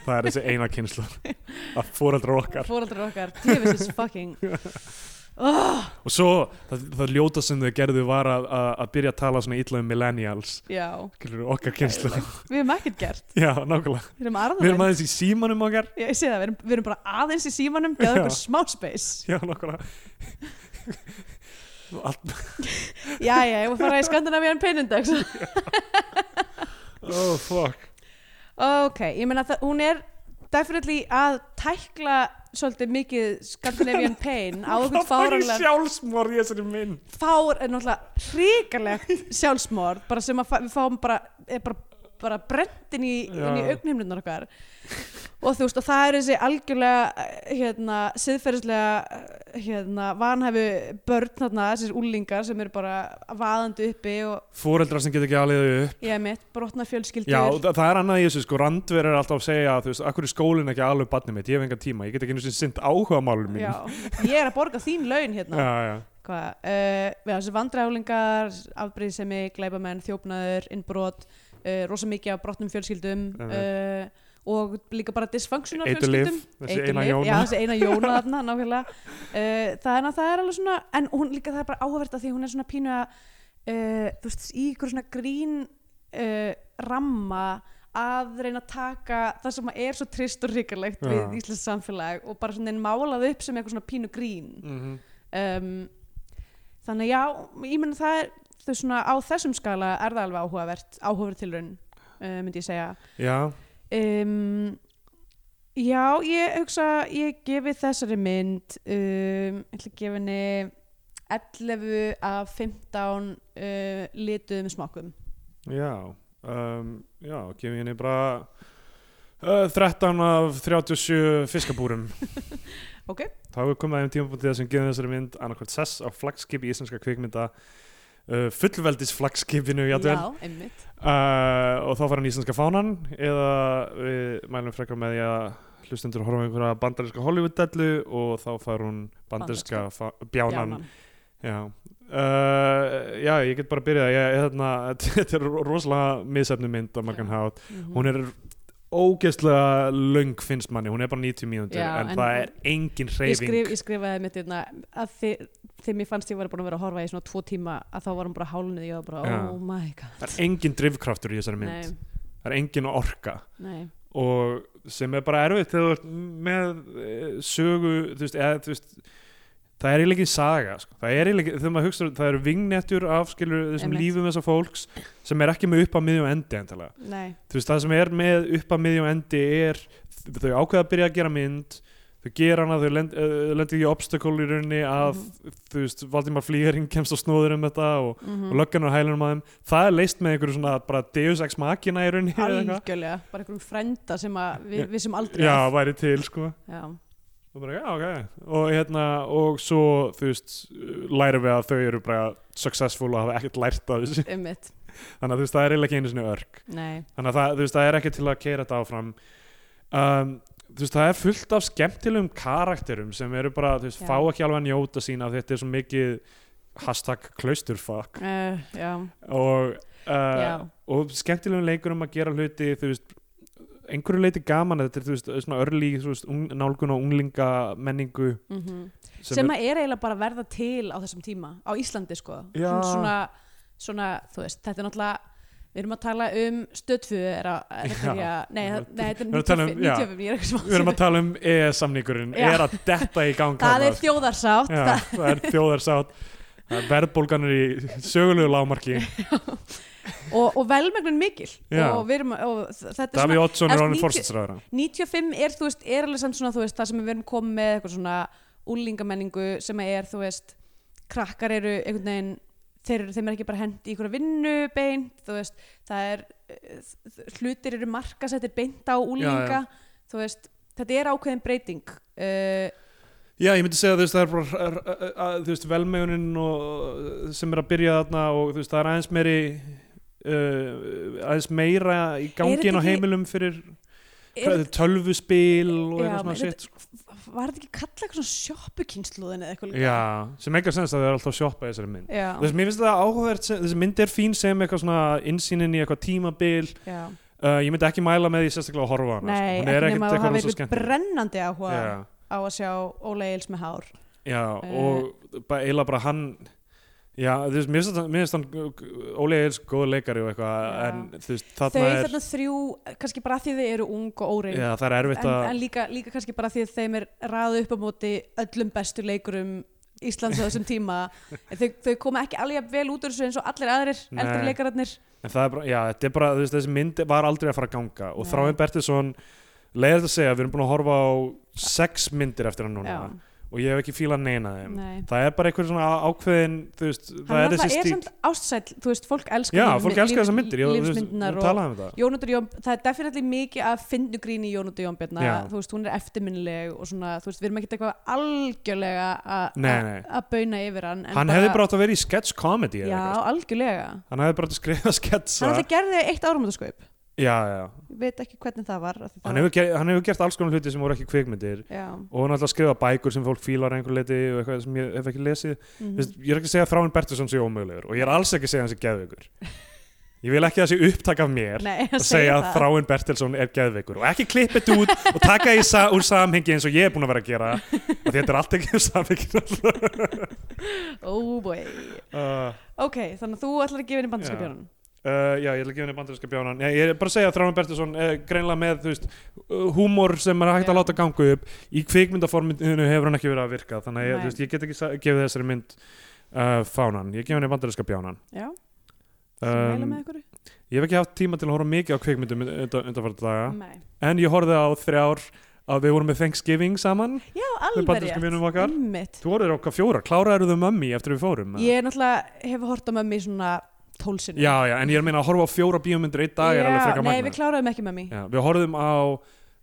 [SPEAKER 3] það er þessi eina kynslu að fóreldra okkar
[SPEAKER 2] fóraldrar okkar, djöfis is fucking oh,
[SPEAKER 3] og svo það, það ljóta sem þau gerðu var að, að, að byrja að tala svona ítla um millennials
[SPEAKER 2] já,
[SPEAKER 3] skilur okkar kynslu
[SPEAKER 2] við erum ekkert gert
[SPEAKER 3] Já, nákvæmlega,
[SPEAKER 2] við erum
[SPEAKER 3] við erum
[SPEAKER 2] aðeins
[SPEAKER 3] aðeins í símanum okkar
[SPEAKER 2] ég, ég sé það, við erum, við erum bara aðeins í símanum geða
[SPEAKER 3] Já.
[SPEAKER 2] okkur smá space
[SPEAKER 3] Já, nákvæmlega Allt
[SPEAKER 2] já, já, ég var fara í Skandinavian Penindex
[SPEAKER 3] Oh, fuck
[SPEAKER 2] Ok, ég meina að hún er definitely að tækla svolítið mikið Scandinavian pain á einhvern fáranlega
[SPEAKER 3] sjálfsmór í þessari mynd
[SPEAKER 2] fár er náttúrulega hrikalegt sjálfsmorð bara sem að fá- við fáum bara, er bara, bara brentin í, inn í
[SPEAKER 3] Já.
[SPEAKER 2] augnheimlunar okkar og þú veist og það er þessi algjörlega eh, hérna, siðferðislega eh, hérna, vanhæfu börn þarna, þessir úlingar sem eru bara vaðandi uppi og
[SPEAKER 3] Fóreldrar sem get ekki alið þau upp
[SPEAKER 2] ég er mitt brotna fjölskyldur
[SPEAKER 3] Já, þa það er annað í þessu sko, randver er alltaf að segja þú veist, akkur er skólinn ekki alveg barnið mitt, ég hef engan tíma, ég get ekki einu sinni sinnt áhuga málum mín.
[SPEAKER 2] Já, ég er að borga þín laun hérna
[SPEAKER 3] já, já.
[SPEAKER 2] hvað, uh, við þessi vandræðulingar afbrýðisemi, glæbamenn, þjófnaður innbrot, uh, rosa mikið af brotnum fjölskyldum uh, og líka bara dysfunctional
[SPEAKER 3] Eiturlyf,
[SPEAKER 2] fjölskyldum
[SPEAKER 3] þessi
[SPEAKER 2] Eiturlyf,
[SPEAKER 3] eina Jóna.
[SPEAKER 2] já, þessi eina jóna þarna, nákvæmlega uh, það, er, að- það er alveg svona, en hún líka það er bara áhverð að því hún er svona pínu að uh, þú veist, í ykkur svona grín uh, ramma að reyna að taka það sem er svo trist og ríkarlegt
[SPEAKER 3] Já.
[SPEAKER 2] við íslensk samfélag og bara svona málað upp sem eitthvað svona pínu grín
[SPEAKER 3] Mhm.
[SPEAKER 2] um, þannig að já, ég menn það er þau svona á þessum skala er það alveg áhugavert áhugavert tilraun, uh, myndi ég segja
[SPEAKER 3] já,
[SPEAKER 2] um, já, ég hugsa ég gefi þessari mynd um, ég ætla að gefa henni 11 af 15 uh, litum smákum
[SPEAKER 3] já, um, já, gefið henni bara uh, 13 af 37 fiskabúrum.
[SPEAKER 2] ok,
[SPEAKER 3] Þá hefur komið að þeim tímapunktið sem gefið þessari mynd annarkvæmt sess á flagskip í íslenska kvikmynda uh, fullveldis flagskipinu játvel.
[SPEAKER 2] já, einmitt
[SPEAKER 3] uh, og þá fara hann í íslenska fánan eða við mælum frekar með því að hlustendur horfa á einhverja bandarinska Hollywood-dellu og þá fara hún bandarinska fa- bjánan
[SPEAKER 2] Bjánan.
[SPEAKER 3] já. Uh, já, ég get bara að byrja ég, ég, þarna, þetta er ro- rosalega misefnu mynd á margan
[SPEAKER 2] Já.
[SPEAKER 3] hátt
[SPEAKER 2] Mhm.
[SPEAKER 3] hún er ógeðslega löng finnst manni, hún er bara 90 mínútur
[SPEAKER 2] Já,
[SPEAKER 3] en,
[SPEAKER 2] en-
[SPEAKER 3] það er engin
[SPEAKER 2] Ég,
[SPEAKER 3] hreyfing
[SPEAKER 2] skrif, ég skrifaði mitt hérna að þi, þegar mér fannst ég var búin að vera að horfa í svona tvo tíma að þá var hún bara hálunni ég var bara
[SPEAKER 3] Já.
[SPEAKER 2] oh my god
[SPEAKER 3] það er engin drifkraftur í þessari mynd
[SPEAKER 2] nei,
[SPEAKER 3] það er engin orka
[SPEAKER 2] nei,
[SPEAKER 3] og sem er bara erfitt þegar þú ert með eh, sögu þú veist, eða, þú veist það er eiginlega ekki saga sko. það er eiginlega, ekki- þegar maður hugsa, það eru vingnetjur af skilur þessum
[SPEAKER 2] Einmitt.
[SPEAKER 3] lífum þessar fólks sem er ekki með upp að miðjum endi endalega
[SPEAKER 2] nei.
[SPEAKER 3] þú veist, það sem er með upp að miðjum endi er þau ákveða að byrja að gera mynd þau gera hana, þau lend- eh, lendir lend í obstacle í rauninni að þú veist, Valdimar Flýgaring kemst á snóður um þetta og,
[SPEAKER 2] Mhm.
[SPEAKER 3] og löggan á hælunum að þeim það er leist með einhverju svona bara deus ex machina í rauninni eða eitthvað.
[SPEAKER 2] algjörlega, bara einhverjum frenda sem að við, við sem aldrei
[SPEAKER 3] já,
[SPEAKER 2] að.
[SPEAKER 3] væri til sko
[SPEAKER 2] Já.
[SPEAKER 3] og bara, já, ok, og hérna og svo, þú veist, lærum við að þau eru bara successful og hafa ekkert lært af þessu,
[SPEAKER 2] Einmitt.
[SPEAKER 3] þannig að þú veist, það er eiginlega ekki einu sinni örg,
[SPEAKER 2] nei,
[SPEAKER 3] þannig að það, þú veist, það er ekki til að keira þetta áfram um, þú veist, það er fullt af skemmtilegum karakterum sem eru bara, þú veist,
[SPEAKER 2] Já.
[SPEAKER 3] fá ekki alveg að njóta sín af þetta er svo mikið hashtag klausturfuck
[SPEAKER 2] uh, já,
[SPEAKER 3] og, uh,
[SPEAKER 2] Já.
[SPEAKER 3] og skemmtilegum leikur um að gera hluti, þú veist einhverju leiti gaman, þetta er þú veist, svona örlí, þú veist, ung, nálgun og unglinga menningu
[SPEAKER 2] mhm
[SPEAKER 3] sem,
[SPEAKER 2] sem,
[SPEAKER 3] er-
[SPEAKER 2] að er eiginlega bara að verða til á þessum tíma á Íslandi sko
[SPEAKER 3] Já.
[SPEAKER 2] svona, svona, svona, þú veist, þetta er náttúrulega við erum að tala um stöðfu er að, er að
[SPEAKER 3] Já.
[SPEAKER 2] byrja, nei, það- nei, þetta
[SPEAKER 3] Við erum að tala um-
[SPEAKER 2] er 95
[SPEAKER 3] já.
[SPEAKER 2] 95, ég er ekki smá
[SPEAKER 3] Við erum að tala um EES-samningurinn,
[SPEAKER 2] Já.
[SPEAKER 3] er að detta í gang
[SPEAKER 2] það
[SPEAKER 3] þarna,
[SPEAKER 2] er þjóðarsátt
[SPEAKER 3] Já, það er þjóðarsátt Það er verðbólgan er í sögulegu lágmarki
[SPEAKER 2] og, og velmegnin mikil
[SPEAKER 3] Já.
[SPEAKER 2] og, við erum, að- og þ- þetta er svona
[SPEAKER 3] Daví Oddsson er
[SPEAKER 2] Ertu
[SPEAKER 3] orðin
[SPEAKER 2] mikið-
[SPEAKER 3] fórsætsræðara
[SPEAKER 2] 95 er, þú veist, er alveg samt svona, þú veist, það sem við erum komið með eitthvað svona úlingamenningu sem er, þú veist, krakkar eru einhvern veginn, þeir eru, þeim er ekki bara hendi í einhverja vinnu beint, þú veist, það er, eh, þ- hlutir eru markasettir beint á úlinga, þú veist, þetta er ákveðin breyting. Uh,
[SPEAKER 3] Já, ég myndi segja þú veist, það er bara r- r- r- að, þú veist, velmegunin og, eh, sem er að byrja þarna og þú veist, það er aðeins meiri uh, aðeins meira í
[SPEAKER 2] Er
[SPEAKER 3] gangi
[SPEAKER 2] þetta
[SPEAKER 3] inn á
[SPEAKER 2] ekki-
[SPEAKER 3] heimilum fyrir
[SPEAKER 2] er,
[SPEAKER 3] er, tölvuspil og
[SPEAKER 2] Já,
[SPEAKER 3] eitthvað svona
[SPEAKER 2] er
[SPEAKER 3] shit sko.
[SPEAKER 2] var þetta ekki kallað eitthvað svona sjoppukynsluðin eða eitthvað? líka?
[SPEAKER 3] Já, sem engar sens að það er alltaf að sjoppa í þessari mynd
[SPEAKER 2] Já,
[SPEAKER 3] Þess, mér finnst það áhugavert, sem- þessi mynd er fín sem eitthvað svona innsýnin í eitthvað tímabil
[SPEAKER 2] já.
[SPEAKER 3] uh, ég myndi ekki mæla með því sérstaklega að horfa á hana
[SPEAKER 2] Nei,
[SPEAKER 3] sko. hún er
[SPEAKER 2] ekki nema
[SPEAKER 3] ekkert
[SPEAKER 2] að hafa
[SPEAKER 3] eitthvað rosa
[SPEAKER 2] verið
[SPEAKER 3] skemmt
[SPEAKER 2] brennandi áhuga
[SPEAKER 3] já,
[SPEAKER 2] á að sjá Óla Eils með hár.
[SPEAKER 3] já
[SPEAKER 2] Eh.
[SPEAKER 3] og bara, eiginlega bara hann já, þú veist, mér finnst hann- mér finnst hann Óli Eils góð leikari og eitthvað
[SPEAKER 2] Já.
[SPEAKER 3] en þú veist, þarna
[SPEAKER 2] þau
[SPEAKER 3] er
[SPEAKER 2] þarna þrjú, eh, kannski bara af því þau eru ung og óreyn
[SPEAKER 3] já, það er
[SPEAKER 2] en,
[SPEAKER 3] erfitt að
[SPEAKER 2] en líka, líka kannski bara af því að þeim er ræðu upp á móti öllum bestu leikurum Íslands á þessum tíma En þau, þau koma ekki alveg jafn vel út úr þessu eins og allir aðrir
[SPEAKER 3] Nei.
[SPEAKER 2] eldri leikararnir
[SPEAKER 3] En það er bara, já, þetta er bara, þú veist, þessi mynd var aldrei að fara að ganga og
[SPEAKER 2] Nei.
[SPEAKER 3] Þráin Bertilsson leiðið að segja, við erum búin að horfa á sex myndir eftir hann núna
[SPEAKER 2] já,
[SPEAKER 3] og ég hef ekki fílað neina af þeim
[SPEAKER 2] nei
[SPEAKER 3] það er bara einhver svona ákveðin þú veist, það
[SPEAKER 2] Hann
[SPEAKER 3] er þessi
[SPEAKER 2] náttúrulega
[SPEAKER 3] stíl
[SPEAKER 2] samt ástsæll, þú veist, fólk elskar
[SPEAKER 3] já,
[SPEAKER 2] líf-
[SPEAKER 3] fólk elskar
[SPEAKER 2] líf-
[SPEAKER 3] þessar myndir ég, þú veist,
[SPEAKER 2] lífsmyndirnar
[SPEAKER 3] og...
[SPEAKER 2] og
[SPEAKER 3] talaði um þetta
[SPEAKER 2] Jónundur Jón, það er definitely mikið að finnu grín í Jónundur Jónbjörna
[SPEAKER 3] Já.
[SPEAKER 2] þú veist, hún er eftirminnileg og svona, þú veist, við erum ekkert eitthvað algjörlega að-
[SPEAKER 3] Nei,
[SPEAKER 2] að
[SPEAKER 3] nei.
[SPEAKER 2] að bauna yfir hann en
[SPEAKER 3] hann hefði bara átt að vera í sketch comedy
[SPEAKER 2] Já,
[SPEAKER 3] eða eitthvað,
[SPEAKER 2] algjörlega
[SPEAKER 3] sko. hann hefði bara átt að skrifa sketsa
[SPEAKER 2] Hann alltaf gerði eitt áramöndaskaup
[SPEAKER 3] já, já.
[SPEAKER 2] Ég veit ekki hvernig það var af því það
[SPEAKER 3] Hann, hefur ger, hann hefur gert alls konar hluti sem voru ekki kvikmyndir
[SPEAKER 2] var- Já,
[SPEAKER 3] og hann hefði alltaf skrifað bækur sem fólk fílar að einhver leiti og eitthvað sem ég hef ekki lesið
[SPEAKER 2] mhm.
[SPEAKER 3] Þú veist, ég er ekki að segja að Fráin Bertusson sé ómögulegur og ég er alls ekki að segja að hann sé geðveikur ég vil ekki að það sé upptak af mér
[SPEAKER 2] Nei,
[SPEAKER 3] að segja að Fráin Bertelsson er geðveikur og ekki klippa þetta út og taka í sa úr samhengi eins og ég er búin að vera að gera og því þetta er allt ekki um samhengi
[SPEAKER 2] Oh boy
[SPEAKER 3] uh,
[SPEAKER 2] Ok, þannig að þú ætlar að gefa henni
[SPEAKER 3] Já.
[SPEAKER 2] bandaskapjörnum
[SPEAKER 3] Uh, já, ég ætla ekki henni bandarinska bjánan Nei, Ég er bara að segja að Þráin Bertelsson er greinlega með þú veist, uh, húmor sem er hægt
[SPEAKER 2] Já.
[SPEAKER 3] að láta ganga upp í kvikmyndaforminu hefur hann ekki verið að virka þannig að ég,
[SPEAKER 2] Nei.
[SPEAKER 3] þú veist, ég get ekki sa- gefið þessari mynd uh, fánan, ég gef henni bandarinska bjánan
[SPEAKER 2] Já, sem heila
[SPEAKER 3] um,
[SPEAKER 2] með ykkur
[SPEAKER 3] Ég hef ekki haft tíma til að horfa mikið á kvikmyndum undanfært daga
[SPEAKER 2] Nei
[SPEAKER 3] en ég horfði á þrjár að við vorum með Thanksgiving saman
[SPEAKER 2] Já,
[SPEAKER 3] með
[SPEAKER 2] alveg
[SPEAKER 3] bandarinska
[SPEAKER 2] rétt
[SPEAKER 3] vinum okkar
[SPEAKER 2] Einmitt.
[SPEAKER 3] Þú horfðir á okkar fjóra, kláraður þau mömmi eftir við fórum? eða?
[SPEAKER 2] Ég er náttúrulega hef hort á mömmi svona tólsinu
[SPEAKER 3] Já, já, en ég er að meina að horfa á fjóra bíómyndir einn dag er alveg frekar
[SPEAKER 2] Nei,
[SPEAKER 3] magnað.
[SPEAKER 2] við kláraðum ekki mömmi
[SPEAKER 3] Já, við horfðum á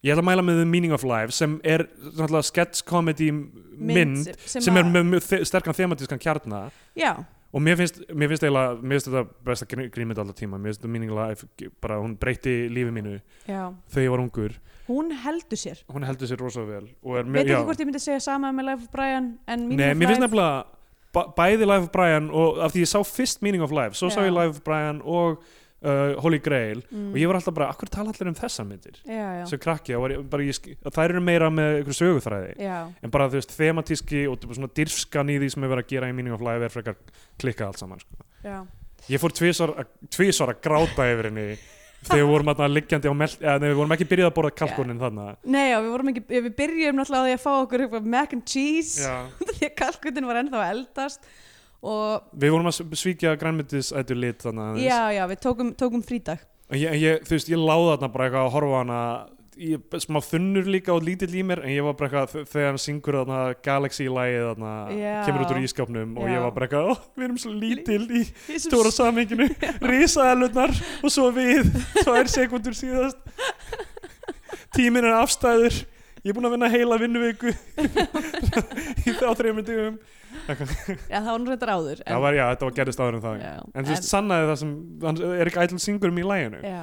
[SPEAKER 3] ég ætla að mæla með The Meaning of Life sem er náttúrulega sketch comedy mynd sem,
[SPEAKER 2] sem,
[SPEAKER 3] er með mjög þe- sterkan thematískan kjarna
[SPEAKER 2] Já,
[SPEAKER 3] og mér finnst, mér finnst eiginlega mér finnst þetta besta grí- grínmynd alltaf tíma mér finnst The Meaning of Life, g- bara hún breyti lífi mínu
[SPEAKER 2] já
[SPEAKER 3] þegar ég var ungur
[SPEAKER 2] Hún heldur sér
[SPEAKER 3] hún heldur sér rosa vel og er
[SPEAKER 2] Veit
[SPEAKER 3] mjög,
[SPEAKER 2] ekki hvort ég myndi segja sama með Life of Brian en
[SPEAKER 3] Nei, mér finnst nefnilega ba- bæði Life of Brian og af því ég sá fyrst Meaning of Life, svo sá
[SPEAKER 2] Já.
[SPEAKER 3] ég Life of Brian og uh, Holy Grail
[SPEAKER 2] mm.
[SPEAKER 3] og ég var alltaf bara, akkur tala allir um þessa myndir
[SPEAKER 2] Já, já,
[SPEAKER 3] sem krakki, þá var ég, bara, ég, sk- þær eru meira með ykkur söguþræði
[SPEAKER 2] já
[SPEAKER 3] en bara þú veist thematíski og t- svona dyrfskan í því sem er verið að gera í Meaning of Life er frekar klikka allt saman sko.
[SPEAKER 2] Já,
[SPEAKER 3] ég fór tvisvar að- tvisvar að gráta yfir henni þegar við vorum alltaf liggjandi á meld eða nei, við vorum ekki byrjað að borða kalkunin þarna
[SPEAKER 2] Nei, já, við vorum ekki, við byrjum náttúrulega á því að fá okkur eitthvað mac and cheese
[SPEAKER 3] Já.
[SPEAKER 2] því að kalkutin var ennþá að eldast og
[SPEAKER 3] við vorum að s- svíkja grænmyndis eitthvað lit þarna aðeins.
[SPEAKER 2] já, já, við tókum, tókum frídag
[SPEAKER 3] En ég, en ég, þú veist, ég láði þarna bara eitthvað að horfa á hana ég, er smá þunnur líka og lítill í mér en ég var bara eitthvað, þ- þegar hann syngur þarna Galaxy lagið þarna,
[SPEAKER 2] Já.
[SPEAKER 3] kemur út úr ískapnum og
[SPEAKER 2] Já.
[SPEAKER 3] ég var bara eitthvað, ó, við erum svo lítil í
[SPEAKER 2] Í þessum
[SPEAKER 3] stóra samhenginu, risaðalurnar og svo við, tvær sekundur síðast tíminn er afstæður ég er búin að vinna heila vinnuviku í þá þreymur dugum
[SPEAKER 2] Já, það var nú reyndar áður
[SPEAKER 3] það var, já, þetta var gerðist áður en það
[SPEAKER 2] já,
[SPEAKER 3] en þú veist, sannaði það sem hann, er ekki ætlum syngur um í læginu
[SPEAKER 2] Já,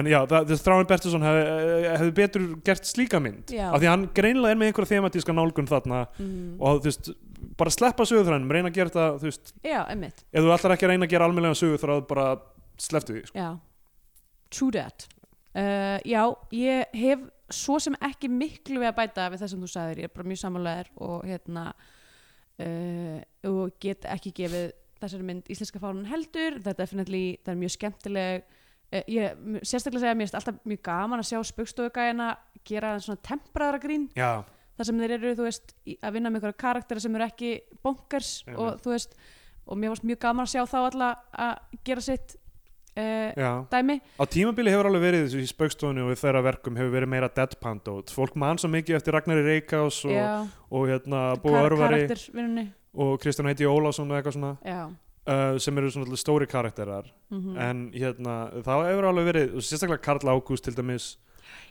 [SPEAKER 3] en já, það, þess Þráin Bertusson hefði hef betur gert slíka mynd
[SPEAKER 2] Já.
[SPEAKER 3] af því að hann greinlega er með einhverja thematíska nálgun þarna
[SPEAKER 2] mm,
[SPEAKER 3] og þú veist, bara sleppa sögurþrænum reyna að gera þetta, þú veist,
[SPEAKER 2] já, emmitt
[SPEAKER 3] ef þú ætlar ekki að reyna að gera almennlega sögurþræð, bara slepptu því sko.
[SPEAKER 2] Já, true that uh, Já, ég hef svo sem ekki miklu við að bæta við það sem þú sagðir, ég er bara mjög samanlegaður og hérna uh, og get ekki gefið þessari mynd íslenska fánan heldur það er definitely, það er mjög skemmtileg uh, ég, m- sérstaklega segja, mér er alltaf mjög gaman að sjá spugstofugæðina gera aðeins svona tempraðara grín
[SPEAKER 3] já,
[SPEAKER 2] þar sem þeir eru, þú veist, í- að vinna með einhverja karaktera sem eru ekki bonkers
[SPEAKER 3] Einmitt.
[SPEAKER 2] og þú veist, og mér varst mjög gaman að sjá þá alla að gera sitt uh,
[SPEAKER 3] já
[SPEAKER 2] dæmi
[SPEAKER 3] á tímabili hefur alveg verið þessu í spaukstofunni og í þeirra verkum hefur verið meira deadpan dót fólk mann svo mikið eftir Ragnari Reykjás og,
[SPEAKER 2] já,
[SPEAKER 3] og hérna Búi
[SPEAKER 2] kar
[SPEAKER 3] Örvari
[SPEAKER 2] karaktervinnunni
[SPEAKER 3] og Kristján Heiti Ólásson og eitthvað svona
[SPEAKER 2] já,
[SPEAKER 3] uh, sem eru svona stóri karakterar
[SPEAKER 2] mm
[SPEAKER 3] en hérna, það hefur alveg verið og sérstaklega Karl Ágúst til dæmis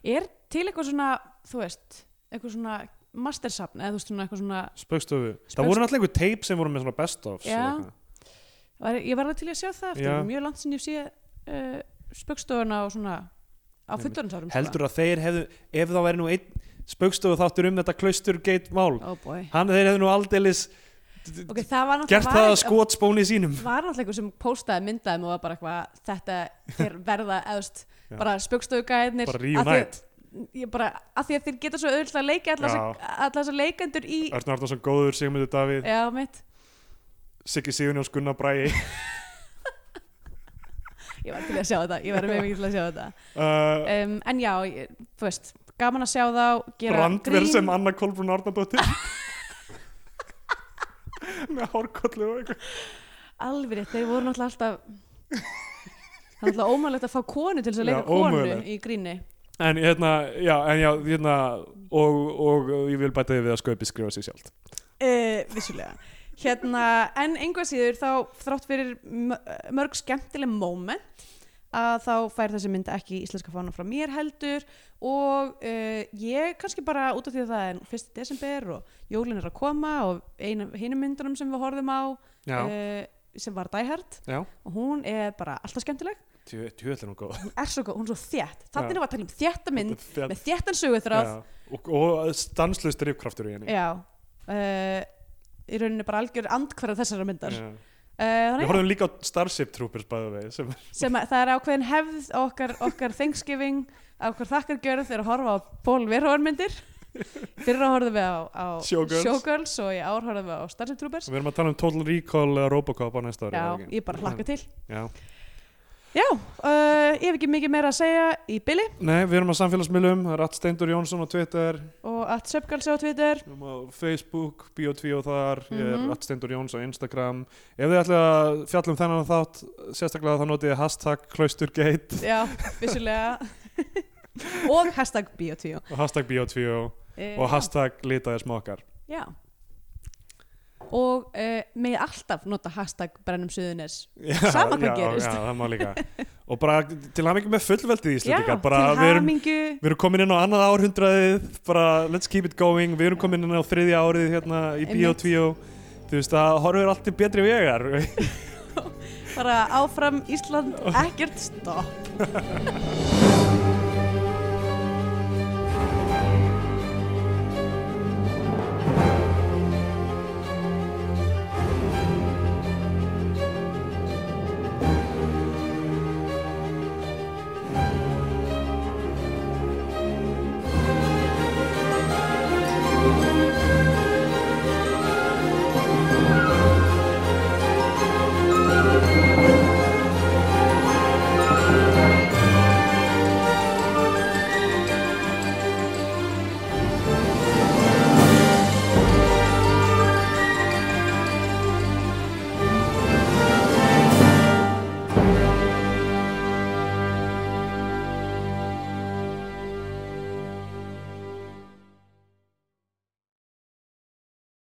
[SPEAKER 2] er til eitthvað svona þú veist, eitthvað svona mastersapn eða þú veist svona eitthvað svona
[SPEAKER 3] Spaukstofu.
[SPEAKER 2] Spaugstofu.
[SPEAKER 3] Það voru náttúrulega einhver tape sem voru með svona best ofs.
[SPEAKER 2] Já.
[SPEAKER 3] og eitthvað.
[SPEAKER 2] var, ég var alveg til í að sjá það eftir,
[SPEAKER 3] Já.
[SPEAKER 2] mjög langt sinni ég sé uh, spöggstofuna og svona á sko.
[SPEAKER 3] Nei,
[SPEAKER 2] fullorðinsárum
[SPEAKER 3] Heldur að þeir hefðu, ef þá væri nú einn spaukstofu þáttur um þetta Klausturgate mál,
[SPEAKER 2] oh boy.
[SPEAKER 3] hann þeir hefðu nú aldeilis
[SPEAKER 2] ok, það var náttúrulega
[SPEAKER 3] gert það að sko-
[SPEAKER 2] var-
[SPEAKER 3] skotspóni sínum.
[SPEAKER 2] var náttúrulega einhver sem póstaði myndaðum og var bara eitthvað þetta þeir verða eðust
[SPEAKER 3] Já.
[SPEAKER 2] bara spöggstofugæðinir
[SPEAKER 3] Bara reunite.
[SPEAKER 2] ég bara, að því að þeir geta svo auðvitað að leika
[SPEAKER 3] Já.
[SPEAKER 2] allar þessar leikendur í Eh.
[SPEAKER 3] Örn Arnarsson góður, Sigmundur Davíð,
[SPEAKER 2] já, mitt
[SPEAKER 3] Siggi Sigurjóns Gunnar Eh, Bræi.
[SPEAKER 2] ég var til að sjá þetta, ég var mjög mikið til að sjá þetta
[SPEAKER 3] Uh,
[SPEAKER 2] um, en já, ég- þú veist gaman að sjá þá, gera
[SPEAKER 3] Brandverð sem Anna Kolbrún Arnardóttir. með hárkollu og eitthvað.
[SPEAKER 2] alveg rétt, þeir voru náttúrulega alltaf það er náttúrulega ómægulegt að fá konu til þess að leika
[SPEAKER 3] Já,
[SPEAKER 2] konu
[SPEAKER 3] ómögulegt.
[SPEAKER 2] í gríni
[SPEAKER 3] en hérna, já, en já, hérna og, og ég vil bæta því við að sköpi skrifa sér sjálft
[SPEAKER 2] uh, vissulega hérna, en einhvað síður þá þrátt fyrir mö- mörg skemmtileg moment að þá fær þessi mynd ekki íslenska fána frá mér heldur og uh, ég kannski bara út af því að það er fyrst í desember og jólin er að koma og einu, hinu myndunum sem við horfðum á
[SPEAKER 3] já,
[SPEAKER 2] uh, sem var Die Hard
[SPEAKER 3] já,
[SPEAKER 2] og hún er bara alltaf skemmtileg
[SPEAKER 3] tjóðlega nú góð
[SPEAKER 2] hún er svo góð, hún er svo þétt
[SPEAKER 3] Já.
[SPEAKER 2] þannig erum við að tala um þétta mynd
[SPEAKER 3] Þetta er
[SPEAKER 2] með þéttan söguþráð
[SPEAKER 3] þjáð. Já, og, og stanslust rifkraftur í henni
[SPEAKER 2] Já uh, Í rauninni bara algjör andkvarð þessara myndar uh,
[SPEAKER 3] Já. Við
[SPEAKER 2] þannig,
[SPEAKER 3] horfum líka á Starship Troopers bæðu vegi sem
[SPEAKER 2] sem að, Það er ákveðin hefð á okkar, okkar Thanksgiving á okkar þakkargjörð er að horfa á Pól Verhoormyndir Fyrra horfðum við á, á
[SPEAKER 3] Showgirls.
[SPEAKER 2] Showgirls og í ár horfðum við á Starship Troopers
[SPEAKER 3] við erum að tala um Total Recall eða Robocop á næsta ári.
[SPEAKER 2] Já,
[SPEAKER 3] er það ekki?
[SPEAKER 2] ég bara hlakka til
[SPEAKER 3] Já.
[SPEAKER 2] Já, uh, ég hef ekki mikið meira að segja í bili
[SPEAKER 3] Nei, við erum á samfélagsmiðlum, það er Ratt Steindur Jónsson á Twitter,
[SPEAKER 2] og að Söpgals á Twitter
[SPEAKER 3] við erum á Facebook, Bio2 og þar, ég er
[SPEAKER 2] Mhm.
[SPEAKER 3] Ratt Steindur Jóns á Instagram. Ef þið ætla að fjalla um þennan þátt, sérstaklega þá notið þið hashtag Klausturgate
[SPEAKER 2] Já, vissulega og hashtag Biotíu
[SPEAKER 3] og hashtag Bio2 og hashtag Litaði smokkar.
[SPEAKER 2] Eh, Já Og uh, með alltaf nota hashtag brennum suðunis
[SPEAKER 3] Já,
[SPEAKER 2] Sama hvað
[SPEAKER 3] já,
[SPEAKER 2] gerist.
[SPEAKER 3] Já, það má líka. og bara til hamingi með fullveldið í Íslandika, bara
[SPEAKER 2] til
[SPEAKER 3] við erum
[SPEAKER 2] hamingju
[SPEAKER 3] Við erum komin inn á annað árhundraðið, bara let's keep it going, við erum komin inn á þriðja árið hérna í
[SPEAKER 2] Einmitt.
[SPEAKER 3] Bíotvíó, þú veist það horfir allt til betri vegar.
[SPEAKER 2] Bara áfram Ísland, ekkert stopp